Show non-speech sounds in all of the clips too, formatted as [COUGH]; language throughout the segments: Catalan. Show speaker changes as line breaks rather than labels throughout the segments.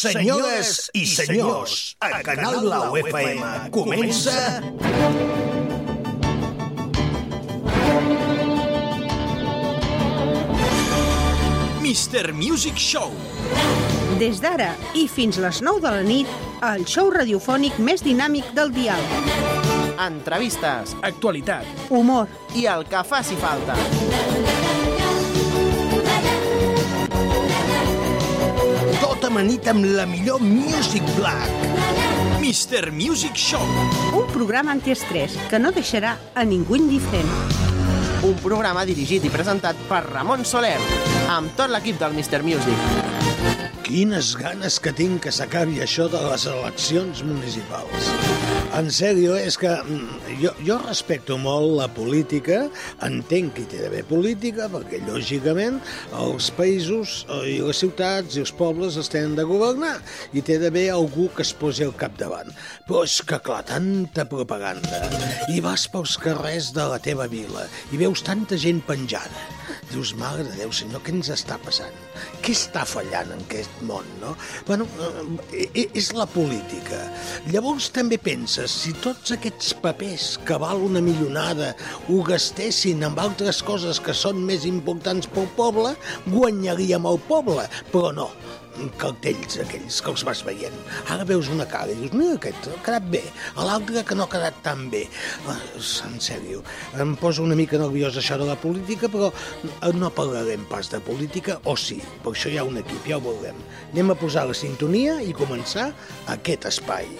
Senyores i senyors, a Canal La UFM comença...
Mr. Music Show.
Des d'ara i fins les 9 de la nit, el show radiofònic més dinàmic del dial.
entrevistes
Actualitat.
Humor,
i el que faci falta.
Tot amanit Tota amb la millor Music Black.
Mr. Music Show.
un programa antiestrès que no deixarà a ningú indiferent.
Un programa dirigit i presentat per Ramon Soler, amb tot l'equip del Mr. Music.
Quines ganes que tinc que s'acabi això de les eleccions municipals. En sèrio, és que mm, jo, jo respecto molt la política, entenc que hi té d'haver política, perquè lògicament els països eh, i les ciutats i els pobles es tenen de governar i té d'haver algú que es posi al capdavant. Però és que, clar, tanta propaganda. I vas pels carrers de la teva vila i veus tanta gent penjada. Dius, mare de Déu, senyor, què ens està passant? Què està fallant en aquest món, no? Bueno, eh, eh, és la política. Llavors també penses, si tots aquests papers que val una milionada ho gastessin amb altres coses que són més importants pel poble, guanyaríem el poble, però no cartells aquells que els vas veient. Ara veus una cara i dius, mira aquest, ha quedat bé, a l'altre que no ha quedat tan bé. Ah, En sèrio, em posa una mica nerviós això de la política, però no parlarem pas de política, o sí, per això hi ha un equip, ja ho veurem. Anem a posar la sintonia i començar aquest espai.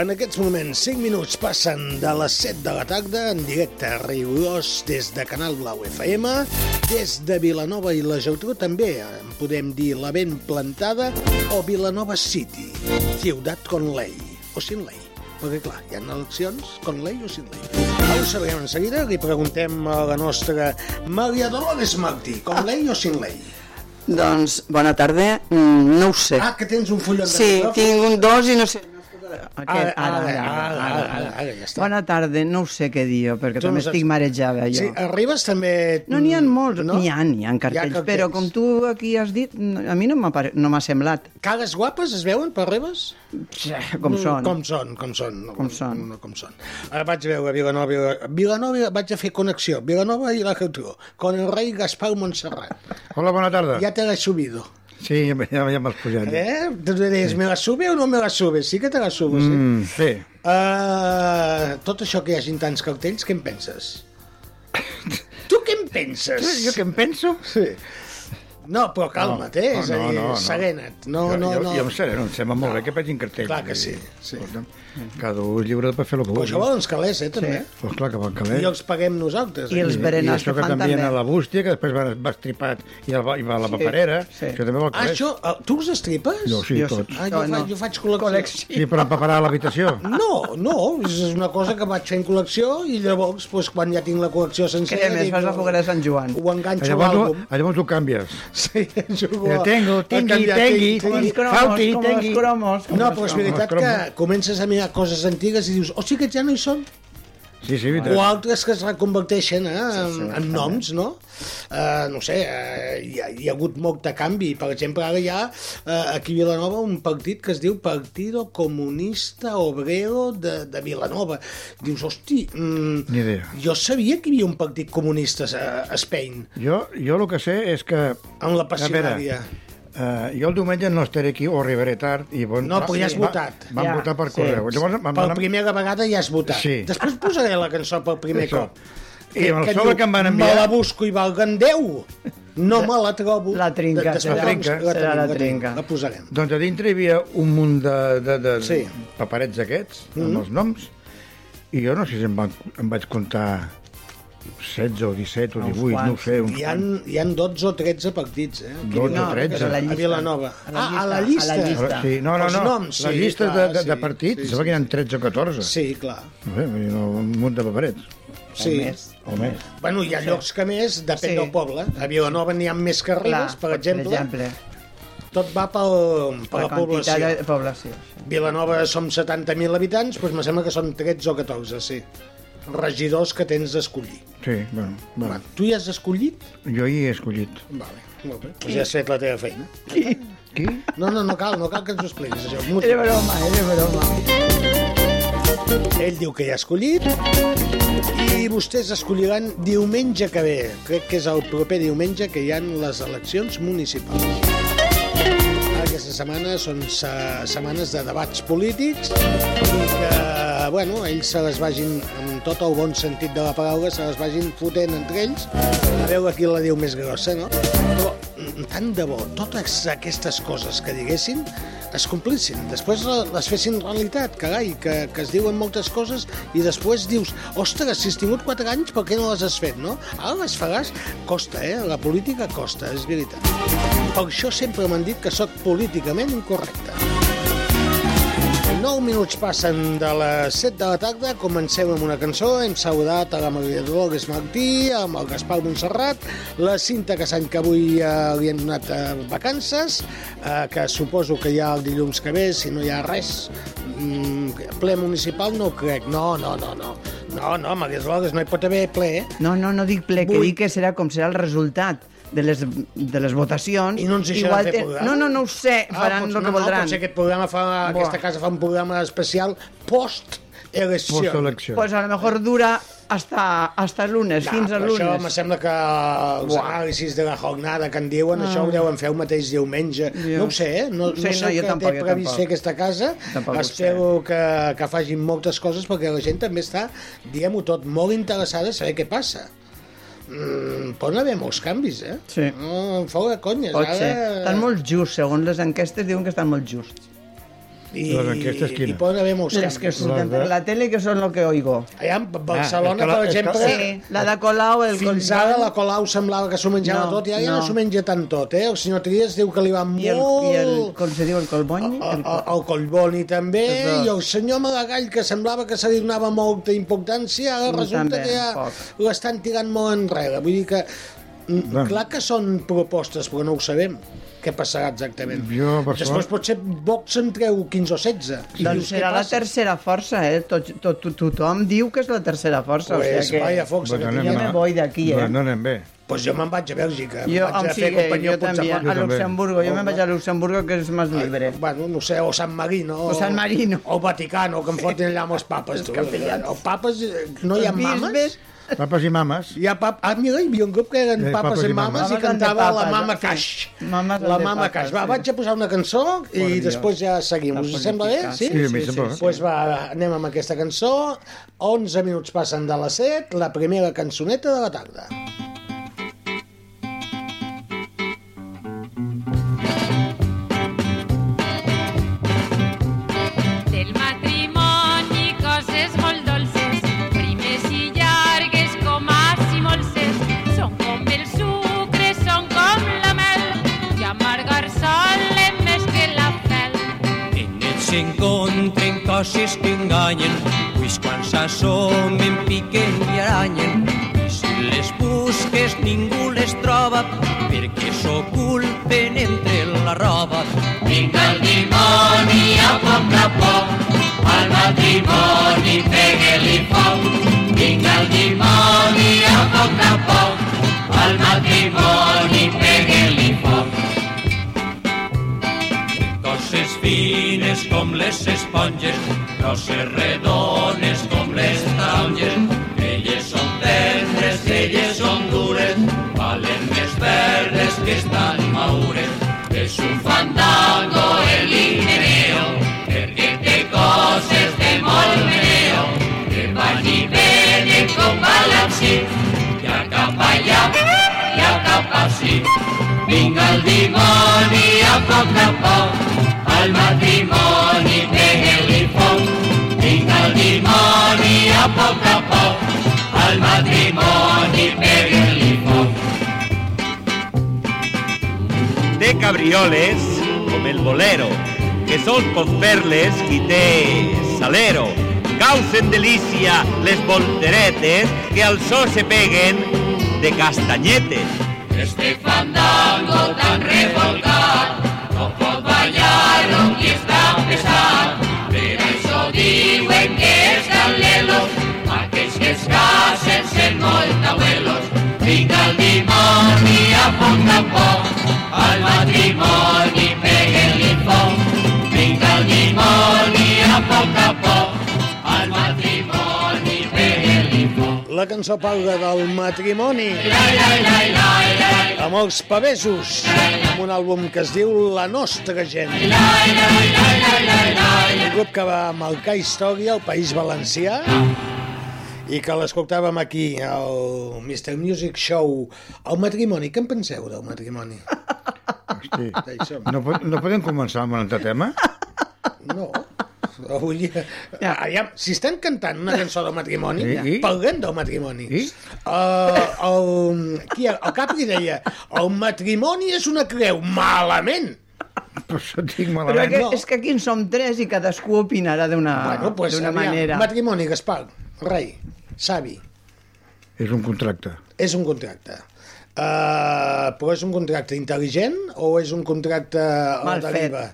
En aquests moments, 5 minuts passen de les 7 de la tarda, en directe rigorós des de Canal Blau FM, des de Vilanova i la Geltrú també, en podem dir la ben plantada, o Vilanova City, ciutat Conley, o sin ley, perquè clar, hi ha eleccions, Conley o sin ley. Ho sabrem en seguida, li preguntem a la nostra Maria Dolores Martí, Conley o sin ley?
Doncs, bona tarda, Mm, no ho sé.
Ah, que tens un fullon de
sí,
micròfon.
tinc un dos i no sé.
Ara,
Aquest,
ara, ara, ara, ara, ara, ja està.
Bona tarda, no ho sé què dir jo, perquè
Tu no
també
saps.
estic marejada jo.
Sí, arribes també...
No n'hi ha molts,
No?
n'hi ha, n'hi ha cartells,
cartells.
però com tu aquí has dit, no- a mi no m'ha pare- no m'ha semblat
Cares guapes es veuen per Ribes?
com
Mm,
són.
Com són, com són. No,
Com són.
No, com són. Ara vaig a veure Vilanova, i- Vilanova vaig a fer connexió. Vilanova i la Geltrú. Con el rei Gaspar Montserrat.
Hola, bona tarda.
Ja te l'he subido.
Ah. Sí, ja, ja, ja m'has pujat. Eh?
Eh? Tu diries, me la sube o no me la sube? Sí que te la subo, sí.
Mm, sí.
Uh, tot això que hi hagin tants cartells, què en
[LAUGHS]
penses? tu què en penses?
Jo què en penso?
Sí. No, però calma't, eh?
No,
és a
no,
dir,
no, no.
serena't. No,
jo,
no,
jo,
no.
Jo em seré, no, em sembla molt bé que vegin cartells.
Clar que
Vull dir,
sí, sí.
escolta'm, Cada un és lliure per fer el que
Però això
vulgui.
volen els calés, eh, també. Sí.
Pues clar que van caler.
I els paguem nosaltres.
I
eh?
els
I
berenars
això
que
que
fan
t'envien
també.
a la bústia, que després va, va estripat i, el, va- i va a la paperera.
sí.
Això també vol
Ah,
caler.
això, eh, tu els estripes?
Jo, sí,
Jo sí.
tots.
Ah, jo,
No,
no.
no.
faig, jo faig col·lecció.
Sí, però empaparar a l'habitació.
No, no, és una cosa que vaig fent col·lecció i llavors, doncs, quan ja tinc la col·lecció sencera...
Cremes,
dic,
fas la foguera de Sant Joan.
Ho enganxo a
Llavors, ho-
Ah, l'àlbum. [LAUGHS]
llavors ho canvies.
Sí, jugo...
Ja
a-
tengo,
a
tingui,
canviar,
tingui,
Com els
tingui.
cromos,
Falti,
com els
tingui.
cromos. com
No,
els
però és
cromos.
veritat que
Cromo.
comences a mirar coses antigues i dius, o sí que ja no hi són,
Sí, sí,
o
veritat.
altres que es reconverteixen eh, en, en noms, no? Uh, no ho sé, uh, hi, ha, hi ha hagut molt de canvi. Per exemple, ara hi ha uh, aquí a Vilanova un partit que es diu Partido Comunista Obrero de, de Vilanova. Dius, hosti, mm,
Ni idea.
jo sabia que hi havia un partit comunista a, a Spain,
Jo, jo el que sé és que...
en la
A veure,
passionària.
eh, jo el diumenge no estaré aquí o arribaré tard. I bon,
No, però ja has
va-
votat.
Vam
Ja,
votar per
sí.
correu. Llavors vam
Per
anar...
primera vegada ja has votat.
Sí.
Després posaré la cançó per primer
Això.
cop. Eh,
I amb el sobre
diu,
que em van
Me la
enviar...
busco i valguen 10. No me la trobo.
La trinca,
De- després
serà-
doncs,
serà
la tenim,
la
tenim,
trinca.
La posarem.
Doncs a dintre hi havia un munt de, de, de
Sí. Mm-hmm.
paperets aquests, amb els noms, i jo no sé si em, van, em vaig comptar 16 o 17 o 18, no ho sé, uns
Hi han, hi han 12 o 13 partits, eh? aquí.
12 o
No,
13.
però la
A
llista.
Vilanova.
A la
Ah, a la
llista,
llista.
a la llista.
Sí, no, no,
Els
no,
noms, sí,
les llistes
clar,
de, de, de
sí,
partits,
sí,
sí, sí, que hi ha 13 o 14.
Sí, clar.
No sé, vull dir, no, un munt de paperets,
Sí.
o més.
Bueno, hi ha llocs que més, depèn
Sí.
del poble. A Vilanova n'hi ha més que
Clar,
Ribes, per exemple. Tot va pel, per
la,
la
quantitat
població.
de població.
Vilanova som 70.000 habitants, doncs me sembla que són 13 o 14, sí. regidors que tens d'escollir.
Sí, bueno,
Va,
va.
Tu ja has escollit?
Jo hi he escollit.
Vale, molt bé. Doncs ja has fet la teva feina.
Qui?
No, no, no cal, no cal que ens ho expliquis, això. Mucho.
Era broma, era broma.
Ell diu que ja ha escollit i vostès escolliran diumenge que ve. Crec que és el proper diumenge que hi han les eleccions municipals. Aquesta setmana són se setmanes de debats polítics i que, bueno, ells se les vagin, amb tot el bon sentit de la paraula, se les vagin fotent entre ells a veure qui la diu més grossa, no? Però mm, tant de bo, totes aquestes coses que diguessin es complissin, després la- les fessin realitat, carai, que, que es diuen moltes coses i després dius, ostres, si has tingut 4 anys, per què no les has fet, no? Ara les faràs, costa, eh? La política costa, és veritat. Per això sempre m'han dit que sóc políticament incorrecte. 9 minuts passen de les 7 de la tarda, comencem amb una cançó, hem saludat a la Maria Dolores Martí, amb el Gaspar Montserrat, la Cinta Casany, que avui eh, li hem donat eh, vacances, eh, que suposo que ja el dilluns que ve, si no hi ha res, mm, ple municipal no ho crec, no, no, no, no, no, no, Maria Dolores, no hi pot haver ple, eh?
No, no, no dic ple, que
Vull-
dic que serà com serà el resultat de les, de les votacions.
I no ens deixaran fer
te-
programa?
No, no, no ho sé, Eh,
potser-
faran
Ah,
el que
no, No,
voldran.
potser aquest programa fa,
Buah.
aquesta casa fa un programa especial post-elecció.
Post-elecció.
pues a lo mejor dura hasta, hasta el lunes,
Ja,
fins al
però Això
lunes.
em sembla que els
Buah. Ah.
anàlisis de la jornada que en diuen, això ho deuen fer el mateix diumenge.
Ja.
No ho sé, eh? No,
No
no
ho
sé,
sé, no, jo
què
tampoc,
té
jo
previst
tampoc.
fer aquesta casa.
Tampoc ho
Espero que, que facin moltes coses perquè la gent també està, diguem-ho tot, molt interessada a saber què passa. Mm, poden haver molts canvis, eh?
Sí.
No, fora conyes.
Pot ser.
Ara...
Estan molt just, segons les enquestes diuen que estan molt just.
I,
Les enquestes
I
quines?
poden haver molts
Les que
canvis.
surten per la tele que són el que oigo.
Allà, a Barcelona,
Ah, és que la-
per
és que-
exemple...
Sí, la de Colau, el
Fins
Collboni,
ara la Colau semblava que s'ho menjava
No,
tot i ara ja no,
no.
s'ho menja tant tot, eh? El senyor Trias diu que li va molt...
i el, i el, com se diu, el Colboni?
el, el, el Collboni també,
Els dos.
i el senyor Maragall, que semblava que se li donava molta importància, ara
Mm,
resulta
també,
que ja
poc.
l'estan tirant molt enrere. Vull dir que, mm,
Bueno.
clar que són propostes, però no ho sabem què passarà exactament.
Jo a Barcelona-
Després potser Vox en treu 15 o 16. I dius,
Doncs
què
serà la
passa?
tercera força, eh? Tot, tot, to- tothom diu que és la tercera força.
Pues,
o sigui que...
vaya Fox, que
Jo
tinguem...
me voy de aquí, eh?
Bueno, no anem bé.
Pues jo me'n vaig a Bèlgica.
Jo,
em vaig
em
a fer
sigue,
companyia
jo
a
també,
Puigdemont.
a Luxemburgo. Jo me'n vaig a Luxemburgo, que és més llibre.
Bueno, no sé, o San Marino.
O San Marino.
O Vaticano, que em fotin allà amb els papes. tu. Els papes, eh, no hi ha
Els
mames?
bisbes.
Papes i
[LAUGHS]
mames.
Hi ha pap... Ah, mira, hi havia un grup que eren
Eh,
papes i mames i
Mames
cantava
and the
la
papes,
mama
sí.
Cash.
Mames and
La
the
mama
papes,
Cash. Va,
sí.
vaig a posar una cançó i
Dios.
després ja seguim.
La
Us sembla bé?
política,
Sí?
sí, sí, sí, sí.
Pues va, anem amb aquesta cançó. 11 minuts passen de les 7, la primera cançoneta de la tarda.
Del matrimoni coses molt dolces, primes i llargues com ars i molses. Són com el sucre, són com la mel, i amargar solen més que la fel.
En ells s'encontren coses que enganyen, pues quan s'assomen piquen i aranyen. I si les busques ningú les troba, perquè s'oculten entre la roba. Vinga el dimoni a poc a poc, al matrimoni pegue-li foc. Vinga el dimoni a poc a poc, al matrimoni pegue-li foc. Coses fines com les esponges, coses redones com les taronges. Elles són tendres, elles són dures, valen més verdes que estan maures. És un fandango el ingenio, perquè té coses de molt meneo, que van i venen com balancí, ja cap allà, ja cap ací. Vinga el dimoni a poc a poc, al matrimoni pegue-li foc. Vinga el dimoni a poc a poc, al matrimoni pegue-li foc.
de cabrioles com el bolero, que sol fer-les qui té salero. Causen delícia les volteretes que al so se peguen de castanyetes.
Este fandango tan revolcat, no pot ballar-ho qui està pesat. Per això diuen que és galelo, aquells que
casen sent molt abuelos, vinga el dimoni a poc a poc, al matrimoni peguen-li foc, vinga el dimoni a poc a poc, al matrimoni peguen-li foc.
La cançó parla del matrimoni
Lai, lai, lai, lai, lai,
amb els pavesos, amb un àlbum que es diu La nostra gent.
lai, lai, lai, lai, lai, lai.
Un grup que va marcar història al País Valencià i que l'escoltàvem aquí al Mr. Music Show. El matrimoni, què en penseu del matrimoni?
Hosti,
Hi som.
no, po- no podem començar amb un altre
[LAUGHS]
tema?
No. Avui... Ja.
Ja.
Aviam, si estan cantant una cançó del matrimoni,
I-
sí,
i?
parlem del matrimoni.
I?
Uh, el, qui, era? el Capri deia, el matrimoni és una creu, malament.
Per això et dic
Però
malament.
que,
no.
és que aquí en som tres i cadascú opinarà d'una
bueno, pues,
Ah, d'una
aviam,
manera.
Matrimoni, Gaspar, rei, savi.
És un contracte.
És un contracte. Uh, però és un contracte intel·ligent o és un contracte a la
Mal fet.
deriva?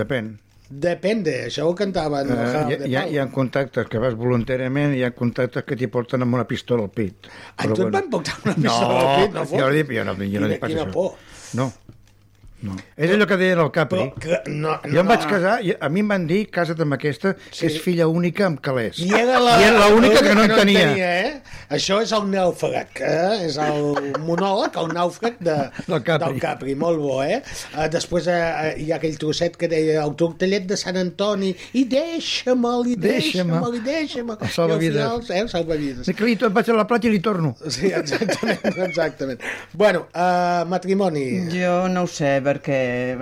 Depèn.
Depende, això ho cantaven
Eh,
uh,
hi,
Hal de
hi, ha-
Pau.
hi ha contactes que vas voluntàriament i hi ha contactes que t'hi porten amb una pistola al pit.
Ah, tu et van portar una pistola
no,
al pit, no
Jo
fotis.
no dic, jo no, jo no
Quina-
dic pas
quina
això.
por.
No, no. És allò que deien el Capri.
Però, que, no, no,
Jo em vaig
no.
casar, i a mi em van dir, casa't amb aquesta, que és filla única amb calés.
I era la-
I era l'única que no en tenia.
eh? Això és el nàufrag, eh? és el monòleg, el nàufrag de,
[LAUGHS] Del Capri.
del Capri. Molt bo, eh? eh després eh, hi ha aquell trosset que deia el tortellet de Sant Antoni i deixa'm-el, i deixa'm-al,
Deixa'm-el.
i deixa'm-el.
El salvavides.
I al final, eh, el salvavides.
Sí, que li, to- vaig a la platja i li torno.
Sí, exactament, [LAUGHS] exactament. Bueno, eh, matrimoni.
Jo no ho sé, perquè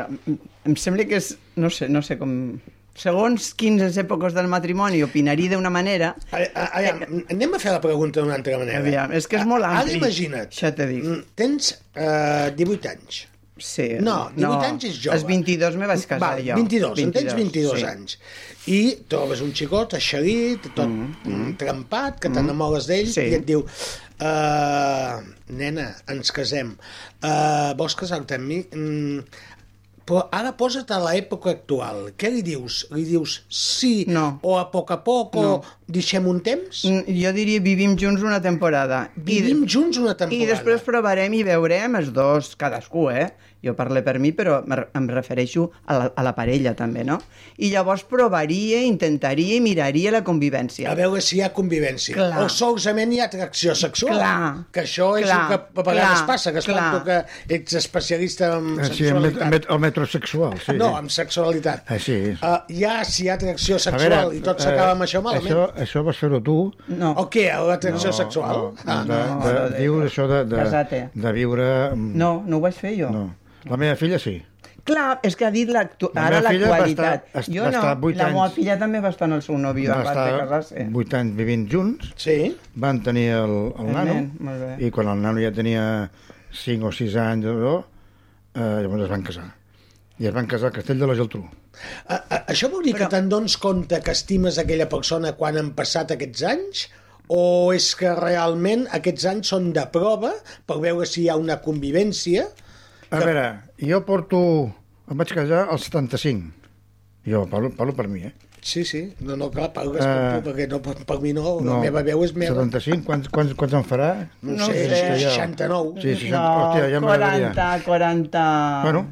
em sembla que és... No sé, no sé com... Segons quines èpoques del matrimoni opinaria d'una manera...
A, a, a, anem a fer la pregunta d'una altra manera.
Aviam, és que és molt
Ara
ampli.
imagina't.
Això t'he dit.
Mm, Tens eh, 18 anys.
Sí.
No, 18 anys és jove.
Els 22 me vaig casar
Val,
jo.
22, en tens 22
sí.
anys. I trobes un xicot eixerit, tot mm. trempat, que t'enamores d'ell
Sí.
i et diu... Uh, nena, ens casem. Uh, vols casar-te amb mi? Mm, però ara posa't a l'època actual. Què li dius? Li dius sí
No.
o a poc a poc no. o deixem un temps?
Mm, Jo diria vivim junts una temporada.
Vivim
I,
junts una temporada.
I després provarem i veurem els dos, cadascú, eh? Jo parlo per mi, però me re- em refereixo a la, a la parella també, no? I llavors provaria, intentaria i miraria la convivència.
A veure si hi ha convivència.
Clar.
O solament hi ha atracció sexual.
Clar.
Que això és
Clar.
el que a vegades
Clar.
passa, que es
Clar.
que ets especialista en
Així, el, met,
sexualitat.
Ah, met, el metrosexual. Sí.
No, en sexualitat.
Així és.
Uh, ja, si hi ha
A
atracció
eh,
sexual i tot s'acaba amb això malament.
Això, això vas fer-ho tu.
No.
O què, l'atracció no, sexual?
No,
ah,
de,
no,
de,
no, de-
dius això de, de,
Casate.
de viure... amb-
No, no ho vaig fer jo.
no. La meva filla sí.
Clar, és que ha dit l'actu-
La
ara
meva filla va
l'actualitat.
estar- est-
Jo
va
no,
estar vuit
la meva
anys.
filla també va estar en el seu nòvio,
Va
a part de casar-se.
estar 8 anys vivint junts.
Sí?
van tenir el, el,
El
nano,
nen, molt bé.
i quan el nano ja tenia 5 o 6 anys o no, eh, llavors es van casar. I es van casar al Castell de la Geltrú.
A, a, Ah, això vol dir Però...
Però-
que te'n dones compte que estimes aquella persona quan han passat aquests anys? O és que realment aquests anys són de prova per veure si hi ha una convivència?
A veure, jo porto... Em vaig casar als 75. Jo parlo, parlo per mi, eh?
Sí, sí. No, no, clar, parles uh, per
Eh,
tu, perquè no, per, per mi no, no. La meva veu és meva.
75, quants, quants, quants en farà?
No,
No
sé,
sé.
És que ja-
69.
Sí, 60.
No,
Hòstia, ja m'agradaria.
40, 40...
Bueno,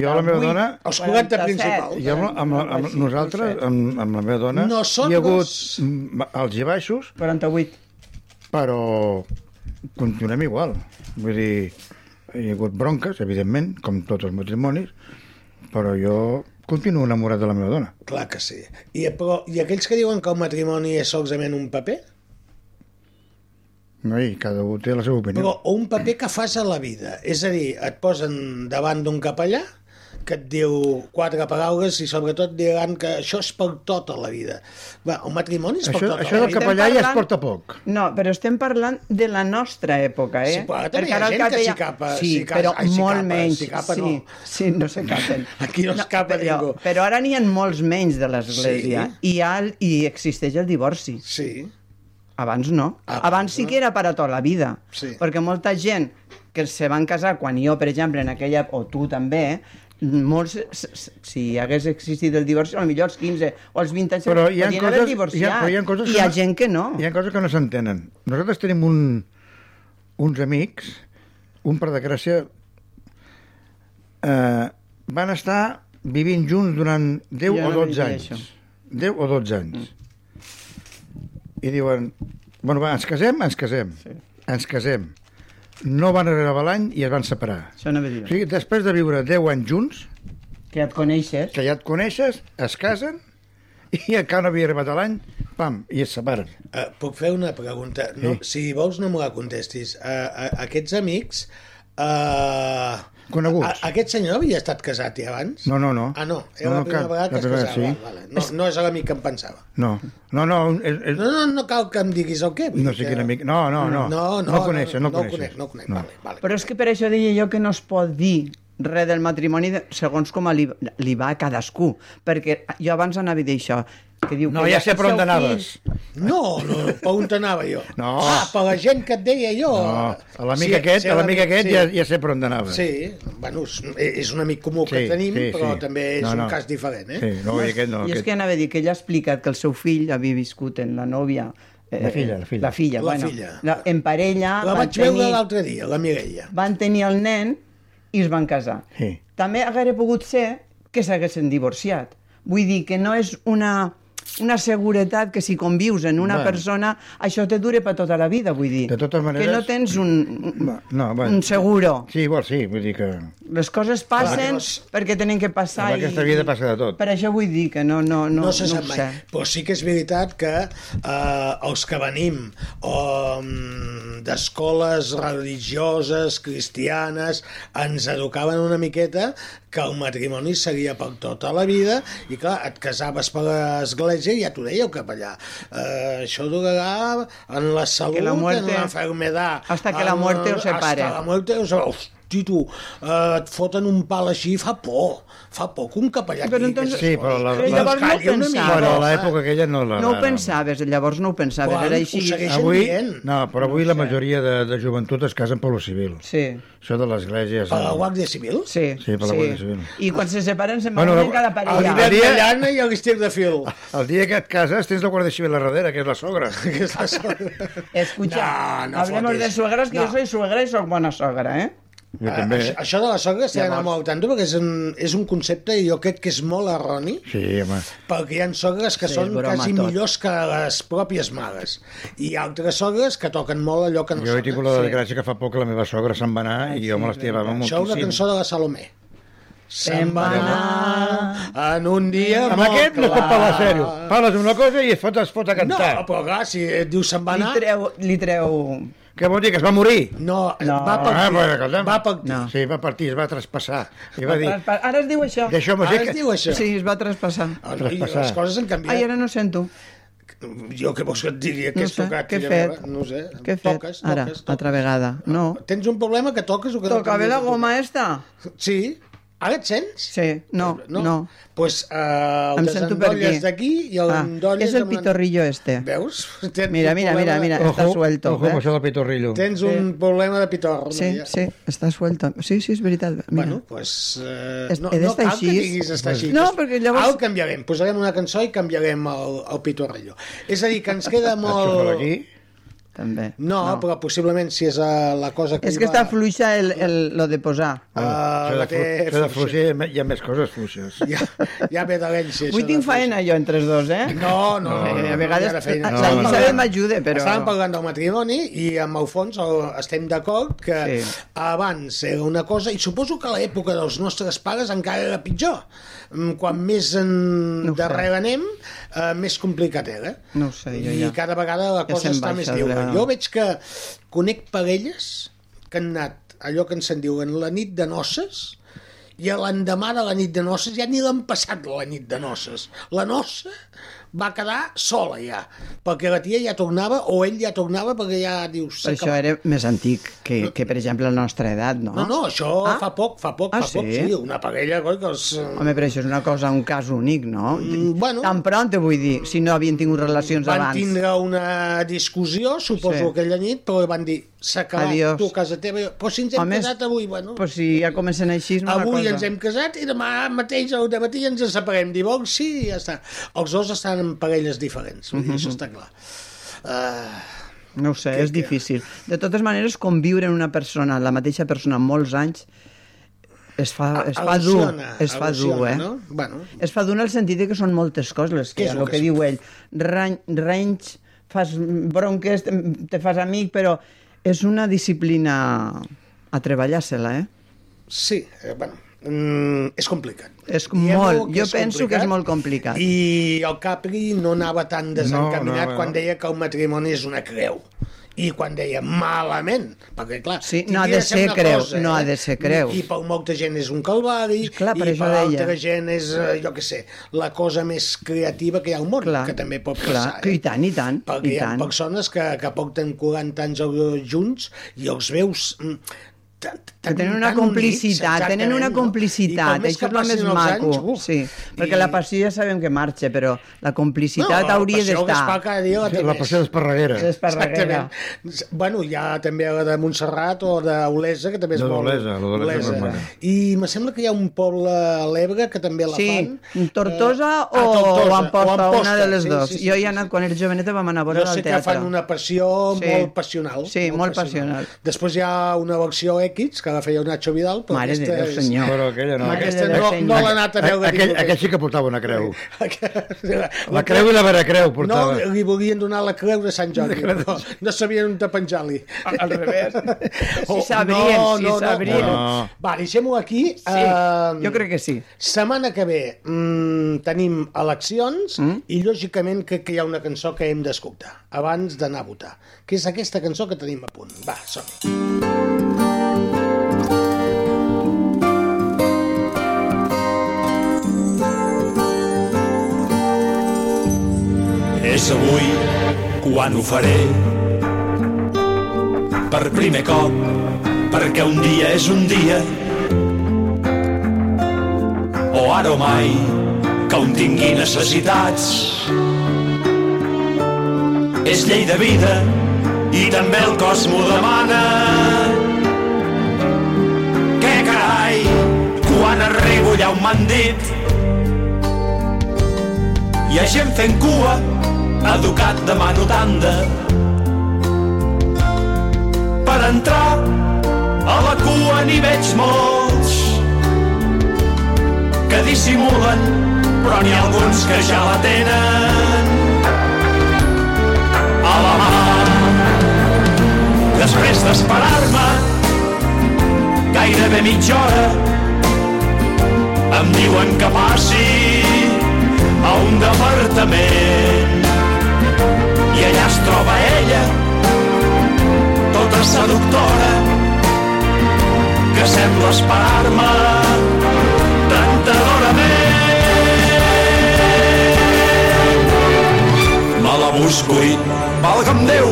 jo a la meva dona-
Els 40 principals.
I amb, la- amb, la- amb, amb nosaltres, amb, amb la meva dona,
Nosotros-
hi ha hagut mm, alts i baixos,
48.
però continuem igual. Vull dir, hi ha hagut bronques, evidentment, com tots els matrimonis, però jo continuo enamorat de la meva dona.
Clar que sí. I, però, I aquells que diuen que el matrimoni és solament un paper?
No, I cada un té la seva opinió.
Però o un paper que fas a la vida. És a dir, et posen davant d'un capellà que et diu quatre paraules i sobretot diran que això és per tota la vida. Va, el matrimoni és per
Això,
tota
això
la
del
vida.
capellà ja es
parlant-
porta poc.
No, però estem parlant de la nostra època, eh?
Sí, però ara també hi ha
Perquè
gent que
el
s'hi capa,
Sí,
s'hi capa-
però
ai, s'hi
molt
capa,
menys.
s'hi capa,
sí,
no.
sí, no s'hi capen.
[LAUGHS] Aquí no es capa
però,
ningú.
Però ara n'hi ha molts menys de l'Església i, hi ha el- i existeix el divorci.
Sí.
Abans no.
Ah, Abans
Abans, sí que era per a tota la vida.
Sí.
Perquè molta gent que se van casar quan jo, per exemple, en aquella... o tu també, molts, s- s- si hagués existit el divorci, potser els 15 o els 20 anys
Però hi ha
podien haver
coses, hi ha,
divorciat.
però hi ha coses
I hi ha gent que no.
Hi ha coses que no s'entenen. Nosaltres tenim un, uns amics, un per desgràcia, eh, van estar vivint junts durant 10
Jo
o
no
12
vivia
anys.
això.
10 o 12 anys.
Mm.
I diuen, bueno, va, ens casem, ens casem. Sí. Ens casem. No van arribar l'any i es van separar.
Això no ve
O
dir.
sigui, després de viure 10 anys junts,
Que et coneixes.
que ja et coneixes, es casen, i encara no havia arribat a l'any, pam, i es separen.
Uh, puc fer una pregunta? No, Si vols no me la contestis. Uh, uh, aquests amics... Uh,
Coneguts.
A, aquest senyor havia estat casat ja abans?
No, no, no.
Ah, no. Era
No, no,
no, la primera
clar,
vegada que
la
es
primera,
casava.
sí.
Vale. No, no és l'amic que em pensava.
No, no, no, és, és,
No, no, no cal que em diguis el què. vull
no
dir
sé
que-
quin amic... No, no, no,
No, no,
no, coneixes, no,
no,
coneixes.
conec, no conec, Vale, vale.
Però és que per això deia jo que no es pot dir res del matrimoni de- segons com li, li va a cadascú. Perquè jo abans anava a dir això, que diu...
No,
que
ja
el
sé per on
seu
anaves.
fill-
No, no, no, per on anava jo?
No.
Ah, per la gent que et deia jo.
No, a l'amic sí, aquest,
sí,
a l'amic aquest
sí.
ja, ja sé per on anava.
Sí, bueno, és, és un amic comú que tenim, però també és
No, no.
un cas diferent, eh?
Sí, no, i aquest no.
I és
Aquest...
que anava a dir que ella ha explicat que el seu fill havia viscut en la nòvia... eh,
La filla, la filla.
La filla,
La
bueno.
filla.
La, en parella...
La
van
vaig veure
tenir-
l'altre dia, la Mireia.
van tenir el nen i es van casar.
Sí.
També hauria pogut ser que s'haguessin divorciat. Vull dir que no és una, una seguretat que si convius en una
Bueno.
persona, això te dure per tota la vida, vull dir.
De totes maneres-
Que no tens un,
Va, no, va.
un seguro.
Sí, igual sí, vull dir que...
Les coses passen
Clar.
perquè tenen que passar.
En aquesta vida passa de tot.
Per això vull dir que no, no, no,
no, se sap
ho
mai.
sé.
Però sí que és veritat que eh, els que venim um, d'escoles religioses, cristianes, ens educaven una miqueta que el matrimoni seria per tota la vida i clar, et casaves per l'església i ja t'ho deia el capellà. Eh, això durarà en la salut,
la muerte-
en la enfermedad.
hasta que la
en-
muerte os separe.
Hasta la muerte os separe. Hosti, tu, eh, et foten un pal així, fa por. Fa por que un capellà...
Però
digui que
entonces-
Sí, però la-
Doncs
la-
llavors no ho
Calla una mica.
pensava.
Bueno, a l'època aquella no la...
No ho pensaves, llavors no ho pensaves.
Quan
Era
ho
així.
segueix-
Avui,
dient.
no, però avui la majoria de, de joventut es casen per lo civil.
Sí.
Això de l'església... és-
Per la Guàrdia Civil?
Sí,
Sí, per la Guàrdia Civil.
I quan se separen se'n
Bueno,
bueno,
la-
cada
El
parella.
Arribem-
Iber de Llana i el Estir de Fil.
El dia que et cases tens la Guàrdia Civil a darrere, que és la sogra.
[LAUGHS] Que és la sogra.
Escucha,
No, no
hablemos
fotis.
de suegras, que yo soy suegra y soy buena suegra, ¿eh?
Jo també.
Ah, Això, això de la sogra s'ha d'anar molt al tanto perquè és un, és un concepte i jo crec que és molt erroni
Sí, home.
perquè hi ha sogres que
Sí,
sí, són
broma,
quasi
tot.
millors que les pròpies mares i hi ha altres sogres que toquen molt allò que no
Jo he tingut la
sonen.
desgràcia que fa poc que la meva sogra se'n va anar i jo me l'estimava
Això és una
moltíssim.
cançó de la Salomé. Se'n
Se'n
va
va
anar en un dia
Amb
molt
aquest no es pot
clar.
parlar sèrio. Parles d'una cosa i es fot, es fot a
No,
cantar.
però clar, si et dius se'n va
Li
anar...
treu, li treu...
Què vol dir, que es va morir?
No,
No.
va partir.
Ah, bueno, escolta'm.
va partir.
No.
Sí, va partir, es va traspassar.
[LAUGHS]
I va dir,
Ara es diu això.
deixeu-me
Ara
ser...
es
Que...
diu això.
Sí, es va traspassar.
Ah, no, i
Traspassar.
Les coses han canviat.
Ai, ara no sento.
Jo què vols que et digui?
No
Què has
sé,
tocat?
què he
filla
fet?
meva? No ho sé.
Què he fet?
toques,
ara,
toques, toques.
altra vegada. No.
Tens un problema que toques o que no
Toca bé
canvies
la
de
goma esta?
tocar? Sí. Ara et sents?
Sí, no, no. no.
Doncs pues, uh, el
Em sento per aquí.
desendolles d'aquí i el
Ah,
endolles...
és el
amb la-
pitorrillo este.
Veus? [LAUGHS] Tens
Mira,
un
mira,
problema
mira,
de-
mira. Està suelto,
Ojo,
eh?
amb això del pitorrillo.
Tens un problema de pitorro.
Sí,
Maria.
sí, està suelta. Sí, sí, és veritat. Mira.
Bueno, pues, eh,
Est-
no,
he
no
d'estar
cal que
així?
diguis estar així.
No, perquè llavors-
Ara ho canviarem. Posarem una cançó i canviarem el, el pitorrillo. És a dir, que ens queda
Molt...
molt...
Aquí.
També.
No, no, però possiblement si és eh, la cosa que...
És
hi
que
va-
està fluixa el, el, lo de posar.
Ah,
això
la
de, flu...
té
això de
fluixa.
fluixer, hi ha més coses fluixes.
[LAUGHS] Ja, ja ve d'herència. això
Avui
de
tinc
fluixa.
faena jo entre els dos,
[LAUGHS]
eh?
No, no,
Eh,
no, no,
a
no
vegades
hi ha feina.
la
Estàvem
Isabel
parlant-
m'ajuda, però-
Estàvem parlant del matrimoni i amb el fons el- estem d'acord que
Sí.
abans era una cosa i suposo que a l'època dels nostres pares encara era pitjor. Mm, Quan més en...
No ho sé.
darrere anem, eh, més complicat era.
No ho sé, jo
I
ja.
cada vegada la
Ja
cosa
se'n
està
baixa
més
de-
lliure. Jo veig que conec parelles que han anat allò que en se'n diuen la nit de noces i a l'endemà de la nit de noces ja ni l'han passat la nit de noces. La noça va quedar sola ja, perquè la tia ja tornava o ell ja tornava perquè ja dius...
Però això era més antic que, que per exemple, la nostra edat, no?
No, no, això
Ah.
fa poc, fa poc,
Ah,
fa poc,
sí?
sí, una parella, coi, que els... eh,
Home, però això és una cosa, un cas únic, no?
Mm, bueno.
Tan pront, vull dir, si no havien tingut relacions
Van
abans.
tindre una discussió, suposo,
Sí.
sí. aquella nit, però van dir, s'ha acabat,
Adiós.
tu a casa teva... jo- Però si ens hem
Home,
quedat avui, bueno...
Però si ja comencen així, és una
Avui
cosa.
ens hem casat i demà mateix al dematí ens en separem. Divorci i ja està. Els dos estan en parelles diferents, mm -hmm.
Mhm.
això està clar. Uh,
No ho sé, és difícil. De totes maneres, conviure en una persona, la mateixa persona, molts anys, es fa, Ah, es fa dur. Es fa dur, eh?
No? Bueno,
Es fa dur en el sentit de que són moltes coses les que,
Què és
el
el
que,
que és?
diu ell. Rany, renys, fas bronques, te, te fas amic, però és una disciplina a treballar-se-la, eh?
sí, eh, bueno, mm, és complicat.
És
Diem-ho
molt,
que
jo penso que és molt complicat.
I el Capri no anava tan desencaminat
No, no,
quan
no.
deia que el matrimoni és una creu. I quan deia malament, perquè clar...
Sí, no ha
tindria
de ser
una eh,
creu, no ha de ser creu.
I per molta gent és un calvari,
Clar, per
i
això
per
deia.
altra gent és, eh, jo que sé, la cosa més creativa que hi ha al món,
Clar,
que també pot
clar,
passar. eh?
que i tant, i tant,
Perquè
i
hi ha
tant.
persones que, que porten 40 anys eh, junts i els veus... mm, tan- tan-
tenen una
tan units,
complicitat, tenen
exactament, no?
una
I
complicitat,
per més
això
que
és el més
passin els
maco.
anys, uf,
sí, perquè la passió ja sabem que marxa, però la complicitat hauria
La passió que es fa
d'estar.
cada dia la té
La
més.
passió d'Esparreguera.
D'Esparreguera.
Exactament. Bueno, hi ha també la de Montserrat o d'Olesa, que també és
De
molt...
d'Olesa, la d'Olesa és molt maca.
I me sembla que hi ha un poble a l'Ebre que també la
Sí,
fan.
Tortosa
Eh,
o,
a Tortosa,
o Amposta, una de les
sí,
dues.
sí, sí,
jo
sí,
hi he anat, quan era joveneta vam anar a veure
jo sé
al
que
teatre.
fan una passió
Sí.
molt passional.
Sí, molt passional.
Després hi ha una versió X, que la feia el Nacho Vidal, però
Mare de
aquesta
Déu,
és- [LAUGHS]
senyor.
Però aquella no.
Mare de
Aquesta
Déu,
no,
senyor.
no l'ha anat a veure.
Aquell,
ningú.
aquell sí que portava una creu.
la,
La creu i la veracreu portava.
No, li volien donar la creu de Sant Jordi, però no sabien on de penjar-li.
Al- al revés.
Oh,
sabrien, sí sabrien.
No.
Va, deixem-ho aquí. Sí,
Jo crec que sí.
Setmana que ve mm, tenim eleccions mm? i, lògicament, crec que hi ha una cançó que hem d'escoltar abans d'anar a votar, que és aquesta cançó que tenim a punt. Va, som -hi.
És avui quan ho faré per primer cop perquè un dia és un dia o ara o mai que un tingui necessitats és llei de vida i també el cos m'ho demana que carai quan arribo allà on m'han dit hi ha gent fent cua, educat demano tanda. Per entrar a la cua n'hi veig molts que dissimulen, però n'hi ha alguns que ja la tenen a la mà. Després d'esperar-me gairebé mitja hora, em diuen que passi a un departament. I allà es troba ella, tota seductora, que sembla esperar-me tentadorament. Me la busco i, valga'm Déu,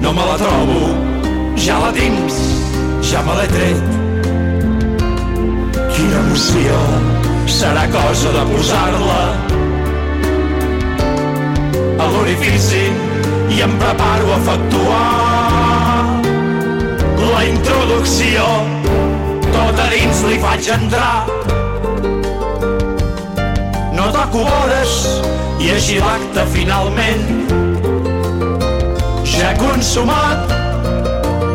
no me la trobo, ja la tinc, ja me l'he tret. Quina emoció, serà cosa de posar-la a l'orifici i em preparo a efectuar la introducció. Tot a dins li faig entrar. No toco vores i així l'acte finalment ja consumat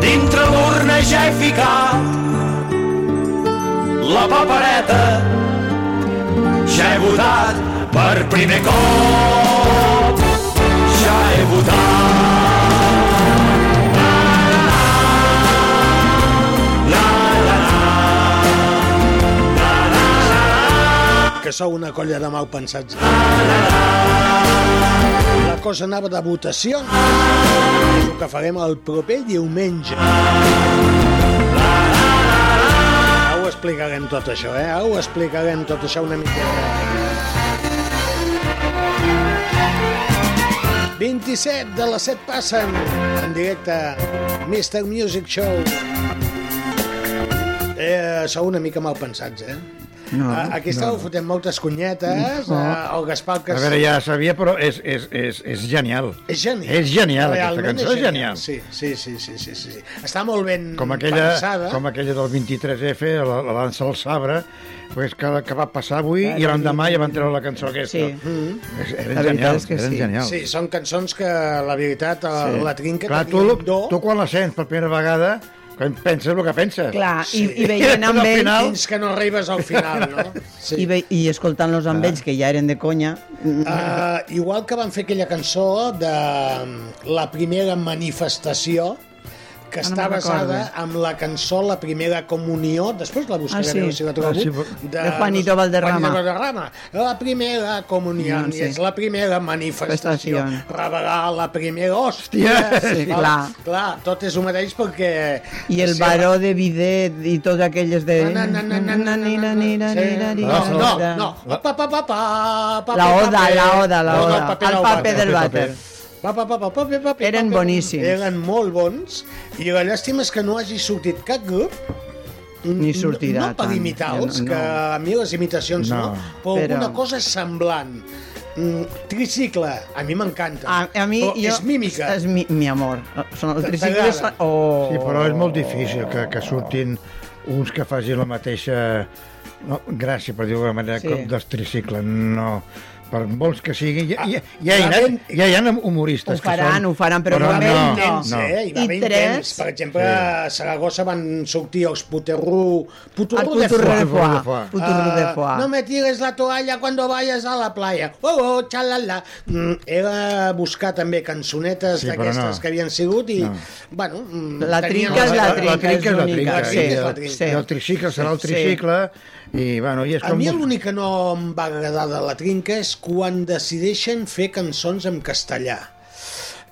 dintre l'urna ja he ficat la papereta ja he votat per primer cop ja he votat la, la, la,
que sou una colla de mal pensats. La cosa anava de votació, que és el que farem el proper diumenge. Ara ho explicarem tot això, eh? Ara ho explicarem tot això una mica. 27 de les 7 passen en directe Mr. Music Show. Eh, sou una mica mal pensats, eh?
No,
Ah, Aquí estàveu fotent moltes conyetes, no. el Gaspar que
Mm. A veure, ja sabia, però és, és, és, és genial.
és genial.
És genial, aquesta
Realment
cançó, és genial.
Sí, sí, sí, sí, sí, sí. Està molt ben
Com aquella,
pensada.
com aquella del 23F, la, la dansa del sabre, pues que, que va passar avui i l'endemà ja van treure la cançó aquesta.
Sí.
Mm.
La
Mm-hmm.
Eren
veritat
genials,
és que
eren
sí.
genials.
Sí, són cançons que, la veritat, sí. la trinca
Clar,
que
tu,
tenia un do...
tu quan la sents per primera vegada, quan penses el que penses.
Clar,
Sí.
Ah, i, i
[LAUGHS]
veient
Al
amb ells...
final-
Fins que no arribes al final,
[LAUGHS]
no? Sí. Ah.
I, ve, i escoltant-los amb ells, que ja eren de conya,
Uh, igual que van fer aquella cançó de mm, la primera manifestació que
Ah, no
està
me'n
basada
recordo.
amb la cançó La Primera Comunió, després la buscaré
Ah, sí.
a veure si la trobo,
Ah, sí, però-
De Juanito Valderrama.
Juanito Valderrama. La Primera Comunió,
No, sí.
sí. és la primera manifestació,
Manifestació.
revelar la primera hòstia.
Hòstia,
sí,
Val?
clar.
clar, tot és el mateix perquè...
i el
Sí, Ah,
baró eh? de Videt i tots aquelles de...
Na, na, na, na, na, na, na, na. Sí. No, no, no. Pa, pa, pa, pa, pa,
La
pa,
oda,
paper.
la oda, la
No, no,
oda.
paper
el
no,
paper del vàter.
Pa, pa, pa, pa, pa, pa, pa,
Eren
pa, pa.
boníssims.
Eren molt bons i la llàstima és que no hagi sortit cap grup
Ni sortirà
no, no per
tant.
imitar-los,
Ja no-
que
no.
a mi les imitacions no,
No.
però,
Però-
alguna cosa semblant. Mm, tricicle, a mi m'encanta.
A, a mi,
però
jo,
Oh, és mímica.
És mi, mi amor. Són els
T'agrada?
tricicles... Oh.
Sí, però és molt difícil que, que surtin uns que facin la mateixa no, gràcia, per dir-ho d'alguna manera,
Sí.
sí. com dels tricicles. No, per molts que siguin, ja, ja, ja, hi,
Ah,
ha,
ben-
ja hi ha humoristes
Ho faran,
que són...
ho faran, però
Però
no
va haver
no,
no, intents,
no.
eh? Hi va
I
haver
tres?
intents. Per exemple, a Saragossa van sortir els Puterru...
El
Puterru de
puturro
Foix.
de
foie.
foie. Puturro de
Ah,
foie.
no me tires la toalla cuando vayas a la playa. Oh, oh, xalala. Mm, he de buscar també cançonetes
Sí,
sí,
però
d'aquestes
no.
no. que havien sigut i,
No.
no. bueno... mm,
La
tenien
trinca és la
les-
trinca,
trinca és la
única,
trinca.
sí,
i
és la
el-
trinca.
i El tricicle serà el
Sí.
tricicle, i, bueno, i és
A
com...
mi l'únic que no em va agradar de la trinca és quan decideixen fer cançons en castellà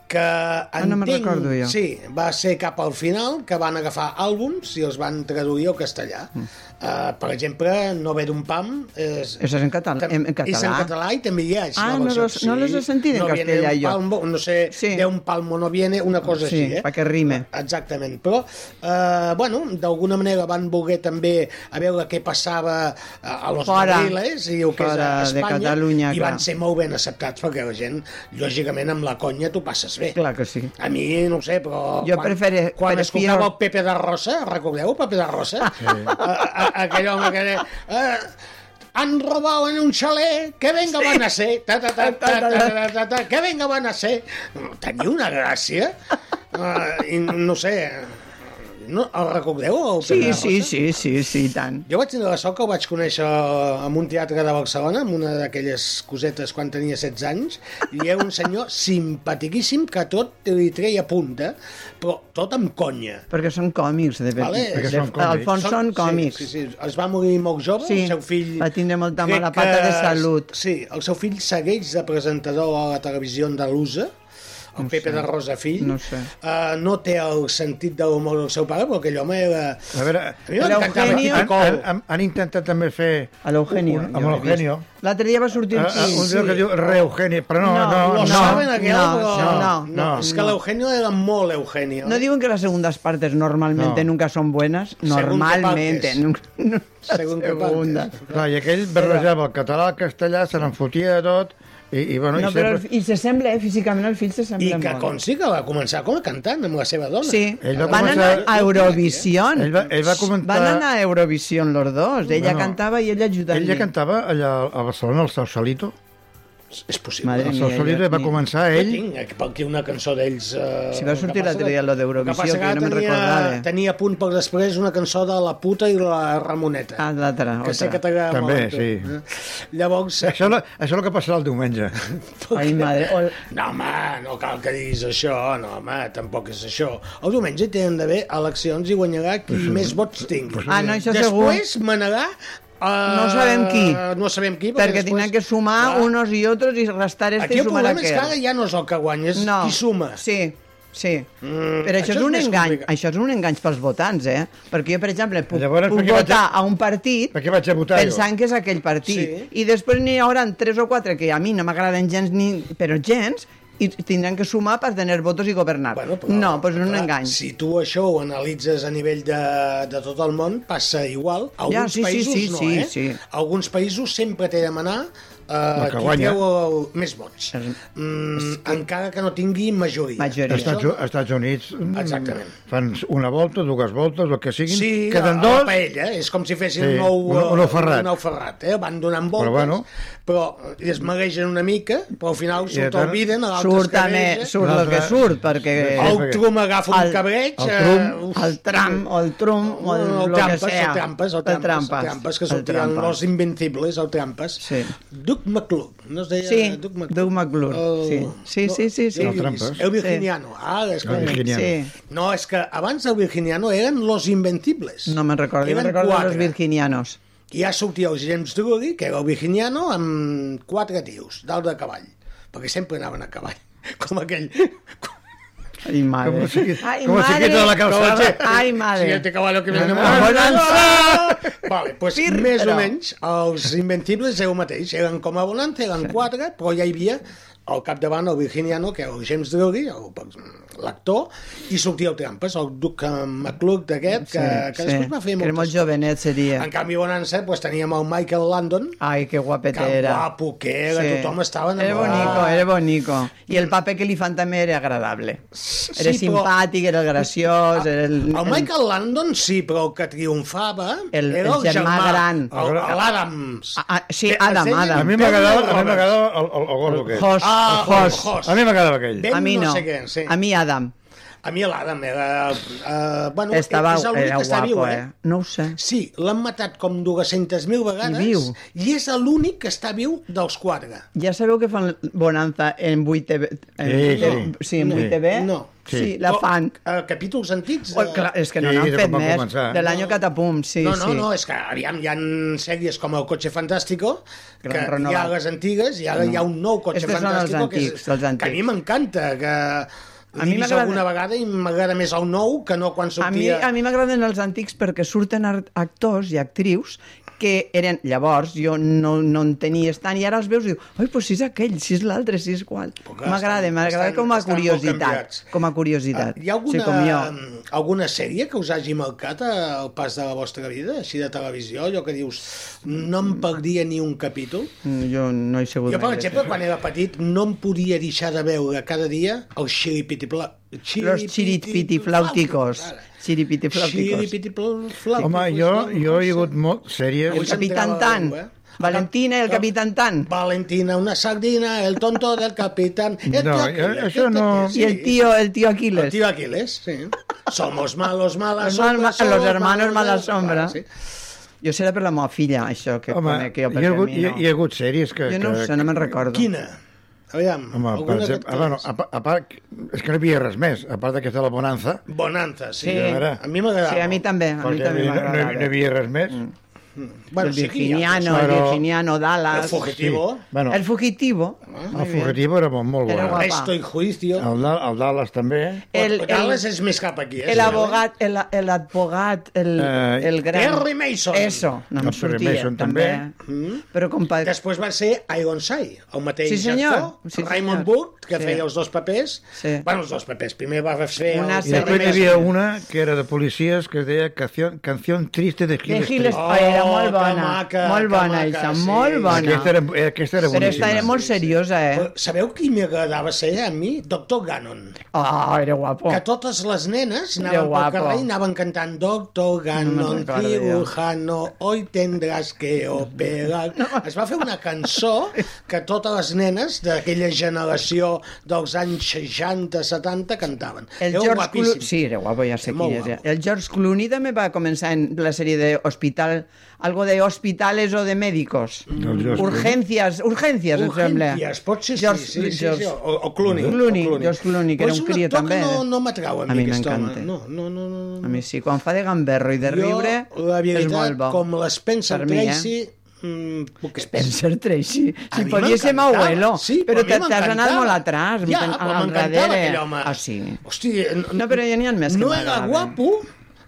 que entenc,
Ah, no me'n recordo, jo.
sí, va ser cap al final que van agafar àlbums i els van traduir al castellà. Mm. Uh, per exemple, No ve d'un pam és,
Això és en català- en- en
És en
català?
català i també hi és.
Ah,
la
no
versió.
los- no los he sentido en
viene
castellà,
de un
jo.
Palmo, no sé,
Sí.
sí. de un palmo no viene, una cosa
Sí,
així. Eh?
perquè rime.
Exactament, però, eh, bueno, d'alguna manera van voler també a veure què passava a a los
Fora.
Madriles i el que és a
Fora de
Espanya,
Catalunya,
i van
clar.
ser molt ben acceptats perquè la gent, lògicament, amb la conya t'ho passes bé.
Clar que sí.
A mi, no ho sé, però...
Jo prefere-
Quan
prefiro-
escoltava el Pepe de Rosa, recordeu Pepe de Rosa? Sí. A, a, aquell home que deia... Eh, han robado en un xalet, que venga sí. van a ser, ta, ta, ta, ta, ta, ta, ta, ta, ta, que venga van a ser. Tenia una gràcia. Uh, i no sé, no, el recordeu? El Pepe
Sí,
de
sí,
Rosa?
sí, sí, sí, i tant.
Jo vaig tenir la sort que el vaig conèixer en un teatre de Barcelona, en una d'aquelles cosetes quan tenia 16 anys, i era un senyor simpatiquíssim que tot li treia punta, però tot amb conya.
Perquè són còmics, de
Vale,
veritat.
perquè
són còmics.
Al fons són còmics.
Sí, sí, sí. Es va morir molt jove,
Sí,
el seu fill...
va tindre molta
crec
mala pata de salut.
Sí, el seu fill segueix de presentador a la televisió andalusa, el no Pepe de Rosa Fill.
No sé.
Uh, no té el sentit de l'humor del seu pare, però aquell home era...
A veure,
A mi
Era
m'encantava.
Eugenio.
Quim
han,
Picol.
han, han, han intentat també fer...
A l'Eugenio.
un- Amb
jo l'he vist.
l'Eugenio.
L'altre dia va sortir...
Ah, ah, Un lloc que diu Reugenio, però no, no,
No,
Lo
no.
no.
saben aquel,
no,
però...
no,
no,
no,
És
no.
que l'Eugenio era molt Eugenio.
No diuen que las segundas partes normalmente
No.
nunca son buenas.
Según qué
Normalmente.
partes.
Nunca, [LAUGHS] nunca
Según qué partes.
segundas.
Clar, i aquell barrejava el català, el castellà, se n'enfotia de tot, i, i bueno,
No,
i
però
sempre...
el, i se sembla, eh? Físicament el fill se
I
sembla
que
molt.
consti que va començar com a cantant amb la seva dona.
Sí.
Ell va
Van
començar-
anar a Eurovisión.
Ell va, ell va comentar...
Van anar a Eurovisión los dos. Ella
Bueno,
cantava i ell ajudant
Ell ja cantava allà a Barcelona, al Sausalito.
És possible.
Madre
Madre.
Al
mía,
Sausalito
jo-
va
ni-
començar
Ell...
ell...
Tinc aquí per aquí una cançó d'ells... Eh,
Si va
el que
sortir l'altre
passa
dia, lo
el
d'Eurovisió,
passa
que jo no me'n
tenia-
recordava.
Tenia a punt per després una cançó de la puta i la Ramoneta.
Ah, l'altra,
que sé
otra.
que t'agrada
També,
molt. a tu, eh? Llavors...
Això, la- això és el que passarà el diumenge.
Ai, madre. O,
No, home, no cal que diguis això, no, home, tampoc és això. El diumenge tenen d'haver eleccions i guanyarà qui més vots tingui.
Ah, no, això segur.
després manarà... Uh,
No sabem qui.
No sabem qui, perquè,
perquè tindran que sumar
Clar.
unos i otros i restar este
Aquí
i
el
sumar
problema és
aquel.
que ara ja no és el que guanya, és
No.
qui suma.
Sí, sí. Mm, però això,
és
és un
més
engany,
complicat.
això és un engany pels votants, eh? Perquè jo, per exemple, puc,
Llavors, per
puc
què vaig
votar
a-
a... un partit
Per què vaig a votar jo?
pensant que és aquell partit.
Sí.
I després n'hi haurà tres o quatre que a mi no m'agraden gens, ni, però gens, i tindran que sumar per tenir votos i governar.
Bueno, però-
no, doncs és un
clar,
engany.
Si tu això ho analitzes a nivell de, de tot el món, passa igual. Alguns
Ja, sí, sí,
països
sí,
no,
sí,
eh?
sí.
Alguns països sempre té de demanar eh,
El que
qui
guanya.
treu el, més vots. Mm, encara que no tingui majoria.
Majoria.
Als Estats, als Estats Units mm,
Exactament.
fan una volta, dues voltes, el que siguin,
Sí,
queden
a
dos,
la paella, eh? és com si fessin
Sí,
un nou,
un- un ou ferrat.
Un ou ferrat eh? Van donant voltes,
Però
però,
bueno.
bueno. però es magueixen una mica, però al
I
final
a
surt
tant-
el Biden, l'altre es
Surt, també,
cabreja,
surt el que
L'altre-
surt, perquè...
el
Eh, perquè-
Trump agafa
El-
un cabreig...
el
eh,
Trump-
uf,
el Trump, o el Trump, Mm, o el,
No, no,
lo
el
que
trampes,
sea.
el trampes, el trampes, el trampes, que
el
sortien
trampes.
los invencibles, el trampes.
Sí.
Duke McClure, no es deia eh,
Sí,
Duke
Doug McClure,
Oh.
sí. Sí, sí, sí, sí.
El,
El trampes.
el virginiano. Ah, és
El
que...
virginiano.
Sí.
No, és que abans del virginiano eren los invencibles.
No me'n recordo, jo me'n
Eren
recordo
quatre.
dels virginianos.
I ja sortia el James Drury, que era el virginiano, amb quatre tios, dalt de cavall. Perquè sempre anaven a cavall. [LAUGHS] Com aquell...
Ai, madre.
Com si-
Ai,
com si
madre.
quita la calçada.
Ai, madre.
Siguiente caballo que viene.
Ah, bona
Bonanza! Vale, pues
Firra.
més o menys els Invencibles era el mateix. Eren com a Bonanza, eren quatre, però ja hi havia al capdavant el Virginiano, que era el James Drury, el- doncs, l'actor, i sortia el Trampes, el Duke McClure d'aquest, que, que després va fer
que era molt
moltes...
jovenet, seria.
En canvi, Bonanza, pues, teníem el Michael Landon,
Ai, que guapet
que
Ah, era.
guapo que era, tothom estava
Era
enamorat.
bonico, era bonico. I el paper que li fan també era agradable. Era
Mm. però-
simpàtic, era graciós, era el...
El Michael Landon sí, però el que triomfava
El-
era el,
el germà gran.
el- L'Adams.
Ah, ah, sí,
Eh,
Adam,
es deia-
Adam.
A mi m'agradava a mi m'agradava el, el, el gordo aquest.
Host,
Ah,
el
el
host.
host.
A mi m'agradava aquell.
Ben
eh, A mi
no
no.
sé què, sí.
A mi Adam.
A mi l'Adam era... eh, bueno,
Estava,
és l'únic
era
que està
guapo,
viu,
eh?
eh?
No ho sé.
Sí, l'han matat com 200.000 vegades
I viu.
i és l'únic que està viu dels quatre.
Ja sabeu que fan Bonanza en 8TV?
Sí,
en-
sí.
sí, en
No.
8TV?
No.
Sí,
Sí.
la fan.
Eh, capítols antics.
Oh, clar, és que no
Sí,
n'han
de
fet
quan va
més.
començar.
De l'any
No.
catapum, sí,
no, no,
sí.
no, és que aviam, hi ha sèries com El cotxe fantàstico,
Gran
que hi ha
renovat.
les antigues i ara hi ha un nou cotxe
Estes són els
fantàstico que,
antics, els antics.
que a mi m'encanta, que
A
a
mi
mi
m'agrada-
alguna vegada i m'agrada més el nou que no quan
A mi,
sortia...
a mi m'agraden els antics perquè surten ar- actors i actrius que eren... Llavors, jo no, no en tenies tant, i ara els veus i diu, oi, doncs si és aquell, si és l'altre, si és qual.
Però clar,
M'agrada,
estan-
m'agrada
estan-
com a
estan molt
curiositat.
canviats.
Com a curiositat.
Ah, Hi ha alguna,
Sí, com jo.
alguna sèrie que us hagi marcat eh, al pas de la vostra vida, així de televisió, allò que dius, no em perdria ni un capítol?
Mm, Jo no he sigut
Jo, per
mai de
exemple,
fer.
quan era petit, no em podia deixar de veure cada dia els xiripitifla...
Los chiripitiflauticos. Chiripitiflauticos.
Xiripitiflauticos.
Home, jo, jo he hagut molt sèries...
El Capitán Tan.
¿Eh?
Valentina i el Capitán Tan.
Valentina, una sardina, el tonto del capitán... El
No, eh,
tío Aquiles,
això no-
I el tio, el tio Aquiles.
El tío Aquiles, sí. Somos malos, malas
Los mal-
sombras.
los
somos
hermanos,
malos,
mala sombra.
Sí.
Jo serà per la meva filla, això, que
Home,
conec
hi
jo,
ha,
perquè
hagut,
a mi
hi,
no.
ha, hi ha hagut sèries que...
jo no ho
que-
sé, no me'n recordo.
Quina? Aviam,
Home, per
alguna que
exemple,
et
ah, bueno,
trobis.
a, pa- a part, és que no hi havia res més, a part d'aquesta la bonanza,
Bonanza, sí.
Sí.
A mi m'agradava.
Sí, a mi també, a mi
perquè
també Mm.
no, no, hi-
m'agrada.
no hi havia res més.
Bueno,
el
sí que hi ha,
virginiano,
però-
el virginiano,
El
Dallas...
fugitivo. Ah,
Bueno,
El fugitivo.
el fugitivo era molt, molt
Era
bona.
guapa.
Resto y juicio.
El, Dal- el Dallas també.
El, el,
Dallas és més cap aquí. Eh?
el abogat, el, el advogat, el,
Eh,
el gran...
Perry Mason.
Eso, no
El
em
Perry
sortia,
Mason
també.
també.
Mm. Però com pa...
Després va ser Ironside, el mateix
Sí, senyor.
actor,
Sí, senyor.
Raymond Burke, que
Sí.
feia els dos papers.
Sí.
Bueno, els dos papers. Primer va fer...
Una
el...
I després hi havia una que era de policies que es deia Canción, Canción Triste de
De
Gil
Gil
Street.
Street. Oh, era molt
que
bona.
maca,
molt
que
bona,
maca,
Isa,
sí.
molt bona.
Aquesta era, eh, aquesta era
Però esta
boníssima.
era molt seriosa, eh?
Però Sabeu qui m'agradava ser a mi? Doctor Gannon.
Oh, era guapo.
que totes les nenes
Qué
anaven pel
guapo.
carrer i anaven cantant Doctor Gannon,
recordo, jo.
cirujano, hoy tendrás que operar. Es va fer una cançó que totes les nenes d'aquella generació dels anys 60-70 cantaven.
El
Era
George
guapíssim.
Clooney... Sí, era guapo, ja sé
Molt
qui és. Ja.
guapo.
El George Clooney també va començar en la sèrie de Hospital... Algo de hospitales o de médicos.
El George
Urgències, urgències, em sembla.
Urgències, pot ser, sí,
George-
sí, sí, sí,
George-
sí, o, o Clooney.
Clooney,
o
George Clooney, que era
Però és
un cria
actor que
també,
No,
eh?
no m'atrau a,
A mi
aquest home. eh?
m'encanta.
No, no, no, no, no.
A mi sí, quan fa de gamberro i de riure,
jo, la
és
veritat,
molt bo.
com les Spencer
Per mi, eh?
Tracy, mm, poquets.
Spencer Tracy.
A
Si
mi
podria ser
m'encantava.
abuelo,
Sí,
però
a mi
te- t'has anat
m'encantava.
molt atrás,
ja,
al-
però
al
m'encantava
darrere.
aquell home.
Ah, sí.
Hosti,
No, però ja n'hi ha més que
No era
m'agraden.
guapo,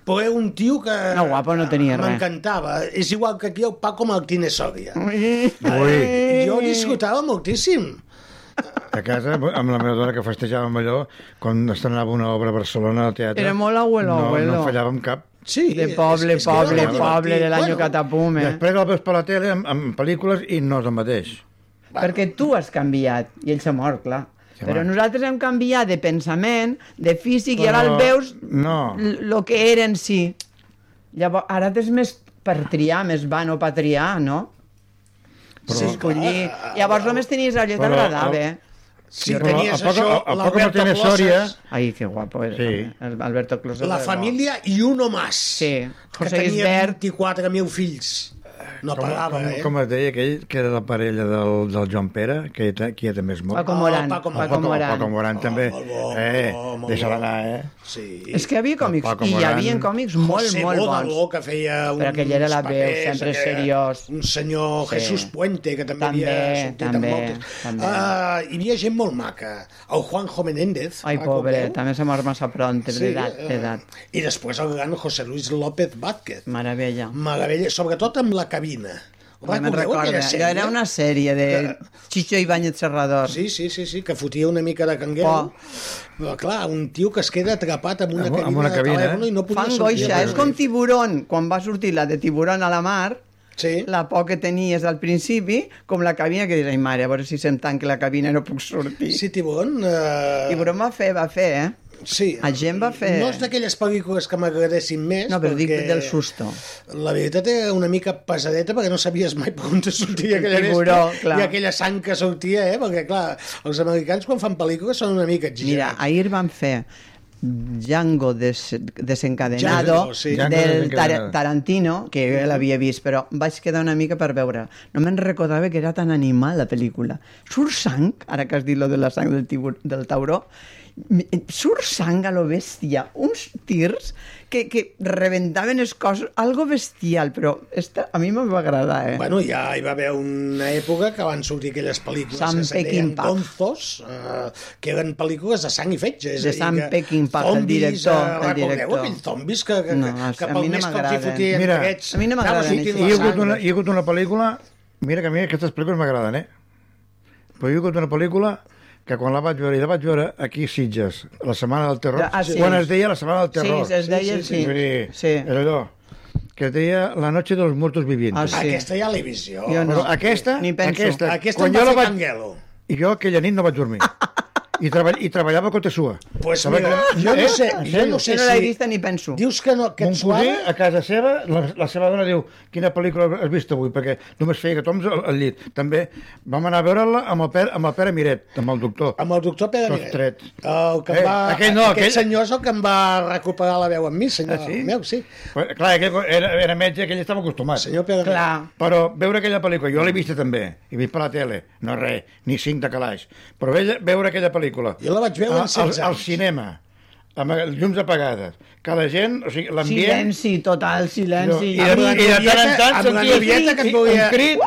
però era un tio que...
No, guapo no tenia res.
M'encantava. És igual
Mm.
que aquí el Paco Martínez Sòdia.
Ui,
Jo disfrutava moltíssim.
A casa, amb la meva dona, que festejàvem allò, quan estrenava una obra a Barcelona al teatre...
Era molt abuelo,
no,
abuelo.
No fallàvem cap.
Sí,
De poble,
que era
poble,
divertit.
poble, de l'any Catapum, eh?
Després el veus per la tele amb, amb pel·lícules i no és el mateix.
Perquè tu has canviat i ell s'ha mort, clar.
S'ha
Però
mort.
nosaltres hem canviat de pensament, de físic, i ara el
Però
veus
no.
l- lo que era en si. Llavors, ara t'és més per triar, més van o per triar, no? Però... S'escollir. Llavors només tenies allò que
Però-
t'agradava.
Si
Però
tenies
a poco-
això,
a- a poco
l'Alberto
no tienes Soria.
Ploses,
Ai, que guapo era.
Sí.
El Alberto Closa.
la
de bo.
família i uno más.
Sí.
Que
José
tenia
Isbert.
24.000 fills. No
Com,
pagava,
com,
eh?
com es deia aquell, que era la parella del, del Joan Pere, que, ta- que ja també és mort.
Paco Morán.
Paco
Paco,
Morán.
Paco
Moran.
Morán. Ah,
Paco Moran també.
molt bo,
eh,
molt bo,
deixa-la
molt bo.
anar, eh?
Sí.
És que hi havia còmics,
Paco
i hi
Morán.
havia còmics molt,
José
molt
Bódalo,
bons.
que feia uns
Però aquell era la veu, sempre
que era
seriós.
Un senyor
Sí.
Jesús Puente, que també,
També,
havia sortit
també,
amb moltes.
també.
Ah, hi havia gent molt maca. El Juanjo Menéndez.
Ai,
ah,
pobre,
com veu.
també s'ha mort massa pront, d'edat,
eh,
d'edat.
I després el gran José Luis López Vázquez.
Meravella.
Meravella, sobretot amb la cabina.
No me'n
Recordeu
recorda.
aquella
Allò era una sèrie de Chicho Ibáñez Serrador.
Sí, sí, sí, sí, que fotia una mica de cangueu.
Por.
Però, clar, un tio que es queda atrapat amb una
Amb- amb
cabina,
una cabina,
de telèfon
eh?
i no
Fa
podia sortir.
angoixa, és com tiburón. Quan va sortir la de tiburón a la mar,
Sí.
la por que tenies al principi, com la cabina que dius, ai mare, a veure si se'm tanca la cabina no puc sortir.
Sí, Tibon. Eh...
Tiburón va fer, va fer, eh?
Sí.
La gent va fer-
No és d'aquelles pel·lícules que m'agradessin més.
No, però dic
perquè
del susto.
La veritat era una mica pesadeta perquè no sabies mai per on te sortia aquella
tiburó,
vespre
clar.
i aquella sang que sortia, eh? Perquè, clar, els americans quan fan pel·lícules són una mica exigents.
Mira, ahir van fer Django des desencadenado
Django, sí.
del
Django desencadenado.
Tar Tarantino, que jo ja l'havia vist, però vaig quedar una mica per veure. No me'n recordava que era tan animal la pel·lícula. Surt sang, ara que has dit lo de la sang del, tibur, del tauró, m- eh, surt sang a lo bèstia, uns tirs que, que reventaven els cos, algo bestial, però esta, a mi em va agradar, eh?
Bueno, ja hi va haver una època que van sortir aquelles pel·lícules
Sam
que se deien
Peckinpah.
Gonzos, eh, que eren pel·lícules de sang i fetge. És a
De
dir,
Sam
que
Peckinpah, el
zombis, eh,
director, el
recordeu
director.
aquells zombis que, que,
No,
que, que
a
pel
mi no
més que els hi
m'agraden.
fotien
Mira,
drets,
a mi no
anava
m'agraden
sortint
aquests.
la
Hi ha, hagut
sang.
una, hi ha hagut una pel·lícula... Mira que a mi aquestes pel·lícules m'agraden, eh? Però hi ha hagut una pel·lícula que quan la vaig veure, i la vaig veure aquí a Sitges, la Setmana del Terror,
Ah, sí.
quan es deia la Setmana del Terror.
Sí, es deia, sí.
Vull dir,
Sí.
Era allò, que es deia La noche de los muertos vivientes.
Ah, sí.
Aquesta ja l'he vist jo.
Jo
Però
no.
aquesta,
Ni penso.
aquesta,
Aquesta
quan
em va
jo la
fer
vaig...
Canguelo.
I jo aquella nit no vaig dormir. I, treball, i treballava a Cotesua.
Pues
Saber
mira,
que-
jo no
Eh?
sé,
En
jo
sèrio?
no sé
Jo no l'he
si-
vista ni penso.
Dius que no, que
Mon cosí,
et suava?
a casa seva, la, la seva dona diu quina pel·lícula has vist avui, perquè només feia gatoms al, al llit. També vam anar a veure-la amb, el Pere, amb el Pere Miret, amb el doctor.
Amb el doctor Pere
Tots
Miret.
trets.
El que em
Eh,
va,
aquell no,
aquest
aquell-
senyor és el que em va recuperar la veu amb mi, senyor
Ah, sí?
meu, sí.
Però, clar, aquell era, era metge, aquell estava acostumat.
Senyor Pere Miret.
Clar.
Però veure aquella pel·lícula, jo l'he vista també, he vist per la tele, no res, ni cinc de calaix, però veure, veure aquella pel·lícula...
Jo la vaig veure
al-
amb 16
al, al
anys.
cinema, amb els llums apagades, que la gent, o sigui, l'ambient...
Silenci, total silenci.
I, de, i de tant en tant
Amb la
sentia
novieta que et volia-
un crit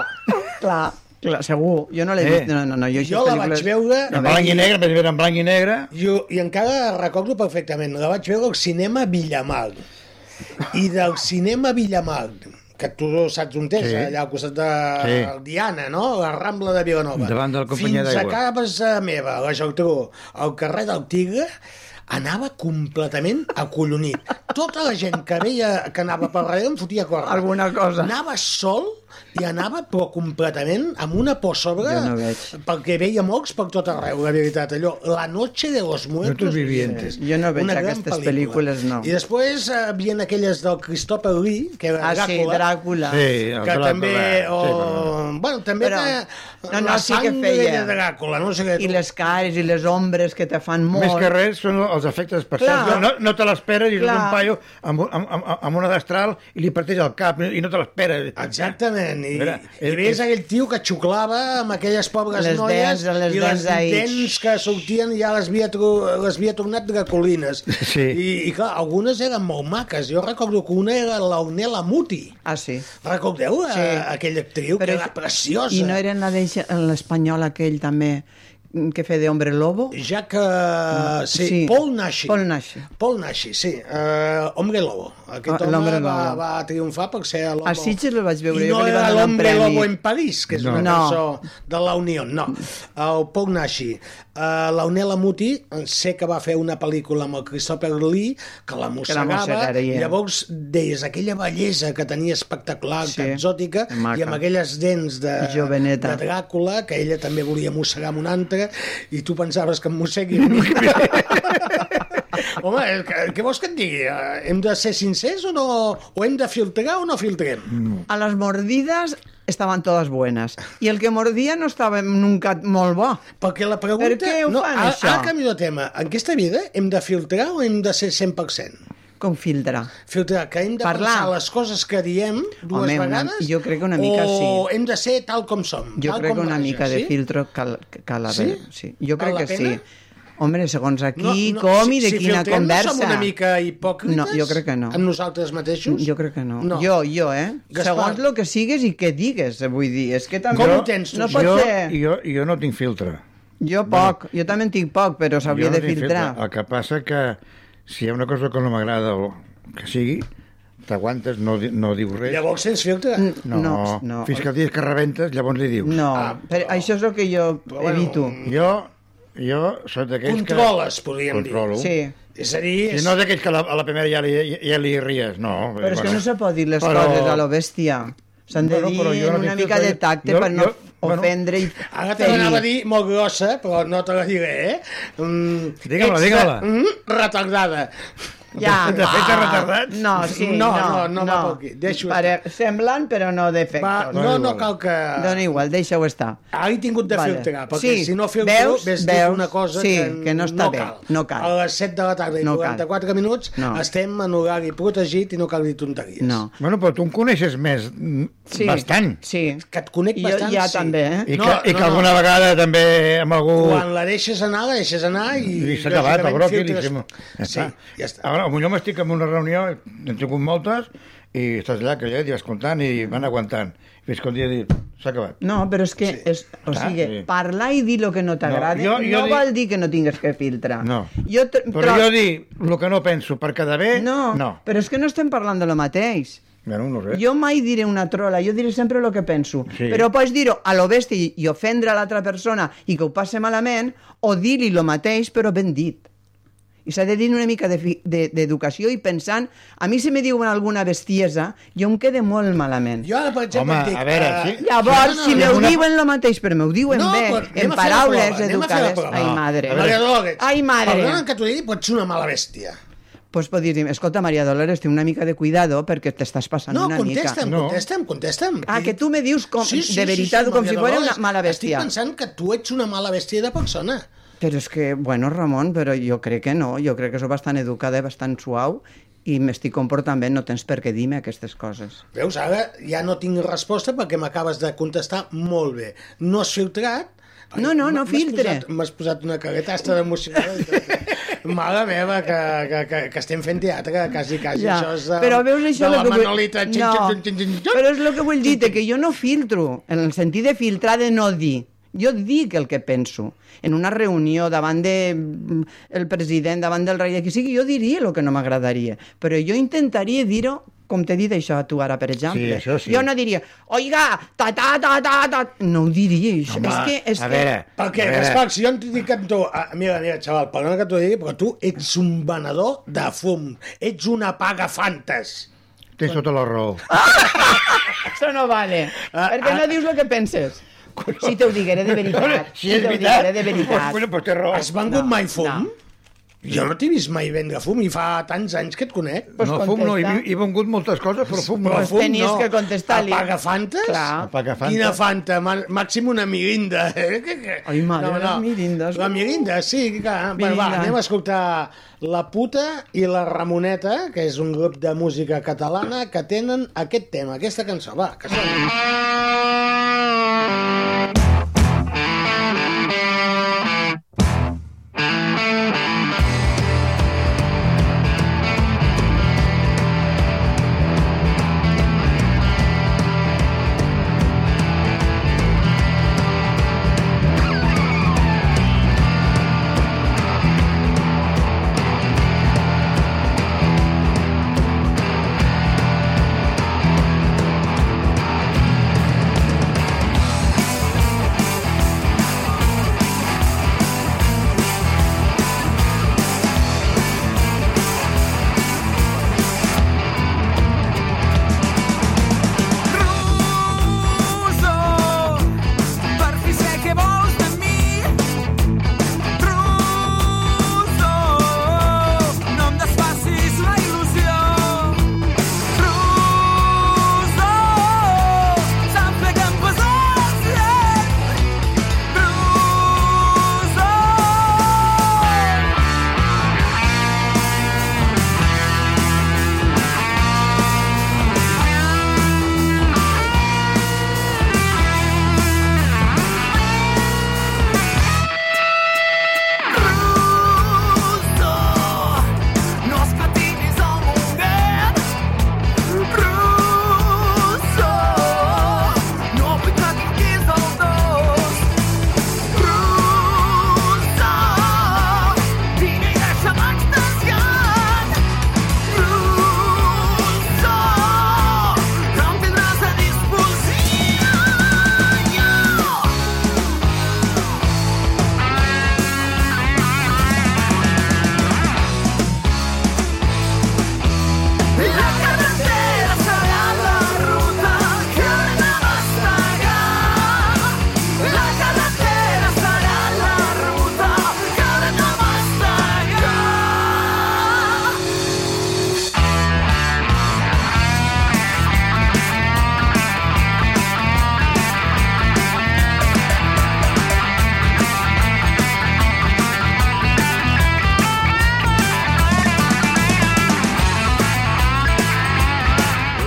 Clar, clar, segur. Jo no l'he
Eh.
vist. No, no, no, jo,
Jo la vaig veure...
En blanc i negre, més bé en blanc i negre.
Jo, I encara recordo perfectament, la vaig veure al cinema Villamar. I del cinema Villamar, que tu saps on és,
Sí.
sí. allà al costat de sí.
Sí.
Diana, no? La Rambla de Vilanova.
Davant de la companyia
Fins a
d'aigua.
casa meva, a la Geltrú, al carrer del Tigre, anava completament acollonit. Tota la gent que veia que anava per darrere em fotia a córrer.
Alguna cosa.
Anava sol i anava però completament amb una por a sobre
Jo no veig.
perquè veia mocs per tot arreu, la veritat. Allò, La noche de los muertos
Muertos vivientes.
Jo no veig
Una gran
aquestes
pel·lícula.
pel·lícules, no.
I després eh, havien aquelles del Christopher Lee, que era
Ah, sí,
Dràcula,
Dràcula.
Sí, el
que
Dràcula,
també...
sí,
O,
però
Bueno, també
Però-
que
no, no,
la
sí que
sangre
feia.
de Dràcula, no sé què.
I les cares i les ombres que te fan molt.
Més que res són els efectes especials.
Clar.
No, no te l'esperes i és
Clar.
un paio amb, un- amb, amb, amb una destral i li parteix el cap i no te l'esperes.
Exactament, i,
Mira,
i
és-
veies
és-
aquell tio que xuclava amb aquelles pobres
Les
noies
dents- les
i les
dents ahí.
dents que sortien ja les havia, tro- les havia tornat dracolines.
[LAUGHS] Sí.
I, I clar, algunes eren molt maques. Jo recordo que una era l'Aunela Muti.
Ah, sí.
Recordeu sí.
Sí.
aquella actriu que era preciosa?
I no era en la d'eixa- en l'espanyol aquell també que feia d'hombre lobo?
Ja que... Sí,
Sí.
Paul Nashi.
Paul Nashi. Ah,
Paul Nashi, sí. Uh, Hombre Lobo. Aquest home
L'Hombre
va,
Lobo.
va triomfar per ser l'home...
A Sitges el vaig veure,
I
jo
no
que li va
era
donar un
l'Hombre
premi.
Lobo en París, que és
No.
una
No.
cançó de la Unió. No, el puc anar així. Uh, la Unela Muti eh, sé que va fer una pel·lícula amb el Christopher Lee que la mossegava,
mossegara, ja.
llavors deies aquella bellesa que tenia espectacular,
Sí.
sí. exòtica,
Maca.
i amb aquelles dents de,
Joveneta.
de Dràcula, que ella també volia mossegar amb un altre, i tu pensaves que em mossegui
[LAUGHS]
una mica. Home, eh, què què vols que et digui? Eh, Hem de ser sincers o no? O hem de filtrar o no filtrem?
A las mordidas estaban todas buenas. Y el que mordía no estaba nunca molt bo.
Perquè la pregunta...
Per què ho
no,
fan,
ara,
això?
Ara canvio de tema. En aquesta vida hem de filtrar o hem de ser 100%?
Com filtra.
Filtrar, que hem de
Parlar.
pensar les coses que diem dues
Home, una-
vegades...
jo crec que una mica
o
sí.
hem de ser tal com som?
Jo
tal
crec que
com
una
vaja,
mica de
sí?
filtro cal, cal haver. Sí?
Sí?
Jo
Val
crec
la
que
pena?
sí. Home, segons aquí, com i de
si,
quina
filtrem,
conversa.
No som una mica hipòcrites?
No, jo crec que no.
Amb nosaltres mateixos?
Jo crec que no.
No.
Jo, jo, eh?
Gaspar.
Segons el que sigues i què digues, vull dir. És que també...
Com ho tens, tu,
No
això?
pot
jo,
ser.
jo, jo no tinc filtre.
Jo poc. Jo també en tinc poc, però s'hauria
jo no
de
tinc
filtrar.
Filtre. El que passa que si hi ha una cosa que no m'agrada o que sigui, t'aguantes, no, di- no dius res.
Llavors sens filtre?
Mm.
no, no,
no.
Fins que el dia que rebentes, llavors li dius.
No,
Ah,
però això és el que jo
bueno,
evito.
Jo, jo soc d'aquells que...
Controles, podríem
Controlo.
dir.
Sí.
És a dir...
I
És...
no d'aquells que a la, a la primera ja li, ja, ja li ries, no.
Però és que no se pot dir les
Però-
coses a lo bèstia. S'han de
Bueno,
dir
però jo no
amb una
tinc
mica de
filtre.
tacte
Jo-
per no
jo- bueno.
ofendre i
Ara te l'anava a
ferir.
dir molt grossa, però no te la diré, eh? Mm,
Digue-me-la,
ets de-
digue-me-la.
Mm, retardada.
Ja,
De fet,
va.
retardat.
No, sí,
No,
no,
no, no va per aquí. Deixa-ho
Pare... Semblant, però no
Va,
defectos.
no, no cal que...
Dona igual, deixa-ho estar.
Ara he tingut de
Vale.
filtrar, perquè
Sí,
si no filtro,
veus,
ves, dit
veus,
una cosa
sí,
que,
que no està bé,
cal.
no cal.
A les 7 de la tarda i
No cal.
44 minuts
No.
estem en horari protegit i no cal dir tonteries.
No.
Bueno, però tu em coneixes més, sí. bastant.
Sí.
Que et conec
Jo
bastant,
ja
sí.
també, eh?
I,
No,
que, i
no,
que
no.
alguna vegada també amb algú...
Quan la deixes anar, la deixes anar i...
I s'ha acabat el
lògicament,
bròquil. I...
filtres-
fem-
Sí,
Ah.
ja està.
Ara, potser m'estic en una reunió, n'hem tingut moltes, i estàs allà, que ja vas comptant i van aguantant. Fins que un dia dius, s'ha acabat.
No, però és que, és, o
Clar,
sigui,
sí.
parlar i dir el que no t'agrada no,
jo- jo dic-
vol dir que no tingues que filtrar.
No.
Jo tr-
Però
tro-
jo dir el que no penso per quedar bé,
No,
no.
però és que no estem parlant de lo mateix.
Bueno, no res.
Jo mai diré una trola, jo diré sempre el que penso.
Sí.
Però pots dir-ho a lo bèstia i- i ofendre a l'altra persona i que ho passe malament, o dir-li el mateix però ben dit. I s'ha de dir una mica de fi- de- d'educació de, i pensant... A mi si me diuen alguna bestiesa, jo em quede molt malament. Jo...
Jo ara, per exemple,
Home,
et dic...
a veure,
eh,
sí.
Llavors,
No, no,
si
no,
me ho
una-
diuen el mateix, però me ho diuen
No,
bé,
però anem a
en
fer la
paraules
prova, anem a fer la
educades...
prova.
Ai,
No.
madre.
Maria Dolores,
Ai, madre.
Perdona que t'ho digui, però ets una mala bèstia.
pues podries dir, escolta, Maria Dolores, té una mica de cuidado perquè t'estàs passant
No,
una
contesta'm,
mica.
No.
contesta'm, contesta'm.
Ah, que tu me dius com, de veritat, com
Maria
si fos una
Dolores,
mala bèstia.
Estic pensant que tu ets una mala bèstia de persona.
Però és que, bueno, Ramon, però jo crec que no. Jo crec que sóc bastant educada i bastant suau i m'estic comportant bé, no tens per què dir-me aquestes coses.
Veus, ara ja no tinc resposta perquè m'acabes de contestar molt bé. No has filtrat, Ai,
No, no, no
m'has
filtre.
posat- M'has posat una caguetasta d'emocionada. i
[LAUGHS]
tot. Mare meva, que, que, que, que estem fent teatre, quasi, quasi. Això és de,
però veus això...
de la
lo que vull-
Manolita. Xin,
No,
xin, xin, xin, xin, xin.
però és el que vull dir, de que jo no filtro, en el sentit de filtrar de no dir. Jo dic el que penso. En una reunió davant de mm, el president, davant del rei, de qui sigui, jo diria el que no m'agradaria. Però jo intentaria dir-ho com t'he dit això a tu ara, per exemple.
això sí.
Jo no diria, oiga, ta, ta, ta, ta, ta... No ho diria, això. és que, és
a
que...
veure... a
Perquè,
veure,
Gaspar, si jo em dic amb tu... Ah, mira, mira, xaval, perdona que t'ho digui, però tu ets un venedor de fum. Ets una paga fantes.
Tens tota la raó.
Això no vale,
Ah,
perquè no dius el que penses. Si te ho digueré de veritat.
[LAUGHS] si és
te ho
veritat,
digueré doncs de veritat.
Bueno, però té raó.
Has vengut
no,
mai fum?
no.
Jo no t'he vist mai vendre fum i fa tants anys que et conec.
Pues
no, fum no, he,
contesta.
he vengut moltes coses, però fum no.
Però
Pues
fum
tenies
no.
que contestar-li.
Apaga fantes?
Clar.
Apaga fantes.
Quina fanta? Mà- Màxim una mirinda. Eh? [LAUGHS] Que- que-
Ai, mare, les mirindes.
La mirinda, sí. Clar. Bueno, va,
Mirinda.
anem a escoltar La puta i la Ramoneta, que és un grup de música catalana que tenen aquest tema, aquesta cançó. Va, que soni.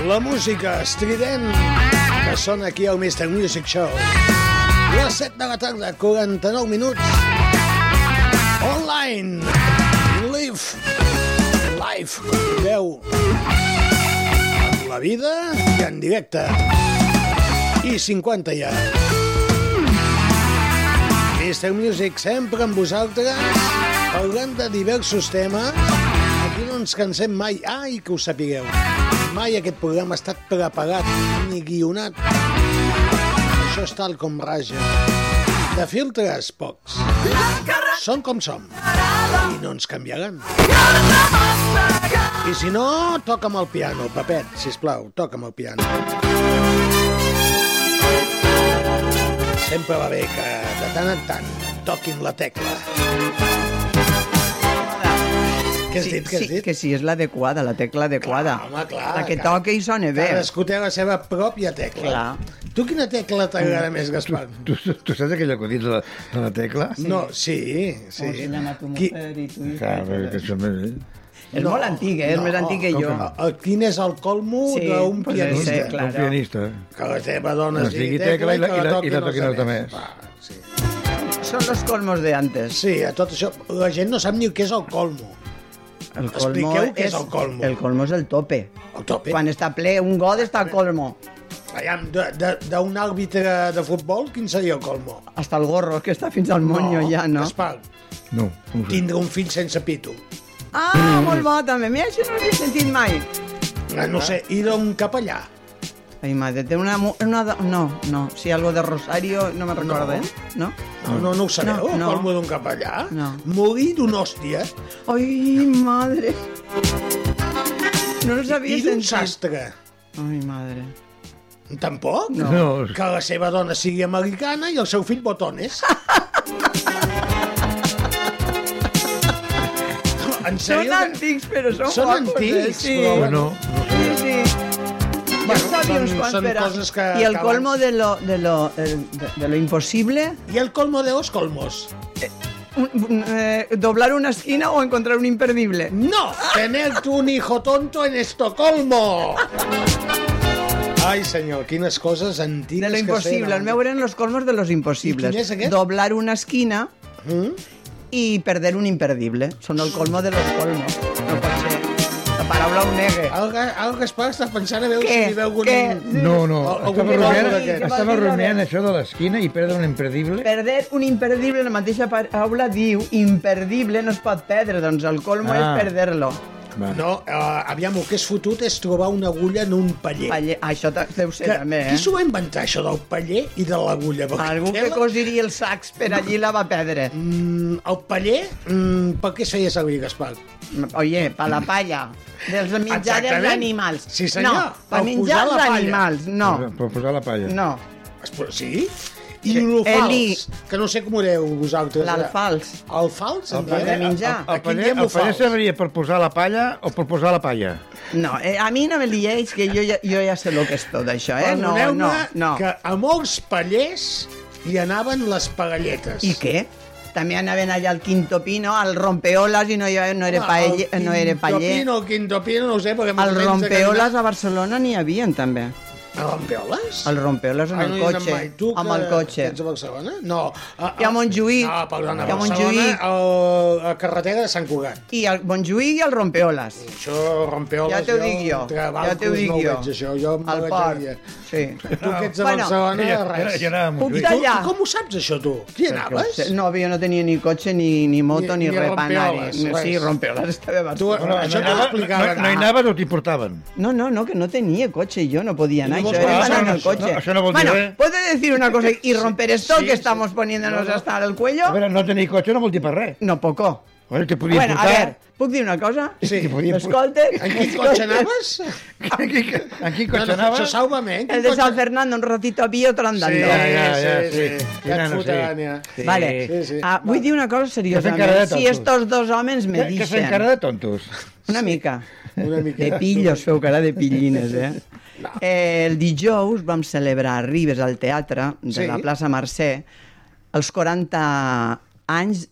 la música estrident que sona aquí al Mr. Music Show. Les 7 de la tarda, 49 minuts. Online. Live. Live. Veu. En la vida i en directe. I 50 ja. Mr. Music sempre amb vosaltres, parlant de diversos temes. Aquí no ens cansem mai. Ai, que ho sapigueu. Mai aquest programa ha estat preparat ni guionat. Això és tal com raja. De filtres, pocs. Som com som. I no ens canviaran. I si no, toca'm el piano, Papet, sisplau, toca'm el piano. Sempre va bé que de tant en tant toquin la tecla. Què has
sí,
dit, què has
sí,
dit?
que sí, és l'adequada, la tecla adequada.
Clar, home, clar.
la que toca i sona bé.
Cadascú té la seva pròpia tecla.
Clar. Mm.
Tu quina tecla t'agrada més, Gaspar?
Tu, tu, tu saps aquell acudit de la, de la tecla?
No, sí, sí. Qui-
Clar, perquè que això més... eh?
És molt antic, eh? és més antic que jo.
Ah, ah, Quin és el colmo
Sí,
d'un
pues
pianista?
sí, clar.
Un pianista. eh?
Que la teva dona
No
es digui
sigui tecla i la, i la, i la
toquin
toquin els
altres.
altres.
Sí.
Són los colmos de antes.
sí, a tot això, la gent no sap ni què és el colmo.
El
Expliqueu què és el colmo.
El colmo és el tope.
El tope.
Quan està ple, un god està al colmo.
Aviam, de- de- d'un àrbitre de futbol, quin seria el colmo?
Hasta el gorro, que està fins al monyo ja, no?
Gaspar,
No, no ho sé.
tindre un fill sense pito.
Ah, molt bo, també. Mira, això no ho havia sentit mai.
Ah, No sé, ir a un capellà.
Ai, madre, té una... mu- una de- no, no, sí, algo de Rosario, no me recordo, eh? No?
No, no, no ho sabeu, no,
No, no.
el colmo d'un capellà?
No.
Morir d'una hòstia
Ai, madre. No els havia
i d'un
sentit.
sastre.
Ai, madre.
Tampoc?
No.
No.
Que la seva dona sigui americana i el seu fill
[LAUGHS]
botones. en
Són
sèrio? que-
antics, però són,
Són
guapos, eh?
antics,
sí.
però
Bueno,
Sí, sí.
Bueno,
Bueno, sabia
són-
uns quants,
són
però...
coses que
I el
acaben-
colmo de lo, de lo, eh, de, de lo imposible,
I el colmo de los colmos.
un, un, eh, doblar una esquina o encontrar un imperdible.
No, tener tu un hijo tonto en Estocolmo. Ai, senyor, quines coses antigues
De lo
que eh?
impossible.
feien.
El meu eren los colmos de los imposibles.
I quin és aquest? ¿Mm?
Doblar una esquina i perder un imperdible. Són el colmo de los colmos. No pot ser. La paraula ho nega.
El, Ga- el Gaspar està pensant a veure
Què?
si hi veu algun...
Què?
no, no.
Algú
Estava
que vol dir
rumiant,
d'aquest.
Què
estava
vol dir,
rumiant
Robert?
això de l'esquina i perdre un imperdible.
Perder un imperdible, la mateixa paraula diu imperdible no es pot perdre, doncs el colmo
Ah.
és perder-lo.
Va.
No, eh, aviam, el que és fotut és trobar una agulla en un paller.
Paller- Això ta- deu ser
Que,
també,
Qui s'ho
eh?
va inventar, això del paller i de l'agulla? Perquè
Algú
té
que
la-
cosiria els sacs per allí la va perdre.
Mm, el paller, mm, per què es feia servir, Gaspar?
Oye, per la palla. Dels menjar dels
Exactament.
animals.
Sí, senyor.
No,
Per
per menjar
posar la
els
palla.
animals, no.
Per posar la palla.
No,
Es po- Sí? I l'alfals,
Eli.
que no sé com ho deu vosaltres.
l'alfals.
El fals?
El paller de menjar.
El
Aquí en
paller,
diem
el paller
ofals.
serviria per posar la palla o per posar la palla?
No, eh, a mi no me liéis, que jo ja, jo ja sé lo que és tot això, eh? No, no, no.
que a molts pallers hi anaven les pagalletes.
I què? També anaven allà al Quinto Pino, al Rompeolas, i no, hi havia- no era, paelle,
Ah, El
no era paller.
Quintopino, el Quintopino, no ho sé, perquè...
Al
menys de
Rompeolas a Barcelona n'hi havien, també.
caminar- El Rompeoles?
Al Rompeolas en
Ah,
el
no hi he anat
cotxe,
mai. Tu,
amb
que
el cotxe.
Ets a Barcelona? No. A,
I a Montjuïc.
No, perdona,
I a
a Barcelona,
Montjuïc.
a la carretera de Sant Cugat.
I al Montjuïc i al Rompeolas.
Això, Rompeoles,
Ja t'ho dic jo,
entre
ja
barcos
t'ho dic
no ho
jo.
Veig, això. Jo em
Al
veig
port,
allà.
sí.
Tu que ets de
Bueno,
Barcelona,
Ella-
res.
ella anava a
Puc
I
Montjuïc.
tu,
tallar?
com ho saps, això, tu? Qui anaves?
No, jo no tenia ni cotxe, ni, ni moto,
Ni-
ni,
ni
res per anar-hi.
Rompeoles,
No, Sí,
res.
Rompeolas estava a
Tu, no,
Barcelona.
això t'ho
anava-
explicaven.
no, no hi anaves o t'hi portaven?
No, no, no, que no tenia cotxe jo, no podía anar,
No
això
vols
era
pagar,
anar en el
això no-
cotxe.
això no vol dir
bueno,
res.
¿puedo decir una cosa y romper esto
eh? [LAUGHS] sí,
que estamos poniéndonos hasta el cuello?
A veure, no tenir cotxe no vol dir per res.
No, poco.
Bueno, te podia
Bueno,
[LAUGHS]
a
portar...
ver, ¿puc dir una cosa?
Sí.
T'hi podia portar.
Escolta,
En quin cotxe anaves?
En quin, en quin
No,
cotxe
no, això
anaves?
salva-me. En quin
El de San
cotxe-
Fernando, un ratito a pie, otro andando.
pues Sí,
Ja, ja, ja,
sí, sí.
sí.
Ja et
Nano, sí.
fotran, ja.
Sí.
Vale,
Sí, sí.
Ah, vull dir una cosa
encara de
seriosament. Si
tontos.
estos dos homes me
Que, que fem cara
dicen...
de tontos.
Una mica.
Una mica.
De pillos, feu cara de pillines, eh? eh? El dijous vam celebrar a Ribes al teatre de
Sí.
la plaça Mercè els 40 anys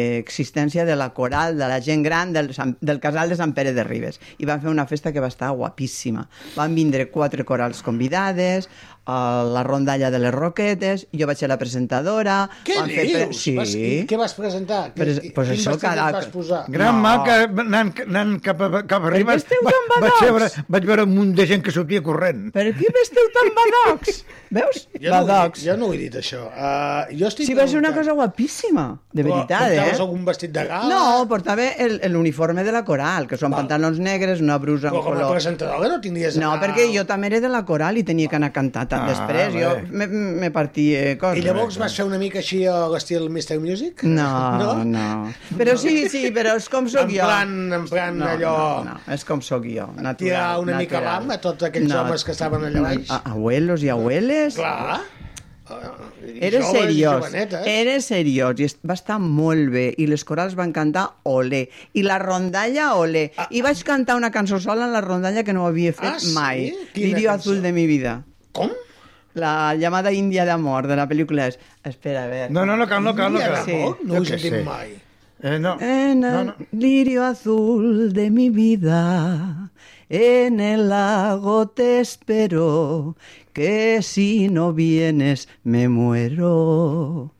d'existència de la coral, de la gent gran, del, Sant- del casal de Sant Pere de Ribes. I van fer una festa que va estar guapíssima. Van vindre quatre corals convidades, eh, la rondalla de les Roquetes, jo vaig ser la presentadora...
Què
van fer
dius?
pre- Sí.
Vas, i què vas presentar? Que-
Pres-
que-
pues
quin
això,
vestit et
carac.
vas posar?
Gran
No.
no. mal que anant, anant cap, a, cap a Ribes
esteu tan
vaig,
badocs?
veure, vaig veure un munt de gent que sortia corrent.
Per què esteu tan badocs? Veus?
[LAUGHS] Jo no, ho he dit-
badocs.
jo no ho he dit, això. Uh, jo estic
Sí, va ser una cosa
preguntant.
guapíssima, de
Però
veritat, eh?
Portaves algun vestit de gala?
No, portava el- el- l'uniforme de la coral, que són pantalons negres, una brusa en
Però com a
color...
presentadora no tindries...
No,
anar-
perquè jo també era de la coral i tenia que anar a cantar tant
Ah,
després. Jo
bé.
me, me partia coses.
I llavors
eh,
vas fer una mica així a l'estil Mr. Music? [LAUGHS]
No, no, Però sí, sí, però és com sóc
En
jo.
plan- en plan
no,
allò-
No, no, és com sóc jo, natural.
Tirar una mica
natural.
l'am a tots aquells homes que estaven allà baix.
A- Abuelos i abueles.
Clar.
Era
Joves i
seriós,
jovenetes.
era seriós, i es- va estar molt bé, i les corals van cantar Olé, i la rondalla Olé, ah, i vaig cantar una cançó sola en la rondalla que no havia fet
Ah, sí?
mai,
Quina
Lirio
cançó?
Azul de mi vida.
Com?
La llamada índia d'amor de la pel·lícula és... Espera, a veure...
No, no, no cal, no cal, no
Mira,
cal.
Sí.
Ramon, No
Jo
ho he
què
sentit
sé.
mai.
Eh, no.
En el
no, no.
lirio azul de mi vida, en el lago te espero, que si no vienes me muero,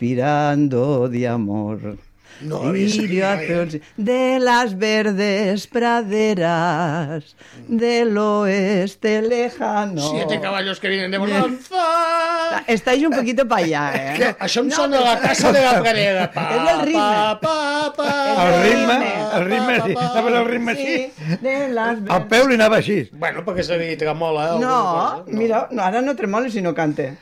suspirando de amor.
No l'havia sentit mai, eh?
azul de las verdes praderas del oeste lejano.
Siete caballos que vienen de bonanza.
Estáis un poquito para allá,
Que
¿eh?
això em sona a la casa de la pradera. Pa,
[LAUGHS] És el ritme.
Pa, pa, pa,
El ritme,
pa,
el ritme,
pa,
sí.
pa, pa.
A veure, el ritme, sí.
de las
El peu li anava així.
Bueno, perquè s'havia dit tremola. eh, alguna
No,
cosa.
mira, no, ara no tremole si no cante.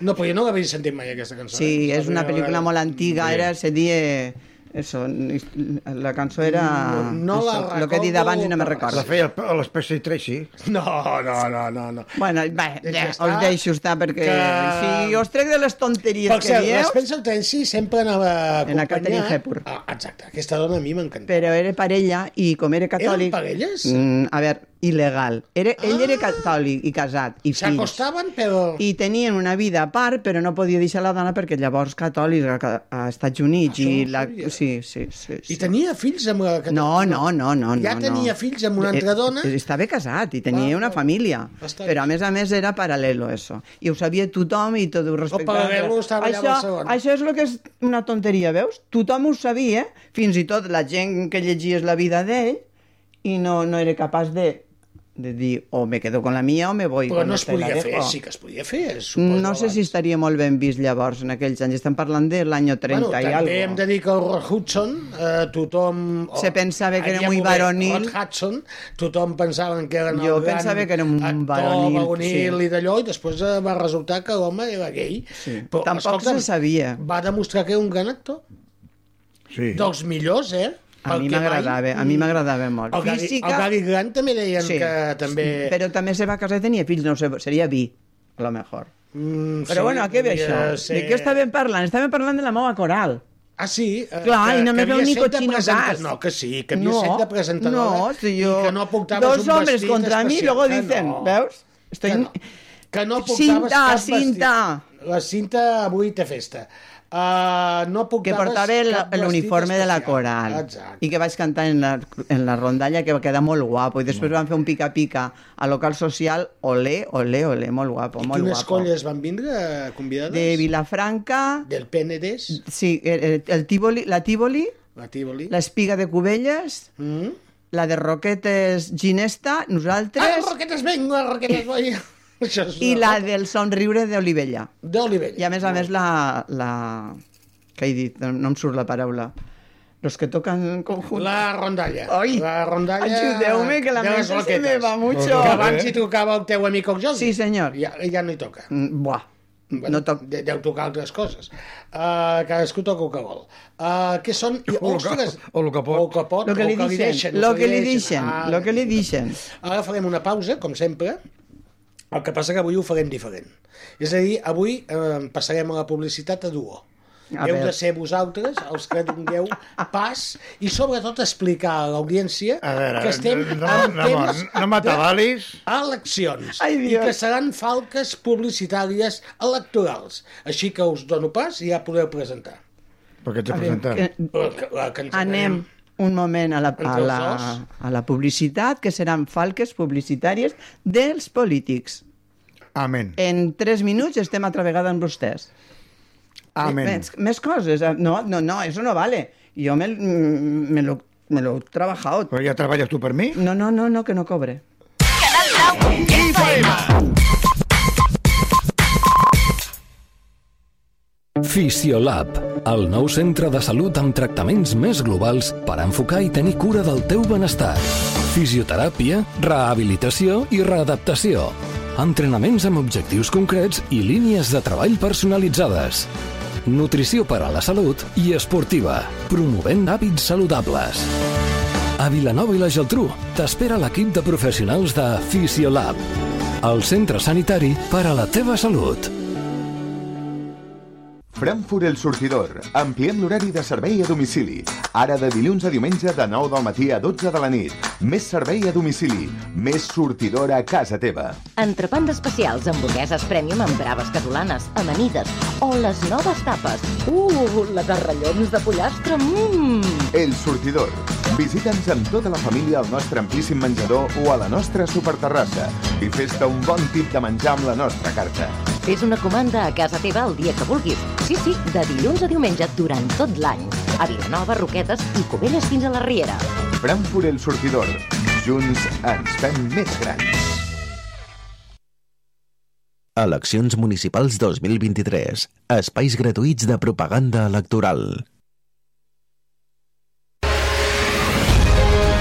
No, però jo no l'havia sentit mai, aquesta cançó.
Sí,
eh?
és una
La primera
pel·lícula
vegada.
molt antiga, era, se die... Eso, la cançó era...
No, Mm, no la
el que he dit
recordo,
abans i no me
però-
recordo.
La feia el- a l'Espècie Tracy.
[LAUGHS] No, no, no, no. no.
Bueno, va, ja,
Ja està.
us deixo estar perquè
Que-
si us trec de les tonteries
Per
que
cert,
dieu,
l'Spencer Tracy sempre anava acompanyat...
la Katharine Hepburn.
Ah, exacte, aquesta dona a mi m'encanta.
però era parella i com era
Eren
catòlic...
parelles?
Mm, a veure, il·legal. Era, ell era
Ah.
catòlic i casat i fills.
S'acostaven, però...
i tenien una vida a part, però no podia deixar la dona perquè llavors catòlics a, a Estats Units
Això no
i
ho
la...
sabia.
Sí, sí, sí.
I
sí.
tenia fills amb la que...
No, no, no, no.
Ja
no,
tenia
no.
fills amb una altra
Eh,
dona?
eh, Estava casat i tenia
Va,
una
va.
família,
Bastant.
però a més a més era paral·lelo, això. I ho sabia tothom i tot ho respectava.
paral·lelo estava allà a
això,
Barcelona.
això és el que és una tonteria, veus? Tothom ho sabia, fins i tot la gent que llegies la vida d'ell i no, no era capaç de, de dir o me quedo con la mía o me voy
Però
con
no es
esta y la
podia fer,
dejo.
sí que es podia fer, suposo.
No sé si
abans.
estaria molt ben vist llavors, en aquells anys. Estem parlant de l'any 30
bueno,
i
també
alguna
hem de dir que el Rod Hudson, eh, tothom...
Se pensava que era
Diríem-ho
muy
bé,
varonil.
Rod Hudson, tothom pensava que era
Jo
el gran
pensava que era un
actor,
varonil,
varonil
sí.
i d'allò, i després eh, va resultar que l'home era gai.
Sí. Tampoc se sabia.
Va demostrar que era un gran actor.
Sí.
Dels millors, eh?
A mi
Pel que mai- Mm.
m'agradava, a mi m'agradava molt.
El Gary, el Gary Grant també deien
sí.
que també...
Però també se va casar i tenia fills, no ho sé, seria vi, a lo mejor.
Mm,
Però bueno, a què ve això?
devia ser-
De què estàvem parlant? Estàvem parlant de la meva coral.
Ah, sí? Eh,
Clar, i no me
havia
veu ni
set de
cochino
presenta-
gas.
No, que sí, que havia set de presentadora
no, si jo...
i que no portaves
Dos
un
homes
vestit
contra mi,
especial,
luego
que
dicen,
no.
veus? Estoy...
Que no, que no portaves
Cinta,
cap
cinta.
vestit. La cinta avui té festa. Uh, no
que
portaves
portava el-
cap vestit
l'uniforme de la
especial.
coral
Exacte.
i que vaig cantar en la, en la rondalla que va quedar molt guapo i després van fer un pica-pica a local social olé, olé, olé, molt guapo, molt
Quines
guapo.
colles van vindre eh, convidades?
De Vilafranca,
Del Penedès,
sí, eh, eh, el Tívoli, la Tívoli,
la Tívoli.
l'espiga de Cubelles,
Mm?
la de Roquetes Ginesta,
Ah,
nosaltres,
roquetes vengo, ah, roquetes
[LAUGHS]
voy. Això és
i
una-
la del Somriure d'Olivella.
D'Olivella.
I a més a més la... la... que he dit? No, no em surt la paraula. Los que tocan en conjunto.
La rondalla.
Ai,
la rondalla
ajudeu-me, que la
de les
mente se
roquetes.
me va mucho.
Que abans hi tocava el teu amic el Jordi.
Sí, senyor.
Ja, ja no hi toca.
Mm, Buah, no toc...
de- Deu tocar altres coses. Uh, cadascú toca el que vol. Uh, què són? I,
O el que-
ostres!
o el que pot.
O el que pot,
Lo que
o
li
el que li
dixen,
deixen,
lo
el
que li
deixen. Ah,
dixen, lo que li dixen.
Ara farem una pausa, com sempre. El que passa que avui ho farem diferent. És a dir, avui eh, passarem a la publicitat a duo.
A
Heu
veure.
de ser vosaltres els que dongueu pas i sobretot explicar a l'audiència
A veure,
que estem
no,
en
no, no,
temps
no m'atabalis.
eleccions
Ai,
i
Dios.
que seran falques publicitàries electorals. Així que us dono pas i ja podeu presentar.
perquè t'he
A
presentat.
veure, que-
La, la cantarem.
Anem un moment a la, a
Entre els
la,
dos.
a la publicitat, que seran falques publicitàries dels polítics.
Amén.
Eh,
En tres minuts estem altra vegada amb vostès.
Amén.
Més, més coses. eh? No, no, no, eso no vale. Jo me, mm, me, lo, me lo he trabajado.
Però ja treballes tu per mi?
No, no, no, no, que no cobre.
Fisiolab, el nou centre de salut amb tractaments més globals per enfocar i tenir cura del teu benestar. Fisioteràpia, rehabilitació i readaptació. Entrenaments amb objectius concrets i línies de treball personalitzades. Nutrició per a la salut i esportiva, promovent hàbits saludables. A Vilanova i la Geltrú t'espera l'equip de professionals de Fisiolab, el centre sanitari per a la teva salut.
Frankfurt El Sortidor. Ampliem l'horari de servei a domicili. Ara de dilluns a diumenge de 9 del matí a 12 de la nit. Més servei a domicili. Més sortidora a casa teva.
Entrepans especials, hamburgueses premium amb braves catalanes, amanides o les noves tapes. Uh, la de rellons de pollastre, mmm!
El Sortidor. Visita'ns amb tota la família al nostre amplíssim menjador o a la nostra superterrassa i fes-te un bon tip de menjar amb la nostra carta.
Fes una comanda a casa teva el dia que vulguis. Sí, sí, de dilluns a diumenge durant tot l'any. A Vilanova, Roquetes i Covelles fins a la Riera.
Frankfurt El Sortidor. Junts ens fem més grans.
Eleccions municipals 2023. Espais gratuïts de propaganda electoral.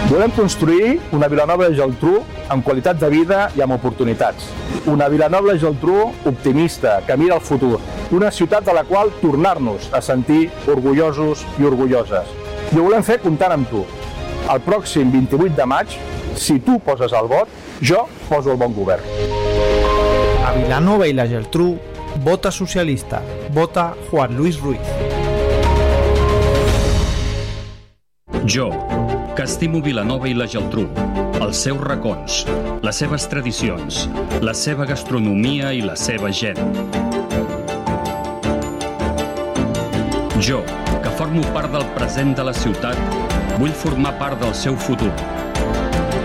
Volem construir una Vilanova i Geltrú amb qualitat de vida i amb oportunitats. Una Vilanova i Geltrú optimista, que mira el futur. Una ciutat de la qual tornar-nos a sentir orgullosos i orgulloses. I ho volem fer comptant amb tu. El pròxim 28 de maig, si tu poses el vot, jo poso el bon govern.
A Vilanova i la Geltrú, vota socialista, vota Juan Luis Ruiz.
Jo, que estimo Vilanova i la Geltrú, els seus racons, les seves tradicions, la seva gastronomia i la seva gent. Jo, que formo part del present de la ciutat, vull formar part del seu futur.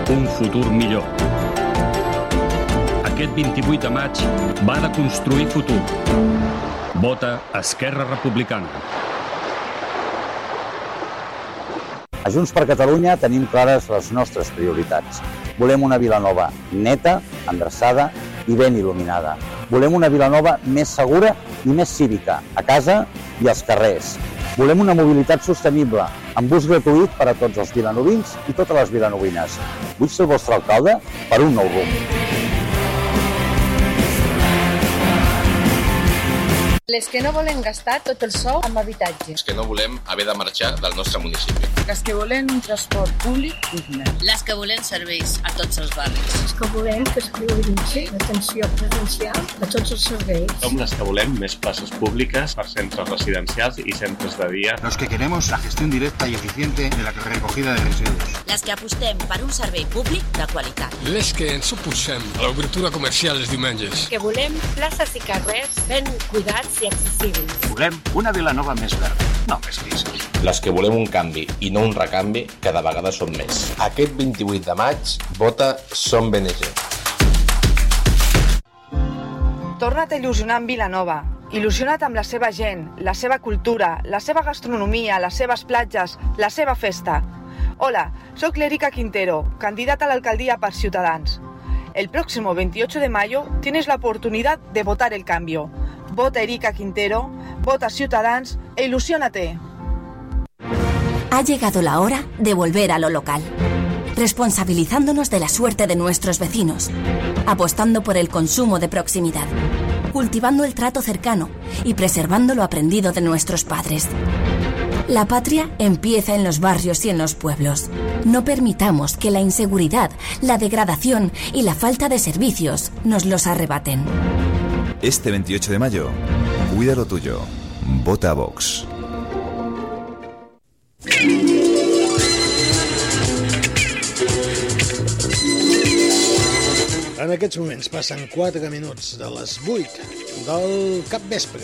Un futur millor. Aquest 28 de maig va de construir futur. Vota Esquerra Republicana.
A Junts per Catalunya tenim clares les nostres prioritats. Volem una Vilanova neta, endreçada i ben il·luminada. Volem una Vilanova més segura i més cívica, a casa i als carrers. Volem una mobilitat sostenible, amb bus gratuït per a tots els vilanovins i totes les vilanovines. Vull ser el vostre alcalde per un nou rumb.
Les que no volen gastar tot el sou amb habitatge.
que no volem haver de marxar del nostre municipi.
Les que volen un transport públic digne.
Les que volem serveis a tots els barris.
els que volem que es prioritzi l'atenció presencial a tots els serveis.
Som les que volem més places públiques per centres residencials i centres de dia. Los que queremos la gestión directa y eficiente de la recogida de residuos.
Les que apostem per un servei públic de qualitat.
Les que ens oposem a l'obertura comercial els diumenges.
que volem places i carrers ben cuidats i accessibles.
Volem una Vilanova més verda, no més grisa.
Les que volem un canvi i no un recanvi, que de vegades són més. Aquest 28 de maig, vota Som BNG.
Torna't a il·lusionar amb Vilanova. Il·lusiona't amb la seva gent, la seva cultura, la seva gastronomia, les seves platges, la seva festa. Hola, sóc l'Erika Quintero, candidata a la alcaldía per Ciutadans. El próximo 28 de mayo tienes la oportunidad de votar el cambio. Vota Erika Quintero, vota Ciutadans e ilusiónate.
Ha llegado la hora de volver a lo local, responsabilizándonos de la suerte de nuestros vecinos, apostando por el consumo de proximidad, cultivando el trato cercano y preservando lo aprendido de nuestros padres. La patria empieza en los barrios y en los pueblos. No permitamos que la inseguridad, la degradación y la falta de servicios nos los arrebaten.
Este 28 de mayo, cuida lo tuyo. Vota a Vox.
En aquests moments passen 4 minuts de les 8 del capvespre.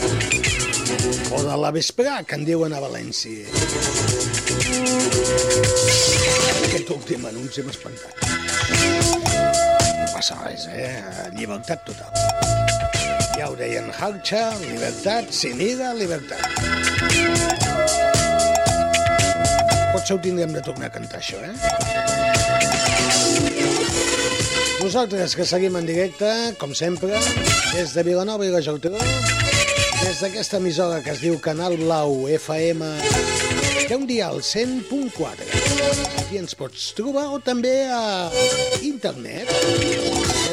O de la vesprà, que en diuen a València. Aquest últim anunci m'ha espantat. No passa res, eh? Llibertat total. Ja ho deien Harcha, llibertat, Siniga, llibertat. Potser ho tindrem de tornar a cantar, això, eh? Nosaltres, que seguim en directe, com sempre, des de Vilanova i la Geltrú, des d'aquesta emissora que es diu Canal Blau FM, té un dial 100.4. Aquí ens pots trobar o també a internet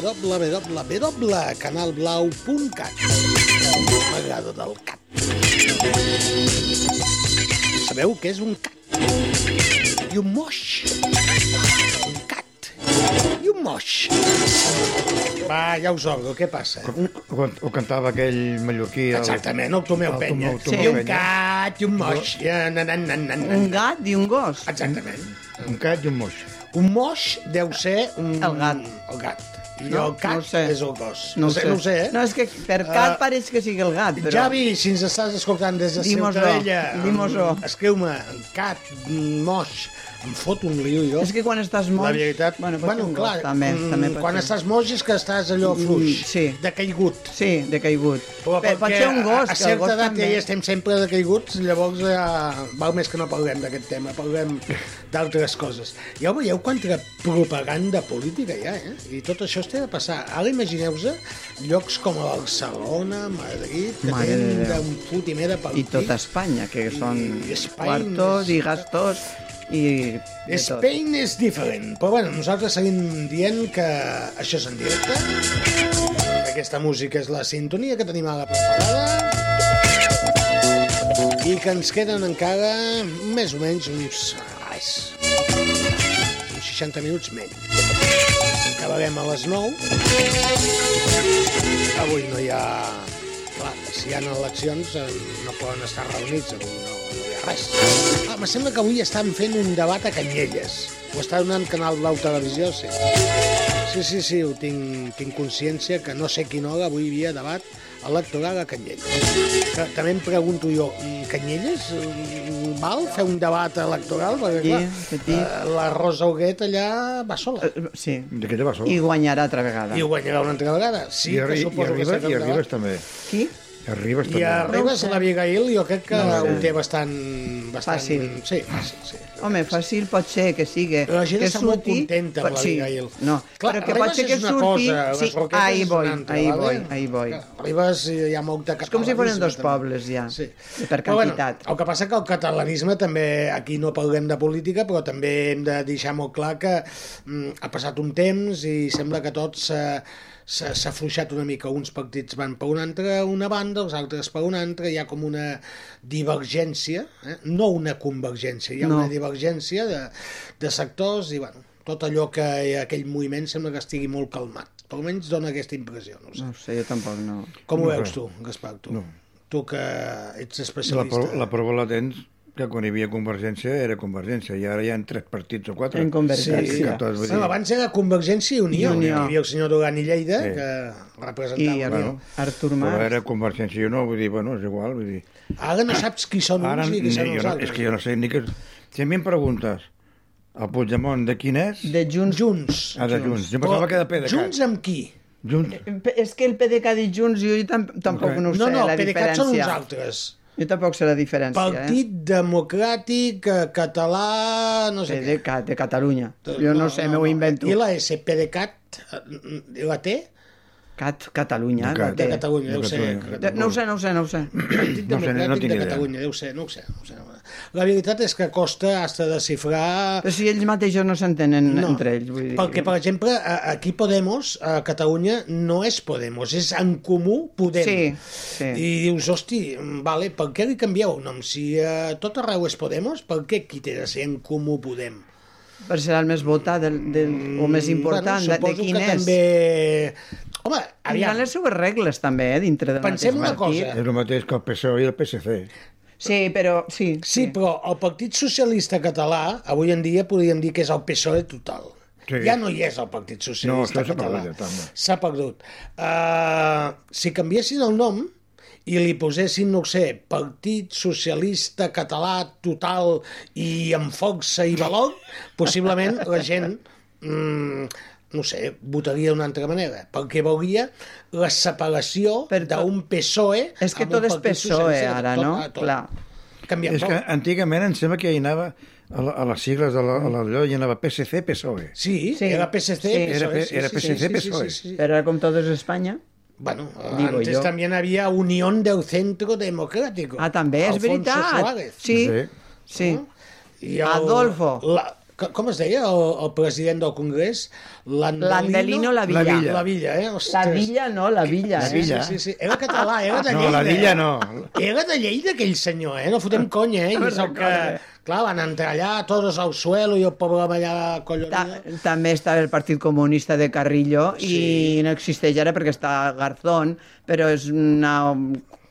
www.canalblau.cat M'agrada del cat. Sabeu què és un cat? I un moix. Un cat. I un moix. Va, ja us obro, què passa?
Ho, ho cantava aquell mallorquí... El,
Exactament, el Tomeu Penya.
Tomeu- Tomeu
I un
Penya.
gat, i un moix. I na, na, na, na, na.
Un gat i un gos.
Exactament.
Un cat i un moix.
Un moix deu ser un... El gat. El gat. I
No,
el cat
no ho sé.
és el gos.
No ho
sé,
sé.
no ho sé, eh? Ah,
No, és que per cat pareix que sigui el gat, però...
Javi, si ens estàs escoltant des de
Dimos-ho,
Ciutadella...
dimos-ho.
Escriu-me, cat, moix... Em fot un lío, jo.
És que quan estàs moix...
La veritat...
Bueno, pot ser un gos, també,
mm,
també pot
quan
ser. Mm,
estàs moix és que estàs allò fluix,
sí.
decaigut.
Sí, decaigut.
Però
Bé, pot
perquè
ser un
a,
gos,
a
que el
certa
gos
edat ja
també...
hi estem sempre decaiguts, llavors eh, val més que no parlem d'aquest tema, parlem d'altres coses. Ja ho veieu quanta propaganda política hi ha, eh? I tot això es té de passar. Ara imagineu-vos llocs com a Barcelona, Madrid, que
Mare
tenen
de Déu.
d'un fotimer de
I
partit.
tota Espanya, que són
Espanya
quartos i gastos i... de tot.
Spain és diferent, però bueno, nosaltres seguim dient que això és en directe. Aquesta música és la sintonia que tenim ara preparada. I que ens queden encara més o menys uns... Res, uns 60 minuts menys. Acabarem a les 9. Avui no hi ha... Clar, si hi ha eleccions eh, no poden estar reunits avui, no, no hi ha res. Ah, me sembla que avui estan fent un debat a Canyelles. Ho està donant Canal Blau Televisió, sí. Sí, sí, sí, ho tinc, tinc consciència que no sé quina hora avui hi havia debat electoral a Canyelles. Que, també em pregunto jo, mm, Canyelles, mm, val fer un debat electoral? Perquè, clar,
Petit, petit.
eh, la Rosa Huguet allà va sola.
Eh, Sí.
D'aquella
Oh.
va sola.
I guanyarà altra vegada.
I ho guanyarà una altra vegada. Sí,
I,
que
arri i
suposo que
arribes,
serà
i
un
arribes
debat.
també.
Qui?
I arribes
I
també.
arribes a l'Abigail, jo crec que
No ho sé.
ho té bastant... bastant
Fàcil.
Sí, fàcil, sí.
Home, fàcil pot ser que sigui.
La gent
que
està molt contenta amb
pot- sí,
l'Abigail.
No,
Clar,
però que
Ribes
pot ser que
és una
surti...
cosa, les
sí,
Roquetes
ahí
és
voy,
una altra,
ahí
vale?
voy, ahí voy.
Arribes i hi ha molta
És com si fossin dos pobles, ja,
Sí.
per
Però, bueno,
quantitat.
el que passa que el catalanisme també, aquí no parlem de política, però també hem de deixar molt clar que mm, ha passat un temps i sembla que tot s'ha s'ha s'ha afluixat una mica. Uns partits van per una altra, una banda, els altres per una altra. Hi ha com una divergència, eh? no una convergència, hi ha
No.
una divergència de, de sectors i bueno, tot allò que aquell moviment sembla que estigui molt calmat. Per almenys dona aquesta impressió. No ho sé.
No ho sé, jo tampoc no.
Com ho
No
veus
sé.
tu, Gaspar? Tu,
No.
tu que ets
La,
especialista.
prou- la prova la tens que quan hi havia Convergència era Convergència i ara hi ha tres partits o quatre.
En Convergència.
Que tots, vull
Bueno,
dir,
abans era Convergència i Unió.
I Unió.
Hi havia el senyor Dugan i Lleida,
Sí.
que representava
I
I,
Artur-
Unió.
Artur
però
Mas.
era Convergència i Unió, vull dir, bueno, és igual, vull dir...
Ara no saps qui són
Ara,
uns i
ni,
qui són
jo
els
no,
altres.
és que jo no sé ni què... Si a mi em preguntes el Puigdemont de quin és...
De Junts.
Junts. Oh,
Ah, de Junts. Jo pensava que de PDeCAT.
Junts amb qui?
Junts.
Pe- És que el PDK dit junts jo tam- tampoc
Ok.
no ho sé,
No, no,
la
PDeCAT
diferència.
són uns altres.
Jo tampoc sé la diferència, eh,
Partit Democràtic eh, Català... No
eh?
sé què.
PDK, de Catalunya. Jo no, sé, m'ho invento.
I la S, PDeCAT, eh, la T?
Cat, Catalunya.
De
la
eh?
té.
Catalunya, deu ser. Catalunya.
De- No ho sé, no ho sé, no ho sé.
Partit
No sé, no
Democràtic
tinc
de
idea.
Catalunya, deu ser, no ho sé. No ho sé. La veritat és que costa hasta desxifrar...
Però si ells mateixos no s'entenen entre ells, vull dir.
Perquè, per exemple, a- aquí Podemos, a Catalunya, no és Podemos, és en comú Podem.
Sí, sí.
I dius, hosti, vale, per què li canvieu el nom? Si a tot arreu és Podemos, per què aquí té de ser en comú Podem?
Per ser el més votat del, del, o més important, de- de,
Mm, suposo
quin
que
és.
també... Home,
Hi ha
aviam,
les seves regles, també, eh, dintre del
Pensem
mateix
una
partit.
cosa.
És el mateix que el PSOE i el PSC.
Sí, però... Sí,
sí, però el Partit Socialista Català, avui en dia, podríem dir que és el PSOE E total.
Sí.
Ja no hi és el Partit
No,
Socialista
això s'ha
Català.
perdut, ja, també.
S'ha perdut. Uh, si canviessin el nom i li posessin, no ho sé, Partit Socialista Català Total i amb força i valor, possiblement la gent mm, no sé, votaria d'una altra manera, perquè veuria la separació d'un PSOE...
És
E
que
amb un
tot és
Partit
PSOE
Socialista,
E ara,
tot,
no?
ah, tot.
Clar.
Canvia
És
tot.
que antigament em sembla que hi anava a, la, a les sigles de la- a la, allò, hi anava PSC, PSOE.
Sí,
Sí.
era PSC,
Sí.
PSOE.
Era- era PSC, PSOE.
Però ara com tot és Espanya...
Bueno,
Digo
Antes
yo.
también había Unión del Centro Democrático.
Ah, també, és
Alfonso
veritat.
Suárez.
Sí, sí.
I
Adolfo.
La, co- com es deia el, el president del Congrés?
L'Andelino la Villa.
La Villa, eh? Ostres.
La Villa no, la Villa.
Sí,
eh?
sí, sí, sí. Era català, era de
No,
Lleida.
la Villa
eh?
no.
Era de Lleida aquell senyor, eh? No fotem conya, eh? I és el que... Clar, van entrar allà, tots al suelo i el poble allà collonat.
També està el Partit Comunista de Carrillo i no existeix ara perquè està Garzón, però és una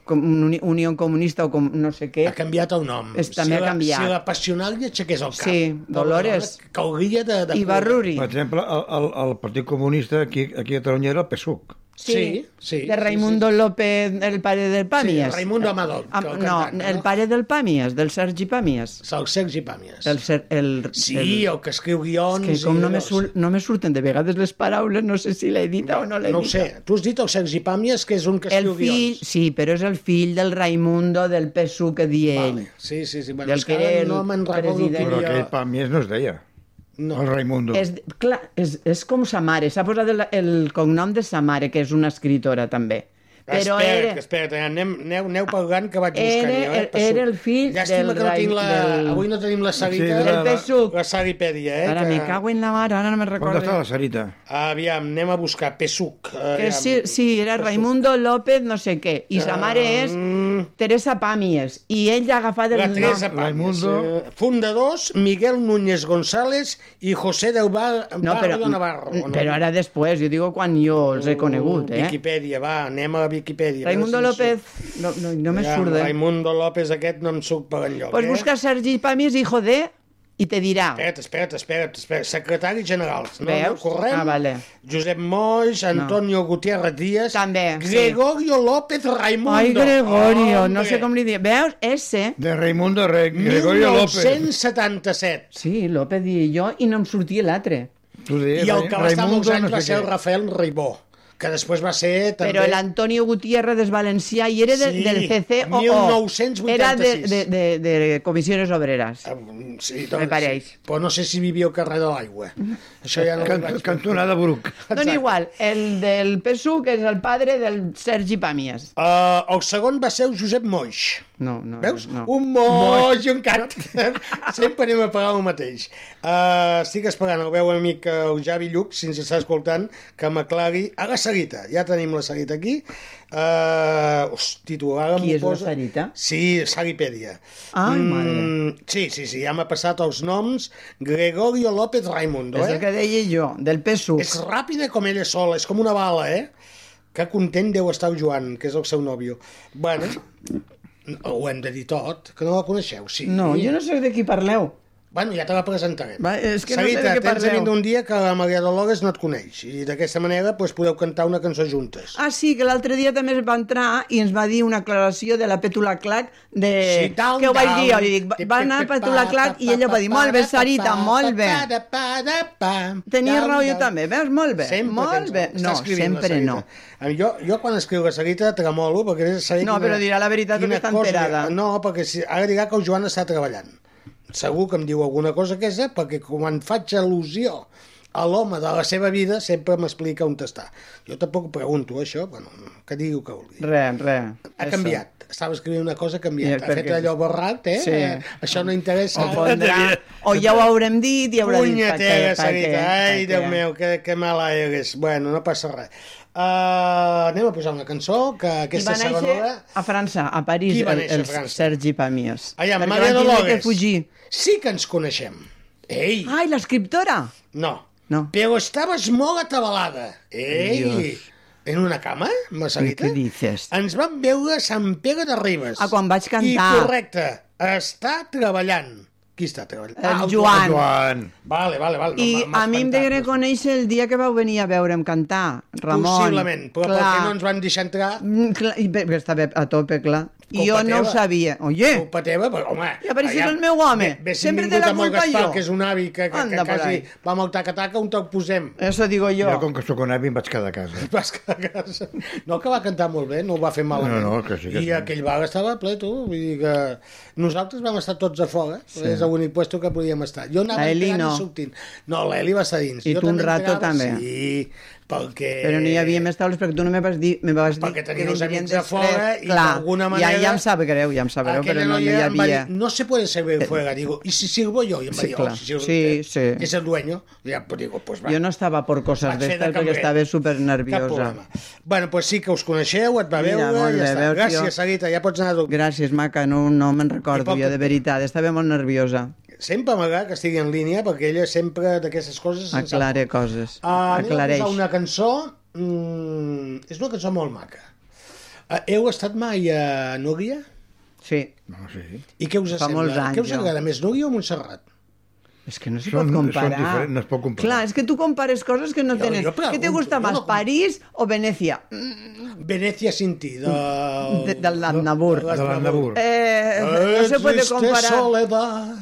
com uni- unió comunista o com, no sé què. Ha
canviat el nom.
És, també
si
ha
la-
canviat.
Si la passionària aixequés el cap.
Sí, Dolores.
Cauria de... de
Per exemple, el, el, el Partit Comunista aquí, aquí a Catalunya era el PSUC.
Sí,
sí,
de Raimundo López, el pare del Pàmies.
Raimundo Amador, que
Am-
el
no,
cantant,
el pare del Pàmies, del Sergi Pàmies.
El Sergi Pàmies.
El, ser, el,
Sí,
el,
o que escriu guions...
que com
i
no me,
allò,
sur, no me surten de vegades les paraules, no sé si l'he dit o no l'he
No ho
dit.
sé. Tu has dit el Sergi Pàmies, que és un que
El
escriu
fill,
guions.
sí, però és el fill del Raimundo del PSU que di ell.
Sí, sí, sí. Bueno,
Del
és que
que
ara
el
no me'n recordo
president-
quin
Però
dia...
aquell Pàmies no es deia. No. El Raimundo.
És, clar, és, és com sa mare, s'ha posat el, el cognom de sa mare, que és una escritora també. Però
espera't,
era,
espera't, eh, anem, aneu, aneu pagant que vaig buscant
era,
jo. Eh,
era,
per sort.
el fill
Llàstima
del...
que no tinc la...
Del...
Avui no tenim la Sarita. eh?
Sí, del PSUC.
La Saripèdia, eh?
Ara me cago en la mare, ara no me'n recordo.
Sarita?
Aviam, anem a buscar PSUC.
Que
Aviam.
sí, sí, era
pues,
Raimundo López no sé què, i sa mare és Teresa Pàmies, i ell ja ha agafat
Mm.
el
La Teresa
nom.
Pàmies. eh, Fundadors, Miguel Núñez González i José del Bar...
No, però,
Barrio Navarro. o no? Uh,
però ara després, jo digo quan jo els he conegut, eh?
Viquipèdia, va, anem a la Viquipèdia.
Raimundo
A veure si em
López, no, no, no me
Ja,
surt, eh?
Raimundo López aquest no em surt per enlloc.
Pues
eh?
busca Sergi Pàmies, hijo de, i te dirà.
Espera't, espera't, espera't, espera't. Secretari general. No, no,
Veus?
correm.
Ah, vale.
Josep Moix, Antonio Gutiérrez Díaz. També. Gregorio López Raimundo.
Ai, Gregorio,
Hombre.
no sé com li diré. Veus? Ese.
De Raimundo Re... Gregorio López.
1977.
Sí, López i jo, i no em sortia l'altre.
Tu deies,
I
eh?
el que va estar molts
Raimundo
anys
no
va
sé
ser
què.
el Rafael Ribó, que després va ser també...
Però l'Antonio Gutiérrez és valencià i era de,
Sí,
del CCOO.
1986.
Era de, de, de, de Comissiones Obreres.
eh, Ah, mm, Sí,
Me pareix.
Però no sé si vivia al carrer de l'aigua. Això ja no ho
Can-
vaig-
Cantonada Bruc.
Doncs igual, el del PSU, que és el padre del Sergi Pàmies.
Uh, el segon va ser el Josep Moix.
No, no.
Veus?
No.
Un moix i un cat. [LAUGHS] Sempre anem a pagar el mateix. Uh, estic esperant el meu amic eh, el Javi Lluc, si ens està escoltant, que m'aclari a la Sarita. Ja tenim la Sarita aquí. Uh, hosti, tu, ara
Qui
m'ho
és la
posa...
Sarita?
Sí, Saripèdia.
Ai,
sí, sí, sí, ja m'ha passat els noms. Gregorio López Raimundo,
És
eh?
el que deia jo, del PSU.
És ràpida com ella sola, és com una bala, eh? Que content deu estar el Joan, que és el seu nòvio. Bueno, ho hem de dir tot, que no la coneixeu, sí.
No, jo no sé de qui parleu.
Bueno, ja te la presentaré.
Va, és que no sé
Sarita,
de què
tens de
parleu.
vindre un dia que la Maria Dolores no et coneix i d'aquesta manera doncs, podeu cantar una cançó juntes.
Ah, sí, que l'altre dia també es va entrar i ens va dir una aclaració de la Petula Clac de...
Sí, down,
Què ho vaig dir? Jo
down.
li dic, va anar a Petula Clac i ella va dir, molt bé, Sarita, molt bé. Tenia raó jo també, veus? Molt bé,
Sempre tens
molt bé.
raó. Està
No,
escrivint la
sempre
Sarita.
no.
A mi- Jo, jo quan escriu la Sarita tremolo perquè és saber
No, però dirà la veritat
quina
perquè està
cosa-
enterada.
No, perquè si, ara dirà que el Joan està treballant. Segur que em diu alguna cosa aquesta perquè quan faig al·lusió a l'home de la seva vida sempre m'explica on està. Jo tampoc pregunto això, bueno, que digui el que vulgui.
Res, res.
Ha canviat. Estava escrivint una cosa, ha canviat.
Ja,
ha fet
perquè-
allò borrat, eh?
Sí.
eh? Això no interessa. [LAUGHS]
O, pondrà, o ja ho haurem dit i haurà dit... per què,
Punyetera,
per què,
Sarita. Ai,
per
Déu
què.
meu, que, que mala eres. Bueno, no passa res. Uh, anem a posar una cançó, que
I
aquesta
va
segona
néixer
hora...
a França, a París,
Qui va
el,
néixer a
el
França?
Sergi Pàmies.
Allà,
Perquè
Maria
van tindre que
Dolores.
fugir.
Sí que ens coneixem. Ei!
Ai, l'escriptora!
No.
No.
Però estaves molt atabalada. Ei!
Dios.
En una cama, Masarita?
Què dices?
Ens vam veure a Sant Pere de Ribes.
Ah, quan vaig cantar.
I correcte, està treballant. Qui està treballant? Ah,
El Joan.
Joan.
Vale, vale, vale.
I
No, m'ha- m'ha
a mi em
espantat.
degué reconèixer el dia que vau venir a veure'm cantar, Ramon.
Possiblement, però clar. perquè no ens van deixar entrar...
Mm, clar, i bé, perquè estava a tope, clar. I
Culpa
jo no ho
teva.
sabia. Oye,
Culpa teva, però, home...
Ja, però si és
aviam,
el meu home.
Bé, bé, si
Sempre
hem
té la
vingut amb el
culpa
Gaspar,
jo.
que és un avi que, que,
Anda
que
por
quasi
ahí.
va amb el taca-taca, on te'l posem?
Eso digo yo.
Jo, com que sóc un avi, em vaig quedar a casa.
Vas quedar a casa. No, que va cantar molt bé, no ho va fer malament.
No, no, que sí que
I
sí.
aquell bar estava ple, tu. Vull dir que... Nosaltres vam estar tots a fora,
Sí.
sí. és l'únic puesto que podíem estar. Jo anava
La Eli
entrant
no.
i sortint. No, l'Eli va estar dins.
I
jo
tu un
també
rato
entrava,
també.
Sí, perquè...
Però no hi havia més taules perquè tu no me vas dir... Me vas dir
Eh, Perquè tenia els
vindrien
amics a
després.
fora i
Clar,
d'alguna
Ja,
manera-
ja em sap greu, ja em sap greu,
Aquella
però no, no hi
noia em va
havia...
dir, no se puede servir fuera. Digo, ¿y si sirvo yo? Y em va
Sí,
dir,
clar.
oh, si sirvo
Sí,
usted,
sí.
es el dueño. Ja, pues digo, pues va.
Jo no estava per coses
Vaig fer de
d'estes perquè
cambrer.
estava super
Cap
nerviosa.
problema. Bueno, pues sí que us coneixeu, et va
Mira,
veure,
molt
ja
bé,
està.
veus,
Gràcies,
tio.
Sarita, ja pots anar a dormir.
Gràcies, maca, no, no me'n recordo
Tampoc-
jo, de veritat. Estava molt nerviosa.
Sempre m'agrada que estigui en línia, perquè ella sempre d'aquestes coses... se'n sap
Aclaré coses.
Ah, anem a
Aclareix.
posar una cançó... Mm, és una cançó molt maca. Ah, Heu estat mai a Núria?
Sí.
No, sí.
I què us
Fa
sembla?
molts anys,
què us
jo.
agrada més, Núria o Montserrat?
És que no se
Són-
pot comparar.
són diferents, no es pot comparar.
Clar, és que tu compares coses que no
Jo-
tenen.
jo
Què te
pregunto,
gusta
jo
més,
no com-
París o Venècia?
Venecia sin ti, doncs. del...
Mm, De, del Nadnabur.
de l'Aznavour.
Eh, [LAUGHS] no se puede
Oh, Existe
comparar.
soledad.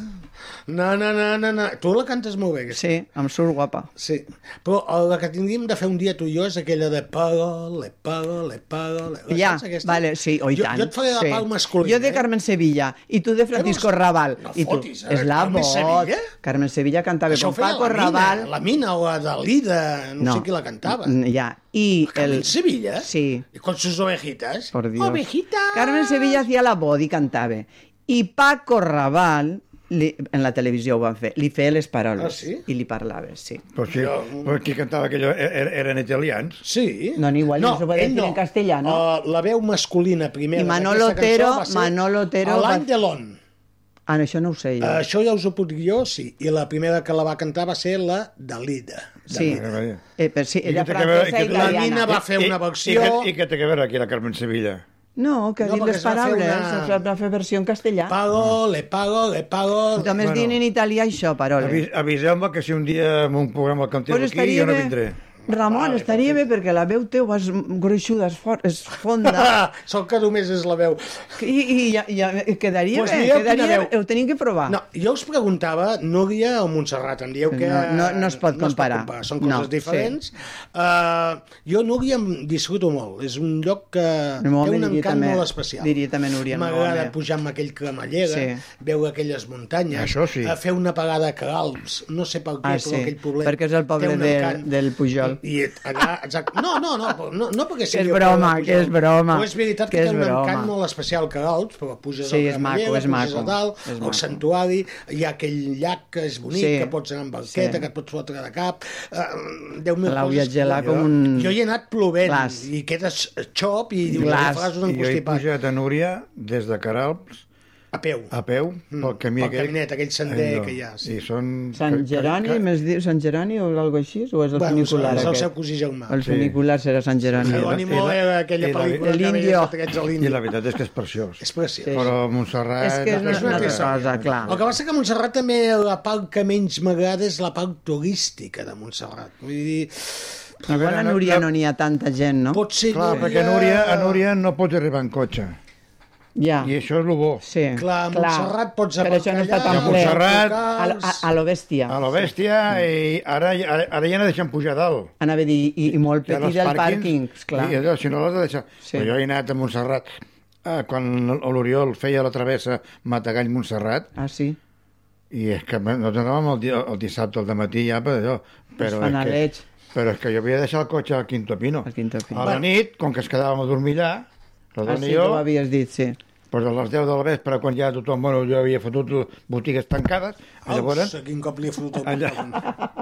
Na, na, na, na, na. Tu la cantes molt bé.
Sí, em surt guapa.
Sí, però eh, la que tindríem de fer un dia tu i jo és aquella de parole, parole, parole. La
Ja,
saps, aquesta?
vale, sí, oi
Jo-
tant.
jo et faré la
sí.
Pau eh? Mascolina,
Jo de Carmen Sevilla, i tu de Francisco Raval.
No
I tu,
fotis, eh,
és la
Carmen
voz.
Sevilla?
Carmen Sevilla cantava
Això ho
com
feia
Paco
la mina,
Raval.
la mina o la Dalida, no, sé qui la cantava.
Mm, Ja, i...
Carmen Sevilla?
Sí.
I con sus ovejitas.
Por Dios.
Ovejita.
Carmen Sevilla hacía la voz i cantava. I Paco Raval, li, en la televisió ho van fer, li feia les paroles.
Ah, sí?
I li parlava, sí.
Però, sí, però qui cantava aquello e- e- eren italians.
Sí.
No, ni igual, no se puede
ell
decir en castellano.
Uh, la veu masculina primera.
I Manolo
d'aquesta cançó
Otero,
va ser
Manolo Otero...
a
va-
L'any de l'on.
Ah, això no ho sé jo.
Uh, això ja us ho puc dir jo, sí. I la primera que la va cantar va ser la Dalida.
Sí, eh, però sí, era
I que té que veure-
francesa i
que-
italiana.
I- I, i, i que té que veure aquí la Carmen Sevilla.
No, que ha
No,
dit
perquè
les
es va fer
paraules,
una-
es va fer versió en castellà.
Pago, le pago, le pago...
Només bueno. dient en italià això, paroles.
Avis, Aviseu-me que si un dia en un programa el canteu aquí
Pues
jo no
estaria bé.
vindré.
Ramon, estaria bé perquè la veu teu és gruixuda, és, for, és
[LAUGHS]
fonda.
Ah, Sóc que només és la veu.
I, i ja, ja quedaria
Pues
bé,
mireu quina
quedaria
veu.
bé. Ho tenim que provar.
No, jo us preguntava, Núria o Montserrat, em dieu que...
No, no, no es pot comparar.
Són coses
No,
diferents. Uh, jo Núria em disfruto molt. És un lloc que
Molt
té un
bé, diria
encant
també-
molt especial.
diria també Núria, no,
M'agrada
home.
pujar amb aquell cremallera,
Sí.
sí. veure aquelles muntanyes,
Això sí.
a fer una pagada a Calps, no sé per què,
Ah,
però
sí,
aquell poblet...
perquè és el poble
té un
de,
encant.
del Pujol.
I allà, exacte. No, no, no, no, no perquè sigui...
Que és
el poble
broma,
de Pujol.
que és broma,
Però és veritat que,
que
té
és
un encant
broma.
molt especial Calps, però puges
Sí,
al
és maco,
cremallera,
és
puges
maco,
a dalt,
és
el
maco.
santuari, hi ha aquell llac que és bonic,
Sí.
que pots anar amb barqueta,
Sí.
que et pots fotre de cap, eh, Déu meu,
L'Auia Gelà com un-
Jo hi he anat plovent,
Glas.
i quedes xop i dius, ja faràs un
I jo he
encostipat.
pujat a Núria des de Caralps
A peu.
a peu, pel camí
Mm. Pel
aquell.
caminet, aquell sender
Allò.
que hi ha, sí.
I són...
Sant
que-
Geroni,
que-
més dir Sant Geroni o alguna així? O és el
Bueno,
funicular
és el
aquest?
seu cosí Jaume.
El
Sí.
funicular serà Sant Geroni.
Jerónimo era aquella
i la-
pel·lícula que
El
veies
indio.
que trets a l'indi.
I la veritat és que és preciós.
És preciós.
Però Montserrat...
És que és una- una altra cosa, clar.
El que passa que a Montserrat també la part que menys m'agrada és la part turística de Montserrat. Vull dir...
Igual a Núria no n'hi ha tanta gent, no?
Pot ser
Clar, perquè a Núria, a Núria no pots arribar en cotxe.
Ja.
I això és el bo.
Ah. Sí.
Clar, a Montserrat pots
Però això no està
aparcar
tan
allà,
ple.
Montserrat-
A, lo- a, a lo bèstia.
A la bèstia, i ara, ara, ara ja no deixen pujar a dalt.
Anava a dir, i, i molt
Hi ha
petit
els
el pàrquing, esclar.
I, allò, si no l'has de deixar... Sí. Però jo he anat a Montserrat eh, quan l'Oriol feia la travessa Matagall-Montserrat.
Ah, sí?
I és que me- nosaltres anàvem el, di el dissabte al matí ja per allò. Però
fan
és
aleig.
que, però és que jo havia deixat el cotxe al Quinto Pino. Al
Quinto Pino.
A la nit, com que es quedàvem a dormir allà, la
Ah,
dona
sí,
i jo,
que ho havies dit, sí.
doncs a les 10 del vespre, quan ja tothom, bueno, jo havia fotut les botigues tancades,
Au,
llavors...
quin cop li he fotut el
Allà.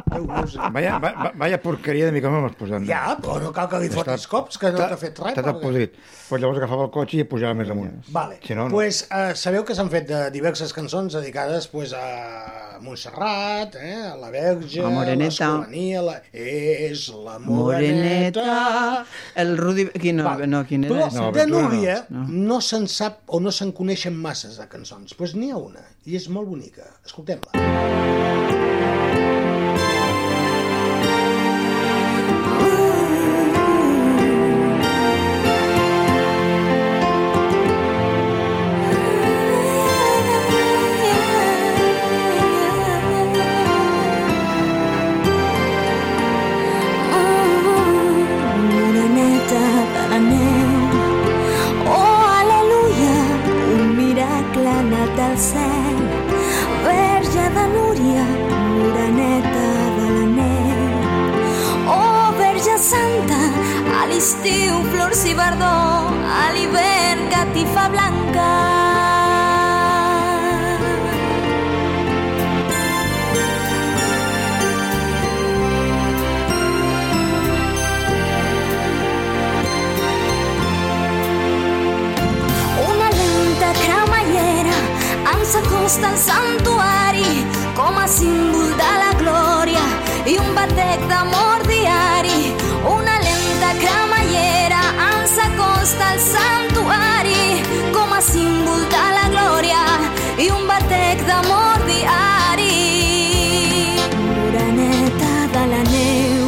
Déu meu senyor.
Vaya, va, va- vaya porqueria de mi que m'has posat.
Ja, però no cal que li fotis cops, que no t'ha fet res,
T'ha
perquè-
podrit. Pues llavors agafava el cotxe i pujava més amunt.
Vale.
Si no, no.
Pues, eh, sabeu que s'han fet de diverses cançons dedicades pues, a Montserrat, eh, a la Verge,
A Moreneta.
l'Escolania, la... és la Moreneta.
Moreneta. El Rudi... Quin, no, no, quin era?
Però
ese?
de Núria no, no se'n sap o no se'n coneixen masses de cançons. Doncs pues n'hi ha una, i és molt bonica. Escoltem-la.
una neta de la neu. Oh, aleluia, un miracle nat del cel. Verge de Núria, una neta de la neu. Oh, Verge Santa, a l'estiu flors i verdor, a l'hivern catifa blanca. una lenta cremallera ens acosta al santuari com a símbol de la glòria i un batec d'amor diari. Una lenta cremallera ens acosta al santuari com a símbol de la glòria i un batec d'amor diari. Moreneta de la neu,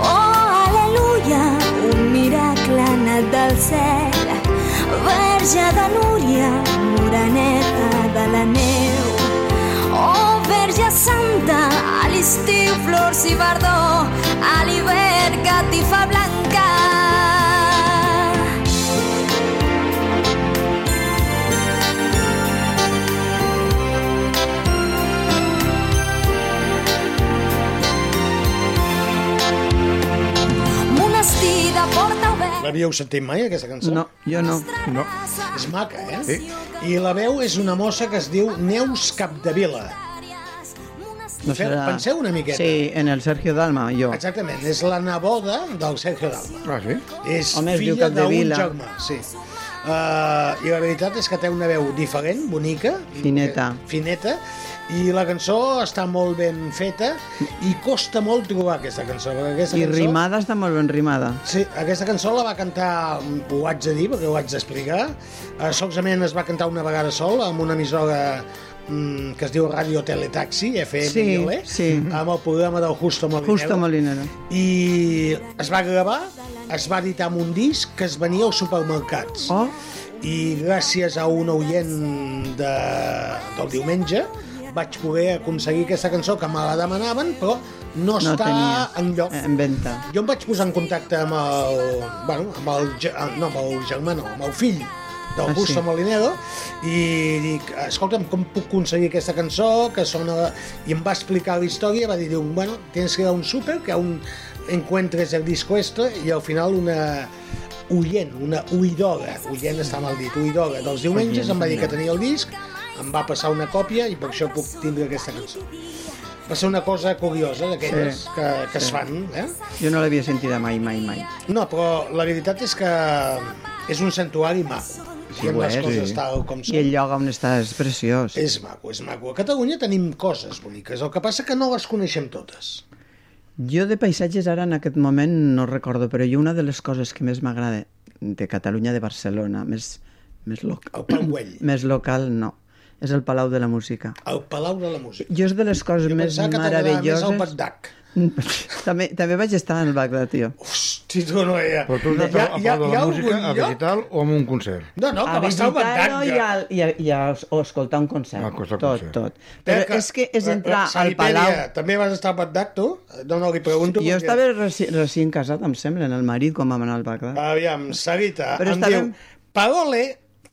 oh, aleluia, un miracle nat del cel. Verge de Núria, moreneta de la neu. Oh, Verge Santa, a l'estiu flors i verdor, a l'hivern catifa blanca. Monestir de porta oberta,
L'havíeu sentit mai, aquesta cançó?
No, jo no.
No. És maca, eh? Sí. I la veu és una mossa que es diu Neus Capdevila.
No
Feu- Penseu una miqueta.
Sí, en el Sergio Dalma, jo.
Exactament, és la neboda del Sergio Dalma.
Ah, sí?
És
Home, es diu
filla d'un
Capdevila.
germà, sí. Uh, I la veritat és que té una veu diferent, bonica.
Fineta.
eh, Fineta. I la cançó està molt ben feta i costa molt trobar aquesta cançó. perquè Aquesta
I
cançó...
rimada està molt ben rimada.
Sí, aquesta cançó la va cantar, ho haig de dir perquè ho haig d'explicar, eh, solament es va cantar una vegada sol amb una emissora mm, que es diu Radio Teletaxi, FM
Sí,
Miole, E, amb el programa del Justo Molinero.
Justo Molinero.
I es va gravar, es va editar amb un disc que es venia als supermercats.
Oh.
I gràcies a un oient de, del diumenge vaig poder aconseguir aquesta cançó que me la demanaven, però no,
No
està
tenia. Eh,
en lloc.
En venta.
Jo em vaig posar en contacte amb el... Bueno, amb el... ge- ah, No, amb el germà, no, amb el fill del
Ah,
Busto
sí.
Molinero i dic, escolta'm, com puc aconseguir aquesta cançó que sona... I em va explicar la història, va dir, diu, bueno, tens que ir a un súper, que aún encuentres el disco este i al final una oient, una oïdora, oient està mal dit, oïdora dels diumenges, em va dir que tenia el disc, em va passar una còpia i per això puc tindre aquesta cançó. Va ser una cosa curiosa d'aquelles
Sí,
que, que es
sí.
fan, eh?
Jo no l'havia sentida mai, mai, mai.
No, però la veritat és que és un santuari maco.
Sí,
Diguem
ho
les
és,
coses
sí.
tal com són.
I el lloc on està és preciós.
És maco, és maco. A Catalunya tenim coses boniques, el que passa que no les coneixem totes.
Jo de paisatges ara en aquest moment no recordo, però jo una de les coses que més m'agrada de Catalunya, de Barcelona, més, més local...
El Pauell.
Més local, no. És el Palau de la Música.
El Palau de la Música.
Jo és de les coses
Jo
més
pensava que t'agradava
meravelloses...
més el Bagdad.
[LAUGHS] també, també vaig estar al Bagdad, tio.
Hosti, tu no eh. era...
Però tu has anat a part de la música a visitar-lo o a un concert?
No, no, que va estar al Bagdad.
visitar-lo i, al- i, a- i a, os- o escoltar un concert. tot, tot. Però és que és
eh,
entrar al
Santipèria,
Palau...
També vas estar al Bagdad, tu? No, no, li pregunto.
Jo
perquè-
estava reci, recient casat, em sembla, en el marit, com vam anar al Bagdad.
Aviam, Sarita,
Però
em
estàvem-
diu... Parole,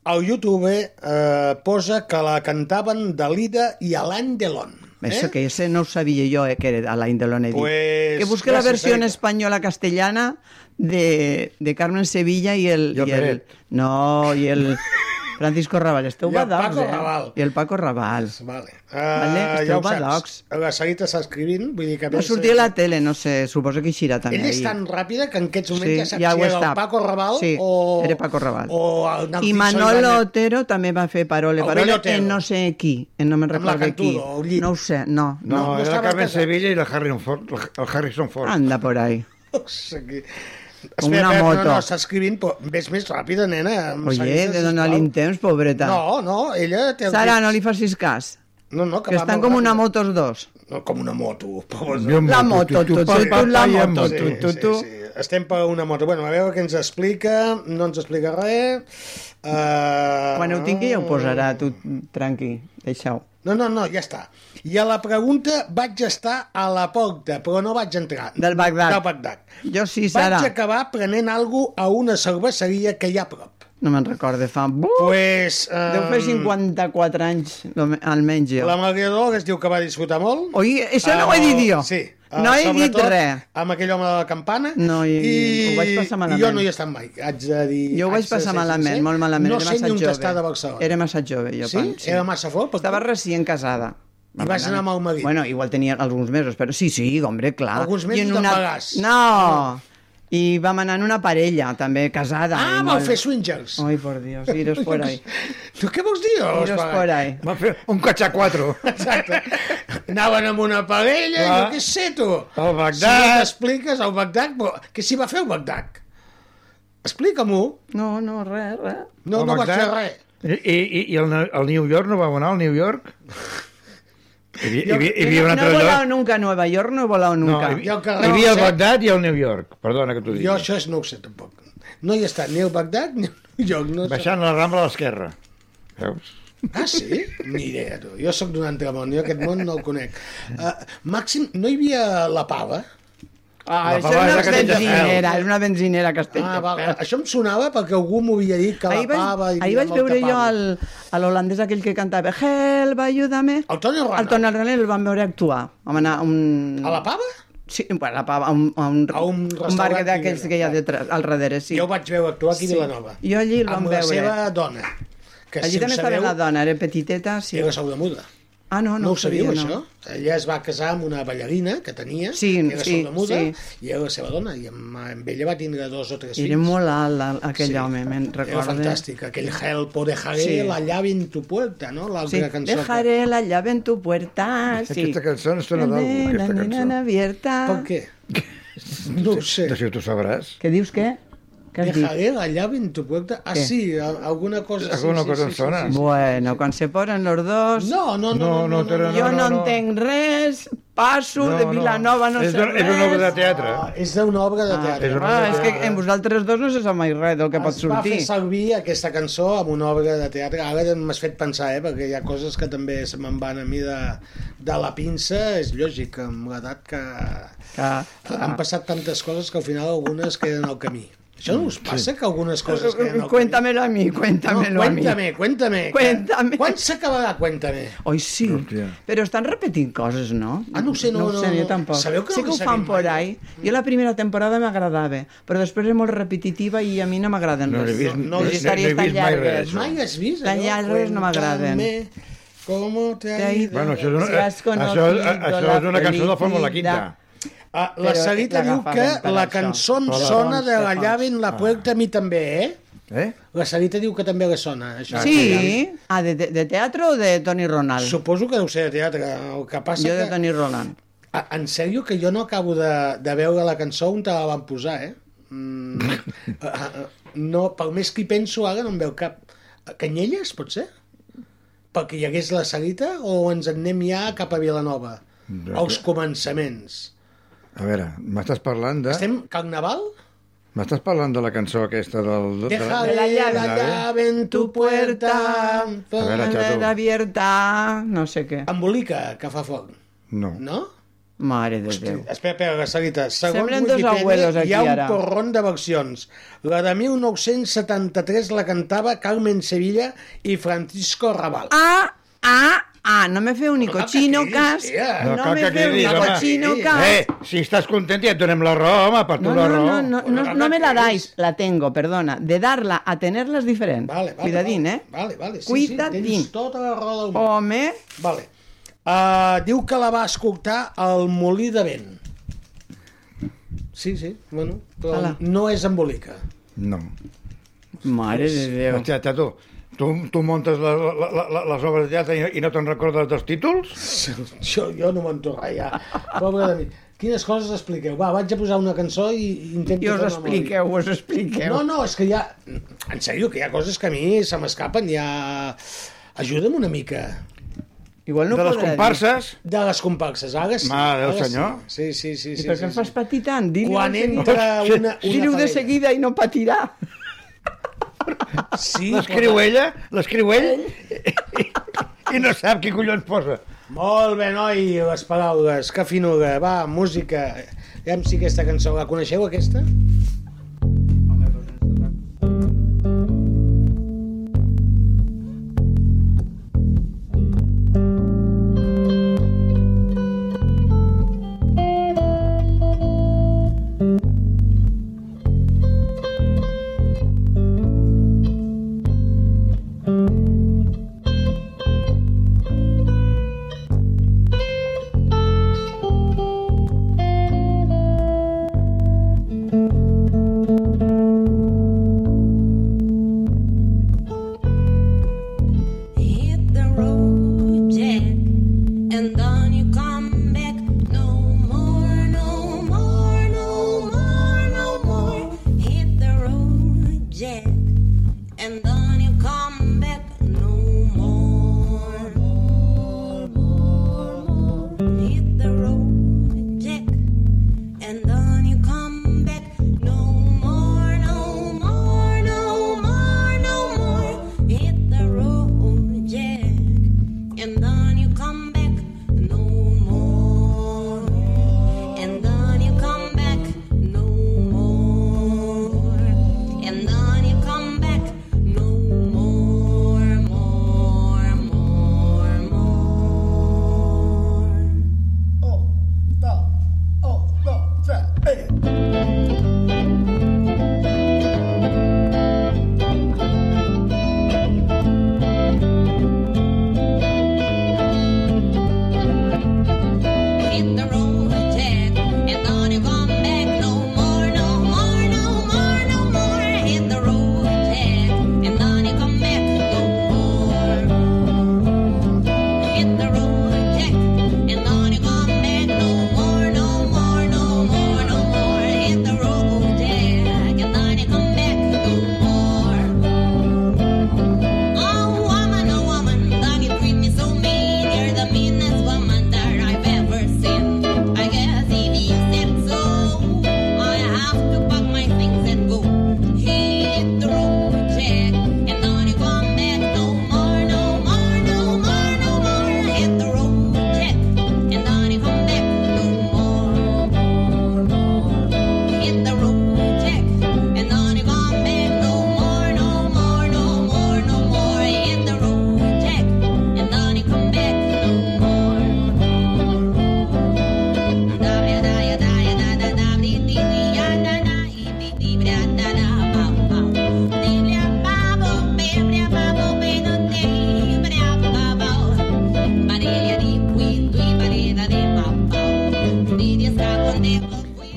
al YouTube, eh, posa que la cantaven Dalida i Alain Delon.
Eso que ese no ho sabia jo, eh, que era Alain Delon he dit.
¿Eh? Pues,
que busque la
gràcies,
versió en
Sarita.
española castellana de, de Carmen Sevilla i el...
Jo
i el
Peret.
no, i
[LAUGHS]
el Francisco Raval. Esteu
I el
badocs,
Paco
eh?
Raval.
I el Paco Raval.
Vale. Uh,
Vale, esteu badocs.
La Sarita està escrivint, vull dir que...
No sortia a la tele, no sé, suposo que eixirà també.
Ell és
ahí.
tan ràpida que en aquests moments
Sí,
ja saps
ja ho
si era
està.
el Paco Raval
Sí,
o...
era Paco Raval.
O el Naldi
I Manolo
[LAUGHS]
Otero també va fer parole,
El
parole
Billy Otero.
en no sé qui, en no me'n
Amb la
recordo qui.
Cantudo, el
No ho sé, no.
No, no, era
estava
Carmen
casat.
Sevilla i la Harrison Ford. La, el Harrison Ford.
Anda por ahí.
Solla.
com una
espera,
moto.
No, no, està escrivint, però ves més ràpida, nena. em
Oye,
segueixes,
de donar-li
sisplau.
un temps, pobreta.
No, no, ella té... el
Sara,
temps.
no li facis cas.
No, no, que
que
va
estan
molt
com una
ràpid.
moto els dos.
No, com una moto. [LAUGHS] Pobres,
Jo La moto, moto, tu, tu, tu, tu, tu, la
Sí,
moto,
sí,
tu, tu, tu.
sí, sí. Estem per una moto. Bueno, a veure què ens explica. No ens explica res. Uh...
Quan ho tingui ja ho posarà, tu tranqui, deixa-ho.
No, no, no, ja està. I a la pregunta vaig estar a la porta, però no vaig entrar.
Del Bagdad.
Del Bagdad.
Jo sí, Sara.
Vaig acabar prenent alguna a una cerveseria que hi ha a prop.
No me'n recorde, fa...
Pues, um...
Deu fer 54 anys, lo me- almenys jo.
La Maria Dolores diu que va disfrutar molt.
Oi, això no ho he
Amb el-
dit jo.
Sí. Ah,
No he dit
sobretot
res.
Amb aquell home de la campana.
No, i-
I,
ho vaig passar malament.
I jo no hi he estat mai, haig de dir...
Jo ho vaig
haig de
passar
ser
malament,
sincer.
molt malament.
No
era
sé
massa
ni on
jove.
està de Barcelona.
Era massa jove, jo
Sí?
Pans,
Era massa fort, però...
Estava recient casada.
I vas anar amb el marit.
Bueno, igual tenia alguns mesos, però sí, sí, hombre, clar.
Alguns
I
mesos
en
de
una...
pagàs.
No! I vam anar en una parella, també, casada.
Ah,
i
vau fer swingers.
Ai, por Dios, iros
[LAUGHS]
por ahí.
Tu què vols dir?
Iros por ahí.
Va fer un cachacuatro. [LAUGHS] Exacte. Anaven amb una parella, ah.
Ah.
jo què sé, tu.
Al
Si
Bagdad.
no t'expliques, al Bagdad, però què s'hi va fer al Bagdad? Explica-m'ho.
No, no, res, res.
No, no vaig fer res.
I, i, i el, el New York no va anar al New
[LAUGHS]
York? Hi havia, hi havia, hi havia un
no, no he
altre
volado
lloc?
nunca a Nueva York, no he volado
No,
nunca.
hi, havia- hi havia el Bagdad i el New York. Perdona que t'ho digui.
Jo això és, no ho sé, tampoc. No hi he estat ni al Bagdad ni al lloc. No sé.
Baixant la Rambla a l'esquerra. Veus?
Ah, sí? Ni idea, tu. Jo sóc d'un altre món, jo aquest món no el conec. Uh, Màxim, no hi havia la pava?
Ah, això és una benzinera, és una benzinera que estic.
Ah, val. Això em sonava perquè algú m'ho havia dit, que la
Ahir vaig,
pava... i
ahir vaig
molta
veure jo
pava.
el, a l'holandès aquell que cantava Help, ayúdame.
El Toni Rana.
El Toni Rana el vam veure actuar. Vam anar a un...
A la pava?
Sí, bueno, a la pava, a un, a un, a un, un bar
restaurant
d'aquells que hi ha detrás, al darrere, sí.
Jo ho vaig veure actuar aquí
Sí.
a Vilanova.
Jo allí el vam
amb
veure.
la seva dona. Que
Allí
si
també
ho
estava
sabeu,
la dona, era petiteta, sí.
Era saudamuda.
Ah, no, no,
No ho sabíeu,
sabia,
això? Ella es va casar amb una ballarina que tenia,
Sí,
que era
sí,
sordomuda,
sí.
i era la seva dona, i amb, amb ella va tindre dos o tres
Era
fills.
molt alt el- aquell
Sí.
home, me'n recordo. eh.
Era fantàstic, aquell help o dejaré
Sí.
sí. la llave en tu puerta, no?
Sí,
L'altra cançó.
dejaré la llave en tu puerta. Ah, Sí.
Aquesta cançó ens sona d'algú, aquesta
La
cançó.
nena abierta.
Per què?
[LAUGHS]
No ho sé.
D'això tu sabràs.
Què dius, què? Què has dit?
Dejaré la llave en tu puerta. Ah,
Què?
sí, a- alguna cosa... Sí,
Alguna
sí,
cosa
sí,
em
sí,
sona.
sí, sí.
Bueno, quan se posen los dos...
No, no, no, no, no, no, no,
jo no,
no, no.
entenc res, passo
No,
de
no.
Vilanova, no,
És
sé
d'una-
res.
és d'una obra de
teatre.
Ah, és d'una obra de teatre.
Ah, ah, és que en vosaltres dos no se sap mai res del que pot
Es va
sortir.
fer servir aquesta cançó amb una obra de teatre. Ara m'has fet pensar, eh? perquè hi ha coses que també se me'n van a mi de, de la pinça. És lògic, amb l'edat que...
que...
Han passat tantes coses que al final algunes queden al camí. Això no us passa, que algunes
Eh,
coses queden al camí?
Cuéntamelo a mi, cuéntamelo a mi.
Cuéntame, cuéntame.
Cuéntame.
Quan s'acabarà Cuéntame?
Oi, sí. Però estan repetint coses, no?
Ah, no ho sé, no,
ho sé,
no, no.
jo tampoc.
Sabeu que no
sé que ho
ho
fan
seguim
por ahí. Jo la primera temporada m'agradava, però després és molt repetitiva i a mi no m'agraden
No
res.
l'he vist- no-
Les
no- no
històries
he
tan
vist mai res,
llargues.
això. Mai
has vist?
Tan
allò?
llargues no m'agraden.
Cuéntame ¿Cómo te ha ido?
Bueno, això és una- Si has conocido això- a- això la és una cançó de Fórmula Quinta.
Ah, la
Però
Sarita diu
l'agafaven
que
per
la
això.
cançó em
Per la-
sona de la
Ah.
llave en la puerta a mi també, eh?
Eh?
La Sarita diu que també la sona. Això.
Sí? Ah, de, de, de teatre o de Tony Ronald?
Suposo que deu ser de teatre. El que passa
Jo de
que...
Tony Roland.
Ah, En sèrio que jo no acabo de, de veure la cançó on te la van posar, eh? Mm,
[LAUGHS]
ah, ah, no, per més que hi penso ara no em veu cap. Ah, Canyelles, pot ser? Perquè hi hagués la Sarita o ens en anem ja cap a Vilanova? Als començaments.
A veure, m'estàs parlant de...
Estem carnaval?
M'estàs parlant de la cançó aquesta del... de-
Deja
de-
la llave, la
llave.
llave en tu puerta.
A veure, xato.
abierta, no sé què.
Embolica, que fa foc.
No.
No?
Mare de Déu.
Espera, espera, Sarita. eh, Segons
Semblen dos abuelos
Wikipedia
aquí,
hi ha un
ara.
porron de versions. La de 1973 la cantava Carmen Sevilla i Francisco Raval.
Ah, ah, ah, no me feu ni cochino cas.
No,
Eh, No
cal
me
que
feu ni
cridis, home.
cochino cas.
Eh, si estàs content ja et donem la raó, home, per tu
No,
la
no,
raó.
no, no, no, no me la dais, la tengo, perdona. De darla a tenerla és diferent.
Vale, vale,
Cuidadín,
vale,
eh?
Vale, vale, sí,
Cuidadín. Oh.
sí, tens tota la roda del món.
Home,
Vale. Uh, diu que la va escoltar al Molí de Vent. Sí, sí, bueno, però
Ala.
no és embolica. [LAUGHS]
No.
Mare de Déu.
Hòstia, Tato, tu, tu muntes la, la, la, la, les obres de teatre i, i no te'n recordes dels títols?
Jo, jo no m'entorra ja. Pobre de mi. Quines coses expliqueu? Va, vaig a posar una cançó i intento...
I us
que no
expliqueu,
m'oblidi.
us expliqueu.
doncs, No, no, és que hi ha... En sèrio, que hi ha coses que a mi se m'escapen, hi ha... Ajuda'm una mica.
Igual no
De les podrà dir. comparses?
De les comparses, ara sí.
Mare Déu,
ara sí.
senyor.
Sí, sí, sí.
I
sí,
per
sí,
què el
sí.
fas patir tant? Dile
Quan
[LAUGHS]
entra una- una
Dir-ho de
parella.
seguida i no patirà.
Sí,
l'escriu
però-
ella, l'escriu ell, [LAUGHS] i no sap qui collons posa.
Molt bé, noi, les paraules, que finura. Va, música. Aviam si aquesta cançó la coneixeu, aquesta?
hit the road, Jack, and then you come back. No more, no more, no more, no more. Hit the road, Jack, and then you come back. No more, more, more, more. Hit the road, Jack, and then you come back. No more, no more, no more, no more. Hit the road, Jack, and then you come back. No more, and then you come back. No more, and then you come back. No more, more, more, more. Hit the road, Jack, and don't you come back no more, no more, no more, no more. Hit the road, Jack, and don't you come back no more. Hit the road, Jack, and don't you come back no more, no more, no more, no more. Hit the road, Jack, and don't you come back no more. Oh woman, oh woman, don't you treat me so mean? You're the meanest woman that I've ever seen. I guess if you said so, I have to pack my things and go. Hit the road, Jack, and don't you come back no more, no more, no more, no more. Hit the road, Jack, and don't you come back no more, more. Hit the road, Jack, and don't you come back no more, no more, no more, no more. Hit the road, Jack, and don't you come back no more.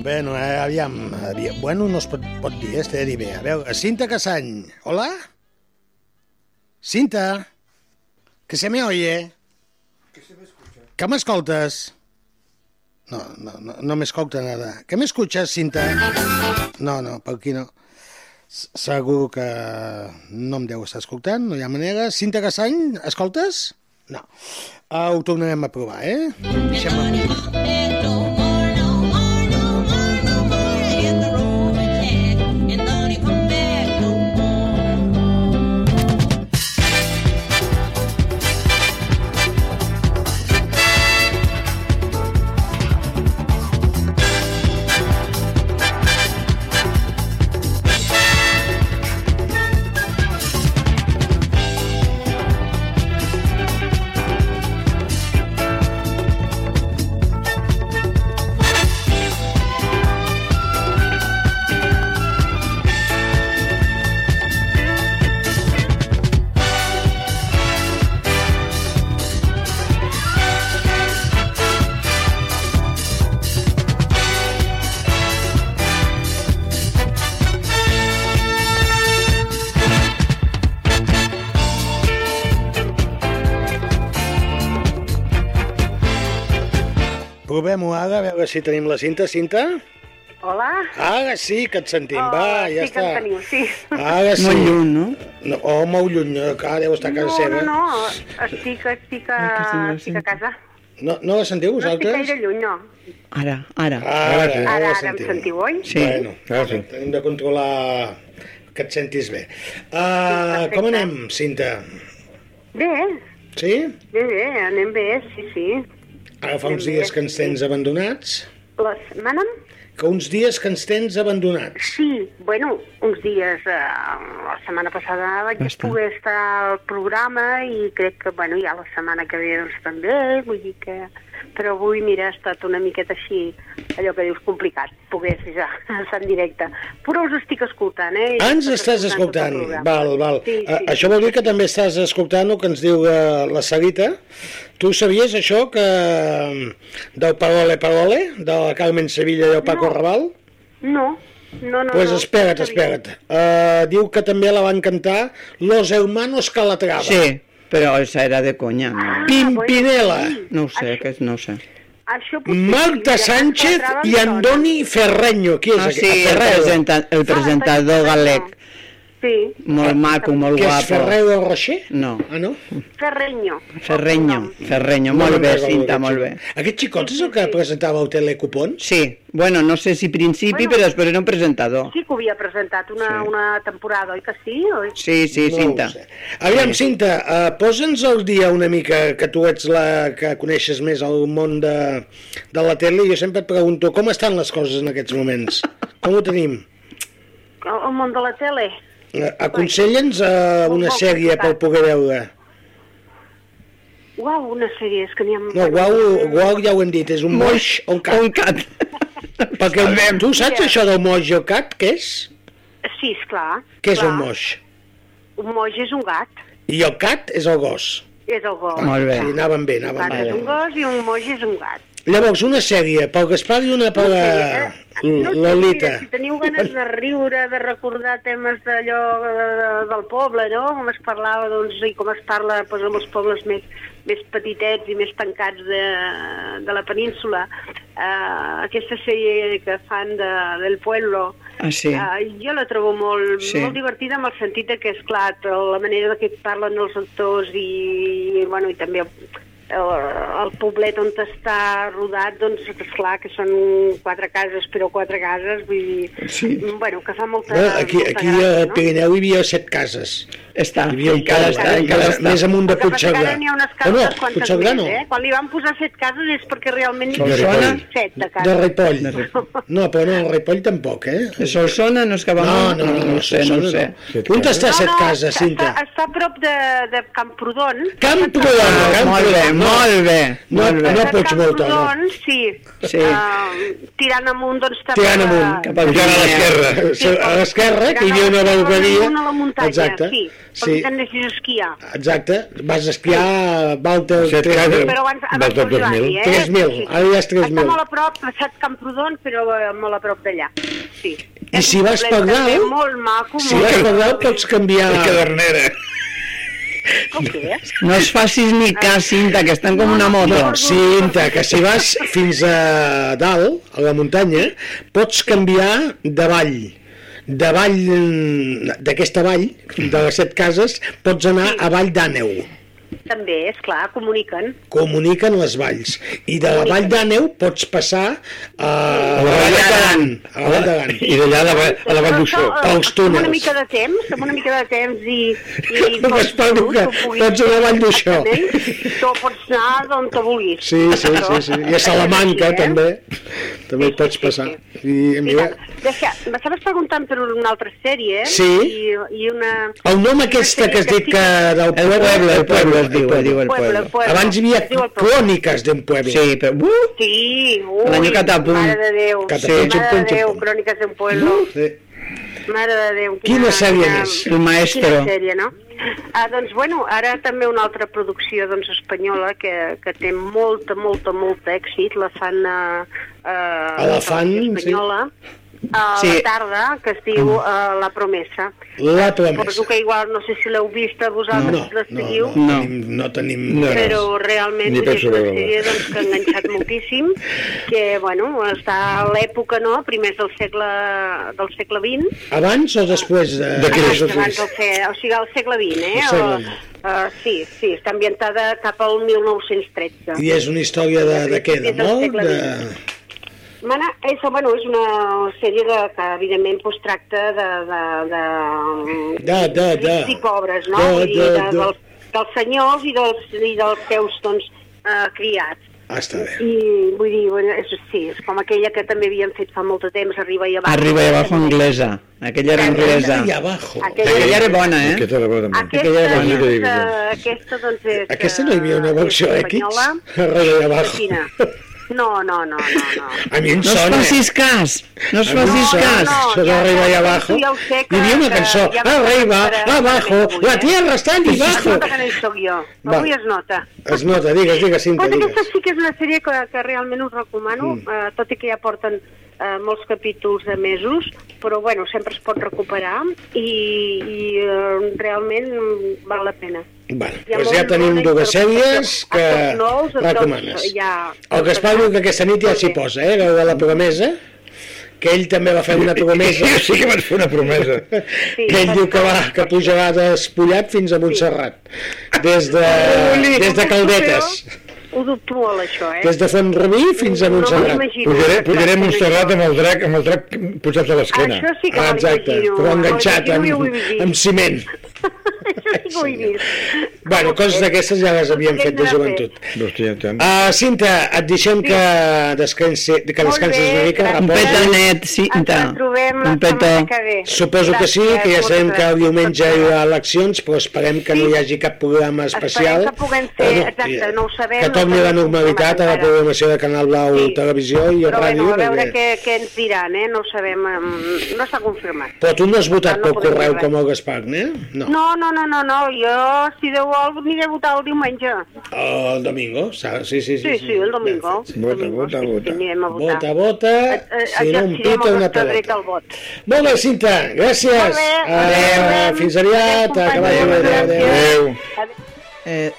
Bueno, eh, aviam, aviam. Bueno, no es pot, pot dir, este de bé. A veure, Cinta Casany, hola? Cinta, que se me oye. Que se me escucha. Que m'escoltes? No, no, no, no m'escolta nada. Que m'escuches, Cinta? No, no, per aquí no. S- Segur que no em deu estar escoltant, no hi ha manera. Cinta Casany, escoltes? No. Ah, ho tornarem a provar, eh? Deixem-ho.
Hit
Provem-ho ara, a veure si tenim la cinta. Cinta?
Hola?
Ara sí que et sentim,
Oh,
va, ja
sí
està.
que em teniu, sí.
Ara sí.
Molt lluny,
no? no oh, molt lluny, eh, que ara deu estar a casa
no, no,
seva.
no, estic, estic, a, estic a casa.
No, no la sentiu
No estic
vosaltres?
gaire lluny, no.
Ara, ara.
Ara, ara,
Ara,
la
ara em sentiu, oi?
Sí. Bueno, ara sí. hem de controlar que et sentis bé. Uh, com anem, Cinta?
Bé,
Sí?
bé, bé, anem bé, sí, sí.
Ara fa uns dies que ens tens abandonats.
Les, manen?
Que uns dies que ens tens abandonats.
Sí, bueno, uns dies, eh, la setmana passada vaig
Bastant.
poder estar al programa i crec que, bueno, ja la setmana que ve doncs també, vull dir que... Però avui, mira, ha estat una miqueta així, allò que dius, complicat, poder ser ja, [LAUGHS] estar en directe. Però us estic escoltant, eh?
Ah, ens estàs escoltant. Val, val.
Sí,
Eh,
sí.
Això vol dir que també estàs escoltant el que ens diu eh, la Sarita. Tu sabies això que mm, del Parole Parole, de la Carmen Sevilla i el Paco no. Raval?
No, no, no.
Doncs pues
no,
espera't, espera't. Uh, diu que també la van cantar Los Hermanos Calatrava.
Sí, però esa era de conya.
Ah,
No,
Pimpinela.
no ho sé, que no ho sé.
Això
Marta Sánchez i Andoni Ferreño. Qui és
Ah,
aquest?
sí, el,
Ferrero.
presenta, el presentador galec.
Sí.
Molt maco, molt
Que
guapo.
és Ferrero Rocher?
No,
Ah, no?
Ferreño.
Ferreño, Ferreño,
No
molt bé,
recordo
Cinta,
aquest
molt bé.
xicot. Aquest xicot és el que presentava el telecupon?
Sí, bueno, no sé si principi,
Bueno.
però després era un presentador.
Sí que ho havia presentat una,
Sí.
una temporada, oi que sí? Oi?
Sí, sí,
No ho
Cinta.
sé. Aviam, Cinta, uh, posa'ns al dia una mica, que tu ets la que coneixes més el món de, de la tele, i jo sempre et pregunto com estan les coses en aquests moments? Com ho tenim?
El, el món de la tele.
Eh, Aconsella'ns eh, una
Molt
sèrie per
complicat.
poder veure.
Uau, una sèrie, és que n'hi ha...
No, guau, guau ja ho hem dit, és un moix o un cat. Un
cat.
Perquè el, tu saps
Mira.
això del moix o cat, què és?
Sí, esclar.
Què és
clar.
un moix?
Un moix és un gat,
I el cat és el gos.
és el gos.
Molt bé. Sí, anaven bé,
Un
anaven
gat és un
bé.
gos i un moix és un gat.
Llavors, una sèrie pel Gaspar i una per la
sé,
Mm, Lolita.
mira, si teniu ganes de riure, de recordar temes d'allò eh, del poble, no? Com es parlava, doncs, i com es parla doncs, amb els pobles més, més petitets i més tancats de, de la península. Uh, aquesta sèrie que fan de, del pueblo,
Ah, sí.
eh, jo la trobo molt,
Sí.
molt divertida en el sentit de que, és clar, la manera de que parlen els actors i, bueno, i també el, el poblet on està rodat, doncs és clar que són quatre cases, però quatre cases, vull dir,
Sí.
bueno, que fa molta...
Bueno, aquí,
molta
aquí
gràcia,
a Pirineu hi havia set cases.
Està,
hi havia un
encara
poble,
està, encara
més-
està.
Més amunt de
El que passa que ara
Puigcerdà.
n'hi ha unes
Ah,
cases
no,
quantes
Puigcerdà
més,
no.
eh? Quan li van posar set cases és perquè realment n'hi
Sol
havia
Sona?
set de
De
cases.
Ripoll. No, però no, el Ripoll tampoc, eh?
De Solsona no és que va
No,
molt-
no, no, no,
no
no,
ho sé, no ho sé.
On està set cases,
està-
Cinta?
Està, està a prop de, de Camprodon.
Camprodon, Camprodon.
Ah, Molt bé, molt bé.
No,
molt bé.
no pots voltar, no.
Camprodon, sí.
Sí.
Eh, tirant amunt, doncs... també
Tirant
de-
amunt, cap a tirant a l'esquerra.
Sí,
A l'esquerra, que hi havia una
Tirant
belgueria.
amunt a la muntanya,
Exacte.
sí.
Sí.
Sí. Com si esquiar.
Exacte, vas esquiar, Walter...
Set
tres mil.
cases. Però abans- abans Dels dos
Joan,
mil.
sí, eh?
3.000, ara ja és
Està
3.000.
molt a prop, passat Camprodon, però eh, molt a prop d'allà. Sí.
I si
És
vas per
un poblet
dalt-
també Molt maco,
Si
molt
vas
maco.
per dalt pots canviar...
La
cadernera.
Com que és?
No es facis ni cas, Cinta, que estan com una moto.
No, Cinta, que si vas fins a dalt, a la muntanya, pots canviar de vall. De vall, d'aquesta vall, de les set cases, pots anar a Vall d'Àneu.
També, és clar, comuniquen.
Comuniquen les valls. I de la Vall d'Àneu pots passar a,
A la Vall d'Aran.
A la Vall d'Aran.
I d'allà a la Vall- a la Vall d'Uixó.
Però, eh,
Pels
Amb una
túnels.
mica de temps, amb una mica de temps i... i
[LAUGHS] Com es fa, Luca? Pots anar a Vall d'Uixó.
Tu pots anar on te vulguis.
Sí, sí, sí, sí. I a Salamanca,
eh?
també. També hi pots passar. I, mira,
És que m'estaves preguntant per una altra sèrie, eh?
Sí.
I, i una...
El nom aquesta que has dit que del
El pueblo, el pueblo, es
el
diu, es diu el
Pueblo, el
pueblo.
pueblo.
Abans hi havia
Es diu el pueblo.
cròniques d'un pueblo.
Sí, però... Uh!
Sí, ui,
L'any catapum.
mare de Déu.
Catapum,
Mare
xum,
de
pum, xum,
Déu,
pum.
Cròniques d'un pueblo.
Sí.
Mare de Déu.
Quina sèrie és? El maestro.
Quina sèrie, no? Ah, doncs, bueno, ara també una altra producció doncs, espanyola que, que té molta, molta, molta èxit. La fan... Eh, eh,
A la fan,
espanyola.
sí. Mm.
a
Sí.
la tarda, que es diu eh, La Promesa.
La Promesa.
Suposo que igual, no sé si l'heu vista vosaltres, la seguiu.
no, no, tenim, no tenim...
però realment
Ni
és
penso
una
veure-la.
sèrie doncs, que ha enganxat
[LAUGHS]
moltíssim, que, bueno, està a l'època, no?, primers del segle, del segle XX,
Abans o després de...
abans del se, o sigui, al segle XX, eh?
Del segle XX.
O, eh, sí, sí, està ambientada cap al 1913.
I és una història de, de què? De
Des del
molt?
segle
De...
Mana, és, bueno, és una sèrie de, que, evidentment, pues, tracta de... de, de,
De- de- de.
rics i pobres, no?
De-
Vull dir,
de-
de,
de.
dels, dels senyors i dels, i dels seus, doncs, eh, criats.
Ah, està bé.
I vull dir, bueno, és, sí, és com aquella que també havien fet fa molt de temps, Arriba i Abajo.
Arriba i abajo anglesa. Aquella era anglesa.
Arriba i abajo.
Aquella era bona, eh?
Aquesta era bona
també.
Aquesta,
Aquella era
aquesta,
bona.
aquesta, doncs, és...
Aquesta no hi havia una versió
eh,
X?
espanyola.
Arriba i abajo.
Quina? No, no, no, no, no.
A mi em
No us
sona.
facis cas, no us facis cas.
No,
Això
no,
de
ja,
arriba
arriba
i
i
abajo.
abajo.
Ja ho sé que...
Hi havia una
que
cançó.
ja m'ho
arriba,
prepararé
abajo,
avui,
la
eh?
tierra está allí
Es
abajo.
nota que no hi soc jo.
Va.
Avui es nota.
Es nota, digues, digues, Cinta,
Doncs aquesta
digues.
sí que és una sèrie que, que realment us recomano,
Mm.
eh, tot i que ja porten eh, molts capítols de mesos, però bueno, sempre es pot recuperar i, i eh, realment mm, val la pena.
Bueno,
Hi ha
doncs ja
molt-
tenim
molta
dues sèries
interpretació.
que
Actors nous, actors
recomanes.
Ja...
El Gaspar diu que aquesta nit ja s'hi posa, eh? Veu de la promesa, que ell també va fer una
[LAUGHS]
promesa.
Jo sí que vaig fer una promesa.
que ell diu que, va, que pujarà despullat fins a Montserrat. Des de, des de Caldetes.
Ho dubto molt, això, eh?
Des de Font-Rubí fins a Montserrat.
Pujaré, pujaré a Montserrat amb el drac, amb el drac posat a l'esquena.
Això sí que me
ah,
Exacte,
exacte.
però enganxat amb, amb ciment.
Això sí que ho he vist.
bueno,
eh,
coses d'aquestes ja les havíem fet de joventut. Uh, Cinta, et deixem que, descansi, que descansis una mica.
Un
reposis.
petanet, Cinta. Un petó.
Suposo que sí, que ja sabem que el diumenge hi ha eleccions, però esperem que no hi hagi cap programa especial.
Esperem que puguem fer,
Ah, no,
exacte, no ho sabem.
Que torni
no
la normalitat a la programació de Canal Blau Televisió i
sabem,
a
però
ràdio.
bueno, a veure
perquè-
què, què ens diran, eh? No ho sabem, em, no està confirmat.
Però tu no has votat
No, no
pel
podem
correu
res.
com el Gaspar, eh? No.
No, no, no, no, no. jo, si Déu vol, aniré a votar el diumenge.
El domingo, saps? Sí, sí, sí.
Sí, sí, el domingo.
Vota, vota,
Sí,
vota.
anirem a votar.
Vota, vota,
Eh,
si no em
exercirem
pita
el
una
nostre dret
pelota.
al vot.
Molt bé, Cinta, gràcies.
Molt bé, doncs,
Eh, fins aviat, que vagi bé. Adéu, adéu. adéu.
Eh,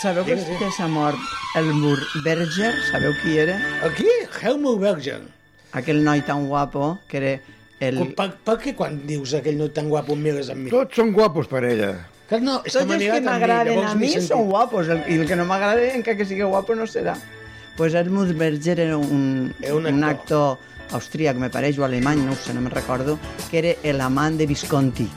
sabeu que, que s'ha mort el Mur Berger? Sabeu qui era?
El qui? Helmut Berger.
Aquell noi tan guapo que era el...
Per, per què quan dius aquell no tan guapo em mires amb mi?
Tots són guapos per ella.
Que no, és que
Tots
m'ha
els que
mirat amb mi,
m'agraden
llavors
a
m'he
mi
sentit.
són guapos, el- i el que no m'agrada, encara que sigui guapo, no serà. Pues Helmut Berger era un, un, actor. un actor austríac, me pareix, o alemany, no ho sé, no me'n recordo, que era el amant de Visconti,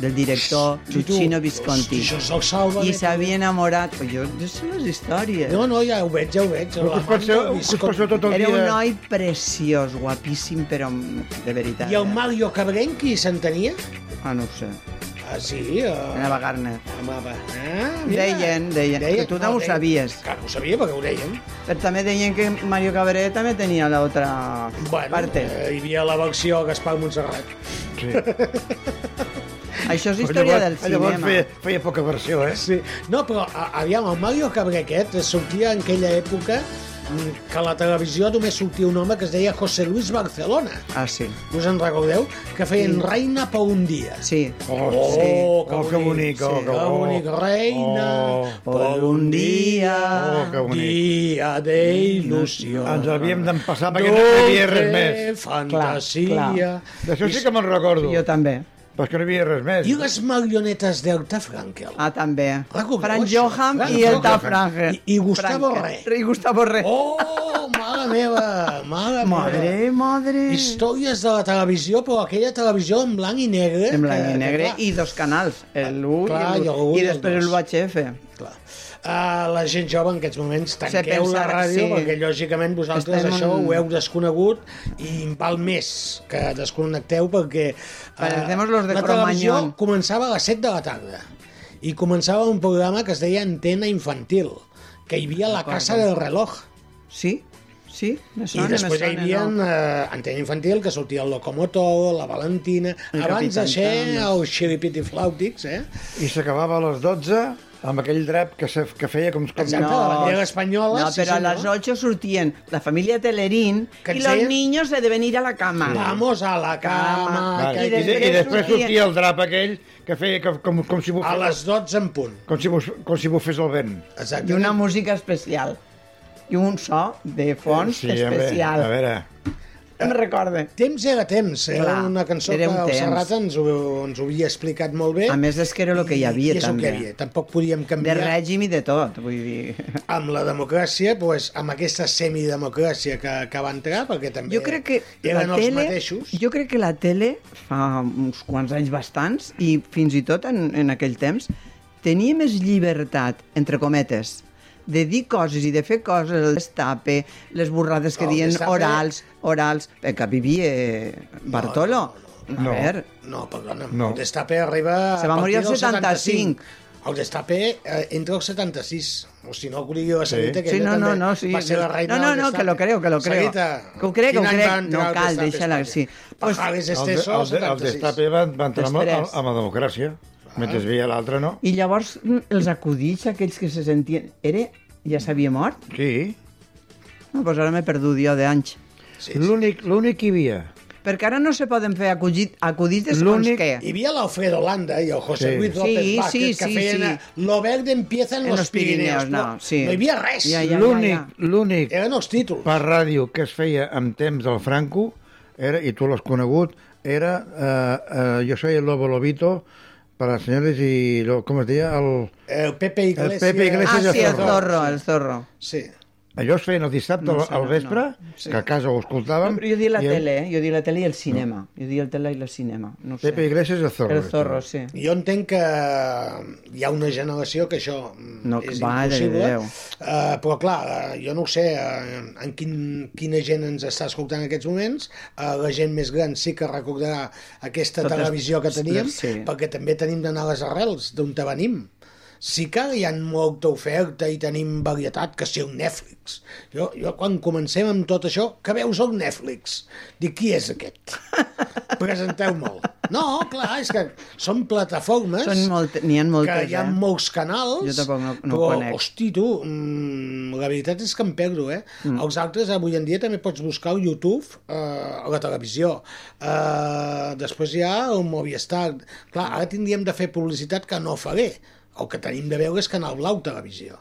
del director
Hosti, tu.
Luchino Visconti.
Hosti, això és el Sálvame,
I s'havia enamorat... Jo, jo sé les històries.
No, no, ja ho veig, ja ho veig.
Però
La Amanda Visconti.
Era un noi preciós, guapíssim, però de veritat.
I el Mario Cabrenqui s'entenia?
Ah, no ho sé.
Ah, sí? Uh...
Anava a Garner.
Anava... Ah, mira.
Deien, deien,
Deien,
que tu no,
no,
ho
deien.
sabies.
Que ho sabia perquè ho deien.
Però també deien que Mario Cabrera també tenia la otra bueno, parte.
Eh, hi havia la versió Gaspar Montserrat.
Sí.
Això és
Però
història
llavors-
del cinema.
llavors feia- feia poca versió, eh?
Sí. No, però a, aviam, el Mario Cabré aquest eh, sortia en aquella època mm, que a la televisió només sortia un home que es deia José Luis Barcelona.
Ah, sí.
Us en recordeu? Que feien
Sí.
reina per un dia.
Sí.
Oh,
sí.
que,
Oh, que bonic, oh, que-
que
oh.
bonic. Reina
Oh.
per un dia,
Oh, que bonic.
dia Mm. d'il·lusió.
Ens havíem d'empassar perquè no hi havia res més.
Fantasia.
Clar, clar. D'això sí que me'n recordo.
Jo també.
Perquè no hi havia res més.
I les marionetes d'Elta Frankel.
Ah, també.
Recordeu
Fran
això?
Johan
Fran
i el
Johan.
Tafranger.
I- i Gustavo Re.
I Gustavo Re.
Oh, mare meva, mare
Madre,
meva.
madre.
Històries de la televisió, però aquella televisió en blanc i negre.
En blanc
que-
i negre,
que,
i dos canals, l'1
Eh, Ah, Clar,
i
i el un
l'2,
i
i
el
després
dos.
l'UHF.
clar, uh, la gent jove en aquests moments tanqueu
pensa
la
que
ràdio
sí.
perquè lògicament vosaltres
Estem en-
això ho heu desconegut i val més que desconnecteu perquè uh,
Parecemos los de
la televisió
Cromañón.
començava a les 7 de la tarda i començava un programa que es deia Antena Infantil que hi havia la
D'acord.
Casa del Reloj
Sí, sí, me
I
sona,
després
me
hi
sona,
havia
no?
eh, Antena Infantil, que sortia el Locomotor, la Valentina...
El
abans de
Capitán
ser
Thanos.
el Xiripitiflàutics, eh?
I s'acabava a les 12 amb aquell drap que, se, que feia com... com
No, pero a las 8 surtían la familia Telerín
Que
y
ens
los
deien-
niños se deben ir a la cama.
Sí. Vamos a la cama,
Vale.
Ah, que
I, de, I
després
després
sortien-
sortia el drap aquell que feia que, com, com si bufés...
A les 12 en punt.
Com si, buf, com si bufés el vent.
Y una música especial. Y un so de fons
Sí, a veure,
Doncs, especial.
a veure.
No me recorde.
Temps era temps, era
Clar,
una cançó
era un
que el
temps.
Serrat ens ho, ens ho havia explicat molt bé.
A més, és que era el que hi havia,
I és el
també.
que hi havia. Tampoc podíem
De
canviar.
règim i de tot, vull dir...
amb la democràcia, doncs, amb aquesta semidemocràcia que, que va entrar, perquè també
[LAUGHS] Jo crec que
eren
la
els
tele,
mateixos.
jo crec que la tele fa uns quants anys bastants i fins i tot en, en aquell temps tenia més llibertat, entre cometes, de dir coses i de fer coses, el destape, les borrades que
No, el
diuen
destape-
orals, orals, eh, que vivia eh, Bartolo.
no, no.
A veure,
No, perdona,
No.
no. el Destape arriba...
Se va
a
morir
partir
el
del
75.
El Destape eh, entra al 76, o si no, Curillo a Sarita, que
sí,
ella
no, no,
també
no, sí.
va ser la reina
no, no,
del
no, que
Destape.
lo creo, que lo creo.
Sarita,
que ho crec, que ho
quin any va
crec.
entrar
No
el
cal,
Destape a
deixa-la,
Espanya?
sí.
Pajares
El, de-
Esteso,
el, de- el
76.
destape va, va entrar amb,
Després.
amb, la democràcia, mentre es veia l'altre, no?
I llavors mm, els acudits aquells que se sentien... Era... Ja s'havia mort?
Sí.
No, doncs ara m'he perdut jo d'anys.
Sí, L'únic l'únic que hi havia.
Perquè ara no se poden fer acudit, acudits de segons què.
Hi havia l'Alfredo Landa i el José
Sí.
Luis
Sí,
López Vázquez
sí,
que
sí,
feien
sí.
a- Lo verde empieza en,
En
los,
los
Pirineos.
Pirineos,
no,
no, sí.
no hi havia res.
L'únic, l'únic...
Eren els títols.
Per ràdio que es feia en temps del Franco, era, i tu l'has conegut, era eh, eh, Jo soy el Lobo Lobito, per a senyores i... lo- Com es deia? El,
El Eh, Pepe Iglesias.
El Pepe Iglesias
Ah, sí,
i
el zorro, el zorro.
Sí.
Allò es feien el dissabte
No
no,
sé,
al
no,
vespre,
no.
no,
Sí.
que a casa ho escoltàvem.
Però jo dic la
i el-
tele, eh? Jo dic la tele i el cinema. Jo dic el tele i el cinema. No ho sé.
Pepe Iglesias i el zorro.
El zorro, sí.
Jo entenc que hi ha una generació que això mm,
No,
és
mare de
impossible,
Déu.
eh, però clar, eh, jo no ho sé eh, en quin, quina gent ens està escoltant en aquests moments, eh, la gent més gran sí que recordarà aquesta
Totes-
televisió que teníem,
sí.
perquè també tenim d'anar a les arrels d'on te venim. Sí que hi ha molta oferta i tenim varietat, que si el Netflix. Jo, jo quan comencem amb tot això, que veus el Netflix? Dic, qui és aquest? Presenteu-me'l. No, clar, és que són plataformes
Són molt- n'hi ha moltes,
que hi ha
eh?
molts canals,
Jo tampoc no- no
però,
ho conec.
hosti, tu, mm, la veritat és que em perdo, eh? Mm. Els altres, avui en dia, també pots buscar al YouTube, eh, a la televisió. Eh, després hi ha el Movistar. Clar, ara tindríem de fer publicitat que no faré. El que tenim de veure és Canal Blau Televisió.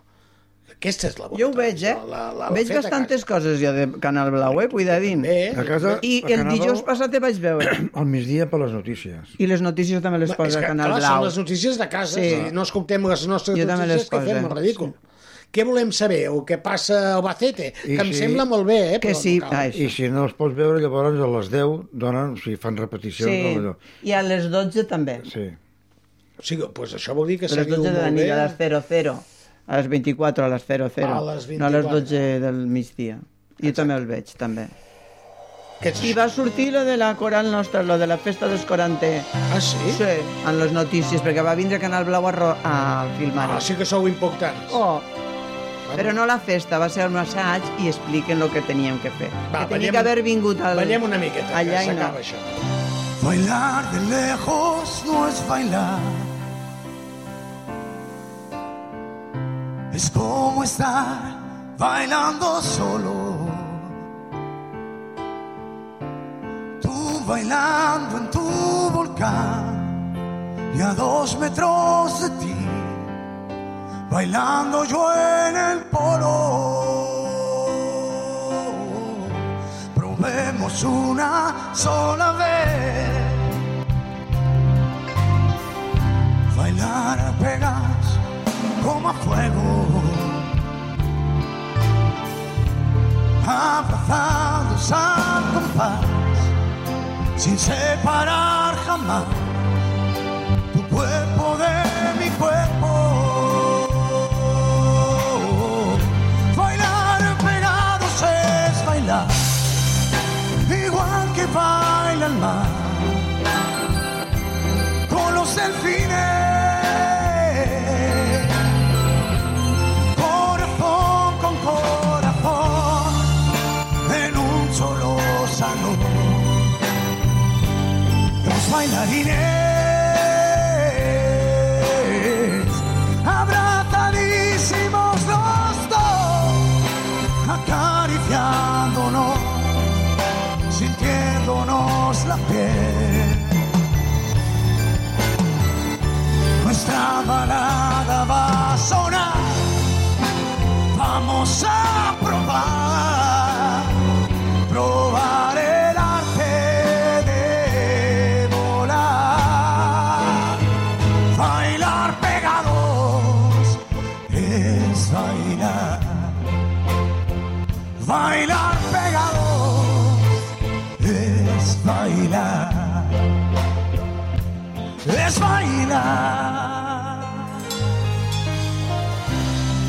Aquesta és la bona.
Jo ho veig, eh?
La, la, la
veig
feta
bastantes coses jo de Canal Blau, eh? Cuidadín.
A casa-
I
a
el
Canal
dijous
Blau-
passat te vaig veure.
Al migdia per les notícies.
I les notícies també les posa
és
a
que,
Canal
clar,
Blau.
són les notícies de casa,
Sí.
sí. si no escoltem les nostres
Jo també
notícies
les
que
poso,
fem el ridícul. Sí. Què volem saber? O què passa a Albacete?
I
que em
si-
sembla molt bé, eh? però no cal.
I si no els pots veure, llavors a les 10 donen, o sigui, fan repeticions.
Sí.
de l'allò.
I a les 12 també.
Sí.
O sigui, doncs això vol dir que
a les
seguiu
12 de la
molt
nit,
bé.
a les 00. A les 24, a les 00.
A les
No a les
24.
12 del migdia. Jo també el veig, també.
Que
I va sortir lo de la coral nostra, lo de la festa dels 40.
Ah, sí?
Sí, en les notícies, perquè va vindre Canal Blau a, ro- a filmar.
Ah, sí que sou importants.
Oh, però no la festa, va ser un assaig i expliquen el que teníem que fer.
Va,
que tenia que haver vingut al...
Ballem una miqueta,
allà
que
i no.
s'acaba això.
Bailar de lejos no es bailar. Es como estar bailando solo. Tú bailando en tu volcán y a dos metros de ti. Bailando yo en el polo. Probemos una sola vez. Bailar a pegas como a fuego. Abrazados al compás, sin separar jamás tu cuerpo de mi cuerpo. Bailar pegados es bailar igual que baila el mar con los delfines. Corazón con corazón en un solo salón. Los bailarines abrazan
es bailar.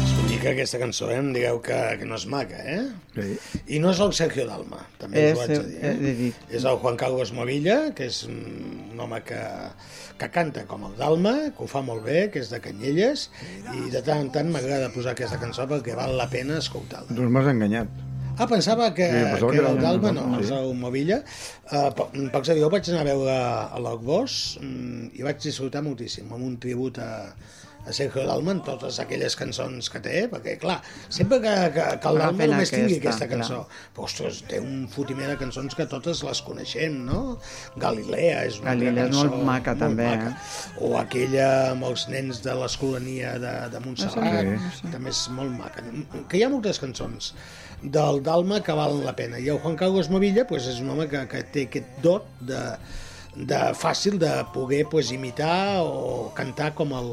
És bonica aquesta cançó, eh? Em digueu que, que no és maca, eh? Sí. I no és el Sergio Dalma, també
Eh,
us ho haig
sí,
de dir. Eh?
he de dir.
És el Juan Carlos Movilla, que és mm, un home que, que canta com el Dalma, que ho fa molt bé, que és de Canyelles, i de tant en tant m'agrada posar aquesta cançó perquè val la pena escoltar-la.
Doncs m'has enganyat.
Ah, pensava que,
Sí,
sí,
pensava
que
que
era el
era-
Dalma, no,
no,
és
sí.
el Movilla. Uh, poc, pocs de jo vaig anar a veure a l'Ogbos mm, i vaig disfrutar moltíssim, amb un tribut a, a Sergio Dalma en totes aquelles cançons que té, perquè, clar, sempre que, que, que el
Val la
Dalma
pena
només tingui
aquesta,
aquesta cançó, però, ostres, té un fotimer de cançons que totes les coneixem, no? Galilea és una altra
Galilea és molt
cançó
maca, també, eh?
o aquella amb els nens de l'escolania de, de Montserrat,
No
sí. també és molt maca. Que hi ha moltes cançons del Dalma que valen la pena. I el Juan Carlos Movilla pues, és un home que, que té aquest dot de, de fàcil de poder pues, imitar o cantar com el,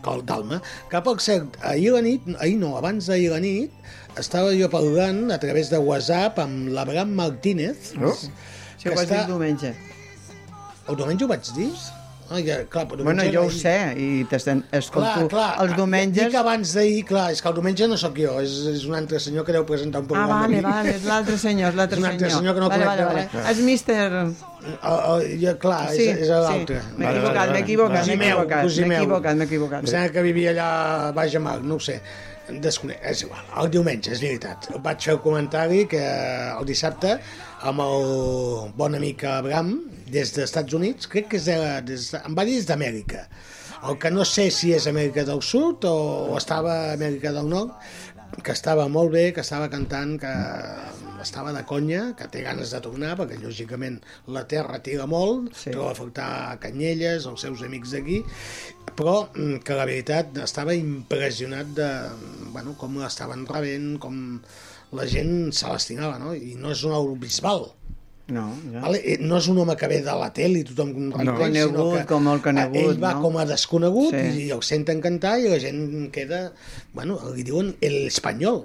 com el Dalma. Cap al cert, ahir la nit, ahir no, abans d'ahir la nit, estava jo parlant a través de WhatsApp amb l'Abraham Martínez,
Oh. Això ho vas dir diumenge.
El diumenge ho vaig dir? Ah, ja, clar, però
Bueno,
diumenge
jo ho
ahir-
sé, i t'estem... Escolto,
Clar, clar, Ah,
els diumenges...
Dic abans d'ahir, clar, és que el diumenge no sóc jo, és, és un altre senyor que deu presentar un
Ah,
programa.
vale,
aquí.
vale,
[LAUGHS]
és l'altre senyor, és l'altre
És un
senyor.
altre senyor que no
vale,
conec
vale,
de
vale.
res.
És míster...
Ah, ah, ja, clar, és,
Sí,
és l'altre.
sí, m'he Vale, equivocat, vale, m'he equivocat,
Cosí
m'he
meu,
equivocat,
cosí
m'he
meu.
equivocat, m'he equivocat.
Em sembla que vivia allà a Baix Amarg, no ho sé. Desconec, és igual, el diumenge, és veritat. Vaig fer el comentari que eh, el dissabte amb el bon amic Abraham, des dels Estats Units, crec que és de, des, em va dir des d'Amèrica. El que no sé si és Amèrica del Sud o, o estava a Amèrica del Nord, que estava molt bé, que estava cantant, que estava de conya, que té ganes de tornar, perquè lògicament la terra tira molt, sí. troba a faltar a Canyelles, els seus amics d'aquí, però mm, que la veritat estava impressionat de bueno, com l'estaven rebent, com la gent se l'estimava, no? I no és un Bisbal,
No, ja.
Vale? Eh, No és un home que ve de la tele i tothom
No. Conegut, com el conegut,
Ell va
no?
com a desconegut i
Sí.
el senten cantar i la gent queda... Bueno, li diuen el espanyol.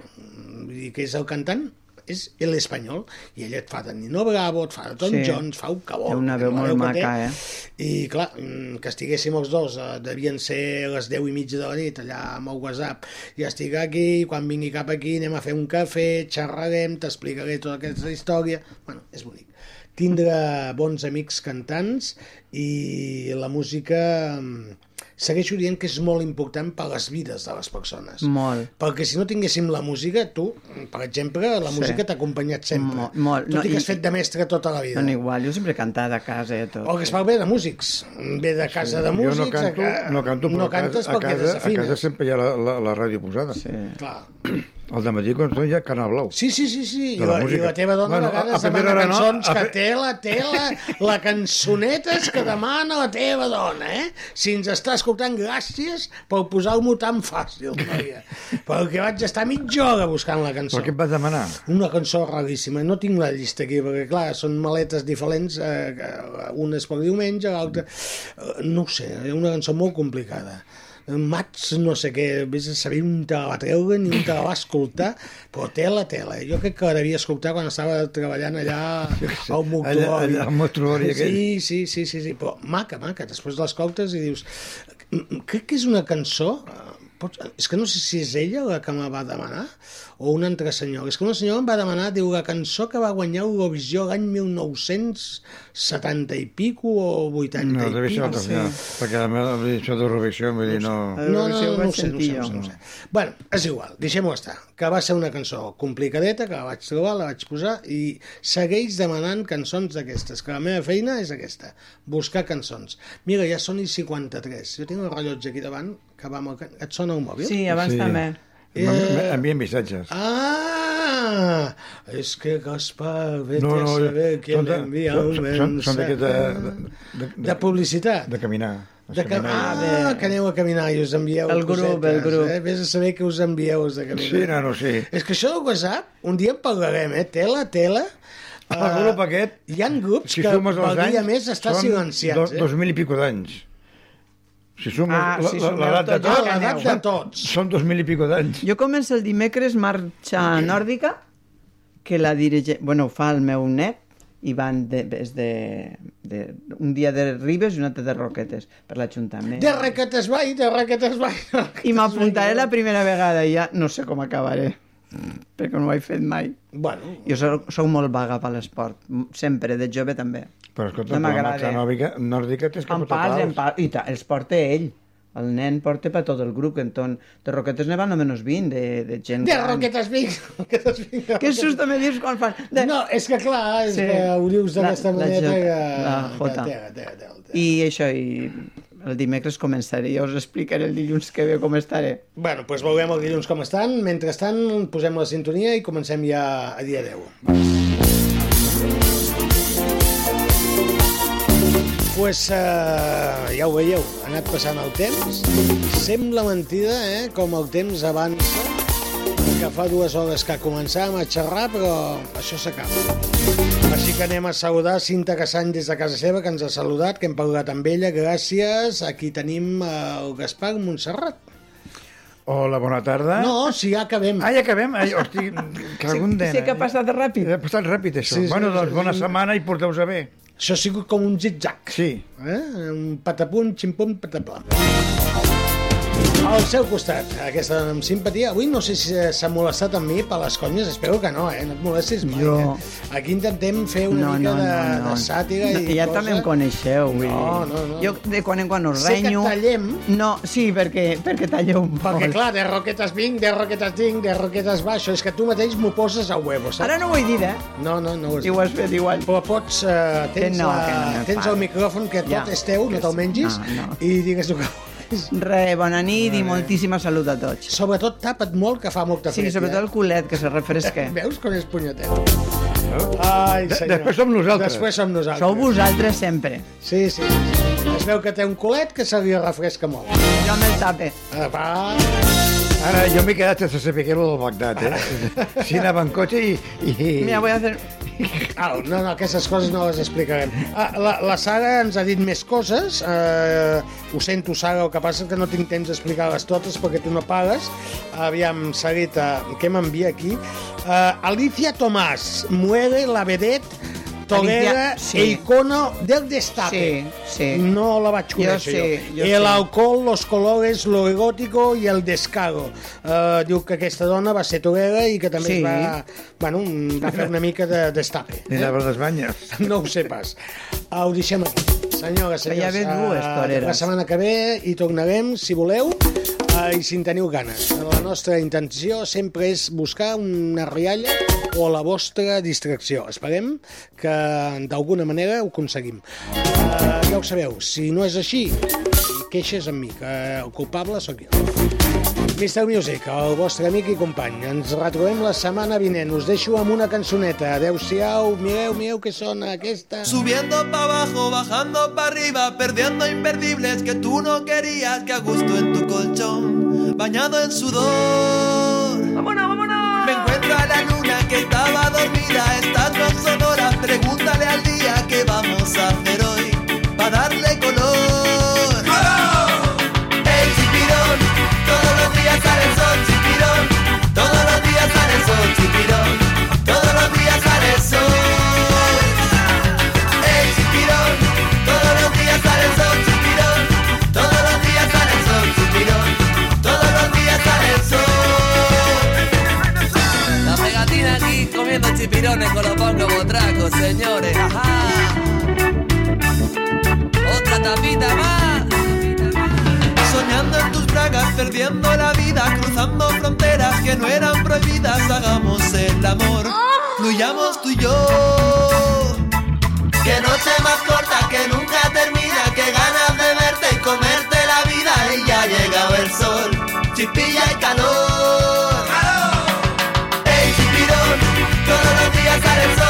Vull dir que és el cantant és el espanyol i ell et fa de Nino Bravo, et fa de Tom
Sí.
Jones, fa el que vol.
Té una veu
La
molt
que té.
maca, eh?
I clar, mm, que estiguéssim els dos, eh, devien ser les 10 i mitja de la nit allà amb el WhatsApp, i estic aquí, i quan vingui cap aquí anem a fer un cafè, xerrarem, t'explicaré tota aquesta història... Bueno, és bonic. Tindre bons amics cantants i la música... mm, Segueixo dient que és molt important per les vides de les persones.
Molt.
Perquè si no tinguéssim la música, tu, mm, per exemple, la
Sí.
música t'ha acompanyat sempre.
Molt, molt.
Tot
No,
i que
i-
has fet de mestre tota la vida.
Bueno, igual, jo sempre he cantat a casa i tot.
O Oh, que es parla bé de músics. Ve de casa de músics...
Jo no canto,
a...
no canto però
no cantes
a casa,
perquè
a casa, a
desafines.
casa sempre hi ha la, la, la ràdio posada. Sí.
Clar.
El de matí quan són ja Canal Blau.
Sí, sí, sí, sí. I
De
la,
la
I
música.
la teva dona
Bueno,
bueno, a
a-
vegades
a primera
demana
hora no,
cançons
a
que
pri-
tela, tela, la cançonetes que demana la teva dona, eh? Si ens està escoltant, gràcies per posar-m'ho tan fàcil, noia. Perquè vaig estar mitja hora buscant la cançó.
Però què et vas demanar?
Una cançó raríssima. No tinc la llista aquí, perquè, clar, són maletes diferents. Eh, que una és per diumenge, l'altra... Eh, no ho sé, és una cançó molt complicada. Mats, no sé què, vés a saber on te la va treure ni on te la va escoltar, però tela, tela. Jo crec que la devia escoltar quan estava treballant allà al Moctuori.
allà- allà al Moctuori aquell.
Sí, sí, sí, sí, sí, però maca, maca. Després l'escoltes i dius... "Mm, Crec que és una cançó... eh, Pot, és que no sé si és ella la que me va demanar o un altre senyor. És que una senyora em va demanar, diu, la cançó que va guanyar Eurovisió l'any 1970 i pico o 80
No,
i
devia ser
pico.
altre, sí. ja, perquè a més devia ser d'Eurovisió, vull dir, no...
No, no, no, no ho sé, no ho sé, no ho sé, no ho sé. Bueno, és igual, deixem-ho estar. Que va ser una cançó complicadeta, que la vaig trobar, la vaig posar, i segueix demanant cançons d'aquestes, que la meva feina és aquesta, buscar cançons. Mira, ja són i 53. Jo tinc el rellotge aquí davant, que va amb el... ca- Et sona un mòbil?
Sí, abans Sí. també.
Eh... Envien missatges.
Ah, és que Gaspar, vete
No, no,
a saber qui
són de-
l'envia
són-
un
són- són d'aquest de-
de, de publicitat.
De caminar.
De
Doncs
que, ah, que aneu a caminar i us envieu
El grup, el grup.
Eh? Vés a saber que us envieu els de caminar.
Sí, nano, sí.
És que això del WhatsApp, un dia en parlarem, eh? Tela, tela. Ah.
El grup aquest...
Hi ha grups
Si
que
sumes els
per dia
anys,
més està
són
silenciats,
Dos,
eh?
dos mil i pico d'anys. Si sumes
Ah,
la-
si
la-
sumeu
l'edat de
tot,
tots...
ja l'edat
de tots.
Són dos mil i pico d'anys.
Jo començo el dimecres marxa nòrdica, que la dirige... Bueno, ho fa el meu net, i van de, des de, de, un dia de Ribes i un altre de Roquetes per l'Ajuntament.
De raquetes vai, de raquetes vai.
I m'apuntaré la primera vegada i ja no sé com acabaré, perquè no ho he fet mai.
Bueno.
Jo sóc, sóc molt vaga per l'esport, sempre, de jove també.
Però escolta,
No
no la
m'agrada.
marxa nòrdica, nòrdica tens que
En
portar
parts, en
pals.
parts, i ta, els porta ell. El nen porta per tot el grup, enton de Roquetes ne van a menys 20, de, de gent
De
gran.
roquetes vinc, roquetes vinc.
Que susto me dius quan fan... De...
No, és que clar, és que ho dius d'aquesta manera
La,
que...
la, jota.
Té, té, té.
I això, i el dimecres començaré. Ja us explicaré el dilluns que ve com estaré.
Bueno, doncs veurem el dilluns com estan. Mentrestant, posem la sintonia i comencem ja a dia 10. pues, eh, ja ho veieu, ha anat passant el temps. Sembla mentida, eh?, com el temps avança, que fa dues hores que començàvem a xerrar, però això s'acaba. Així que anem a saludar Cinta Cassany des de casa seva, que ens ha saludat, que hem parlat amb ella, gràcies. Aquí tenim eh, el Gaspar Montserrat.
Hola, bona tarda.
Eh?
No, si ja acabem.
Ah, ja acabem? Ai, hosti, que algun eh?
sé que ha
passat ràpid.
Ha passat ràpid, això.
Sí, sí,
bueno, doncs,
sí.
bona setmana i porteu-vos a bé.
Això ha sigut com un zig-zag.
Sí.
Eh? Un patapum, ximpum, patapla. Al seu costat, aquesta amb simpatia. Avui no sé si s'ha molestat amb mi per les conyes, espero que no, eh? No et molestis mai.
Jo-
eh? Aquí intentem fer una
No,
mica
no, no,
de,
no.
de sàtira
no,
i
ja
cosa.
també em coneixeu. vull
No,
dir.
no, no.
Jo de quan en quan us
Sé que
renyo...
tallem.
No, sí, perquè, perquè talleu un poc.
Perquè, clar, de roquetes vinc, de roquetes tinc, de roquetes baixo. És que tu mateix m'ho poses a huevo, saps?
Ara no ho he dit, eh?
No, no, no ho has
I ho has fet igual.
Però pots... Eh, tens,
Que no,
la,
que no me
tens
paro.
el micròfon que tot
Ja,
és teu, no te'l mengis.
No, no.
I digues el que...
Re, bona nit i moltíssima salut a tots.
Sobretot tapa't molt, que fa molta
Sí,
fred,
sobretot
ja.
el culet, que se refresca.
Veus com és punyetet? Ai,
De-
senyor.
després som nosaltres.
Després som nosaltres.
Sou vosaltres sempre.
Sí, sí, sí. Es veu que té un culet que se li refresca molt.
Jo me'l tape.
Ah, va.
Ara, jo m'he quedat sense saber què era del Bagdad,
[LAUGHS]
eh? Si anava en cotxe i... i...
Mira, voy a hacer...
Au, Ah, no, no, aquestes coses no les explicarem. Ah, la, la Sara ens ha dit més coses. Eh, ho sento, Sara, el que passa és que no tinc temps d'explicar-les totes perquè tu no pagues. Aviam, Sarita, què m'envia aquí? Eh, Alicia Tomàs, muere la vedet Tolera
Alicia,
sí.
sí.
e icono del destape.
Sí, sí.
No la vaig
Jo
conèixer jo.
sí, jo
el
sí.
alcohol, los colores, lo egótico i el descaro. Uh, diu que aquesta dona va ser torera i que també
Sí.
es va, bueno, mm, va fer una mica de destape.
Ni anava a les banyes.
No ho sé pas. Ah, ho deixem aquí. Senyores,
Que ja
senyors,
ve dues
ah,
toreres.
la setmana que ve hi tornarem, si voleu, ah, i si en teniu ganes. La nostra intenció sempre és buscar una rialla o la vostra distracció. Esperem que d'alguna manera ho aconseguim. Ah, ja ho sabeu, si no és així, queixes amb mi, que el culpable sóc jo. Mr. Music, el vostre amic i company. Ens retrobem la setmana vinent. Us deixo amb una cançoneta. Adéu-siau, mireu, mireu que sona aquesta.
Subiendo para abajo, bajando para arriba, perdiendo imperdibles que tú no querías, que a gusto en tu colchón, bañado en sudor. ¡Vámonos, vámonos! Me encuentro a la luna que estaba dormida, está con sonora, pregúntale al día qué vamos a hacer hoy, para darle color. ¡Hey, chipirón! Todos los días sale el sol, chipirón. Todos los días sale el sol, chipirón. Todos los días sale el sol. ¡Ey, chipirón! Todos los días sale el sol, chipirón. Todos los días sale el sol, chipirón. Todos los días sale el sol. La pegatina aquí comiendo chipirones con los pocos botracos, señores. Ajá. Otra tapita más. Soñando en tus bragas, perdiendo la vida, cruzando fronteras que no eran prohibidas. Hagamos el amor, fluyamos tú y yo. Que noche más corta que nunca termina, que ganas de verte y comerte la vida y ya ha llegado el sol, chispilla y calor. ¡Ey, chipirón! Todos los días sale el sol,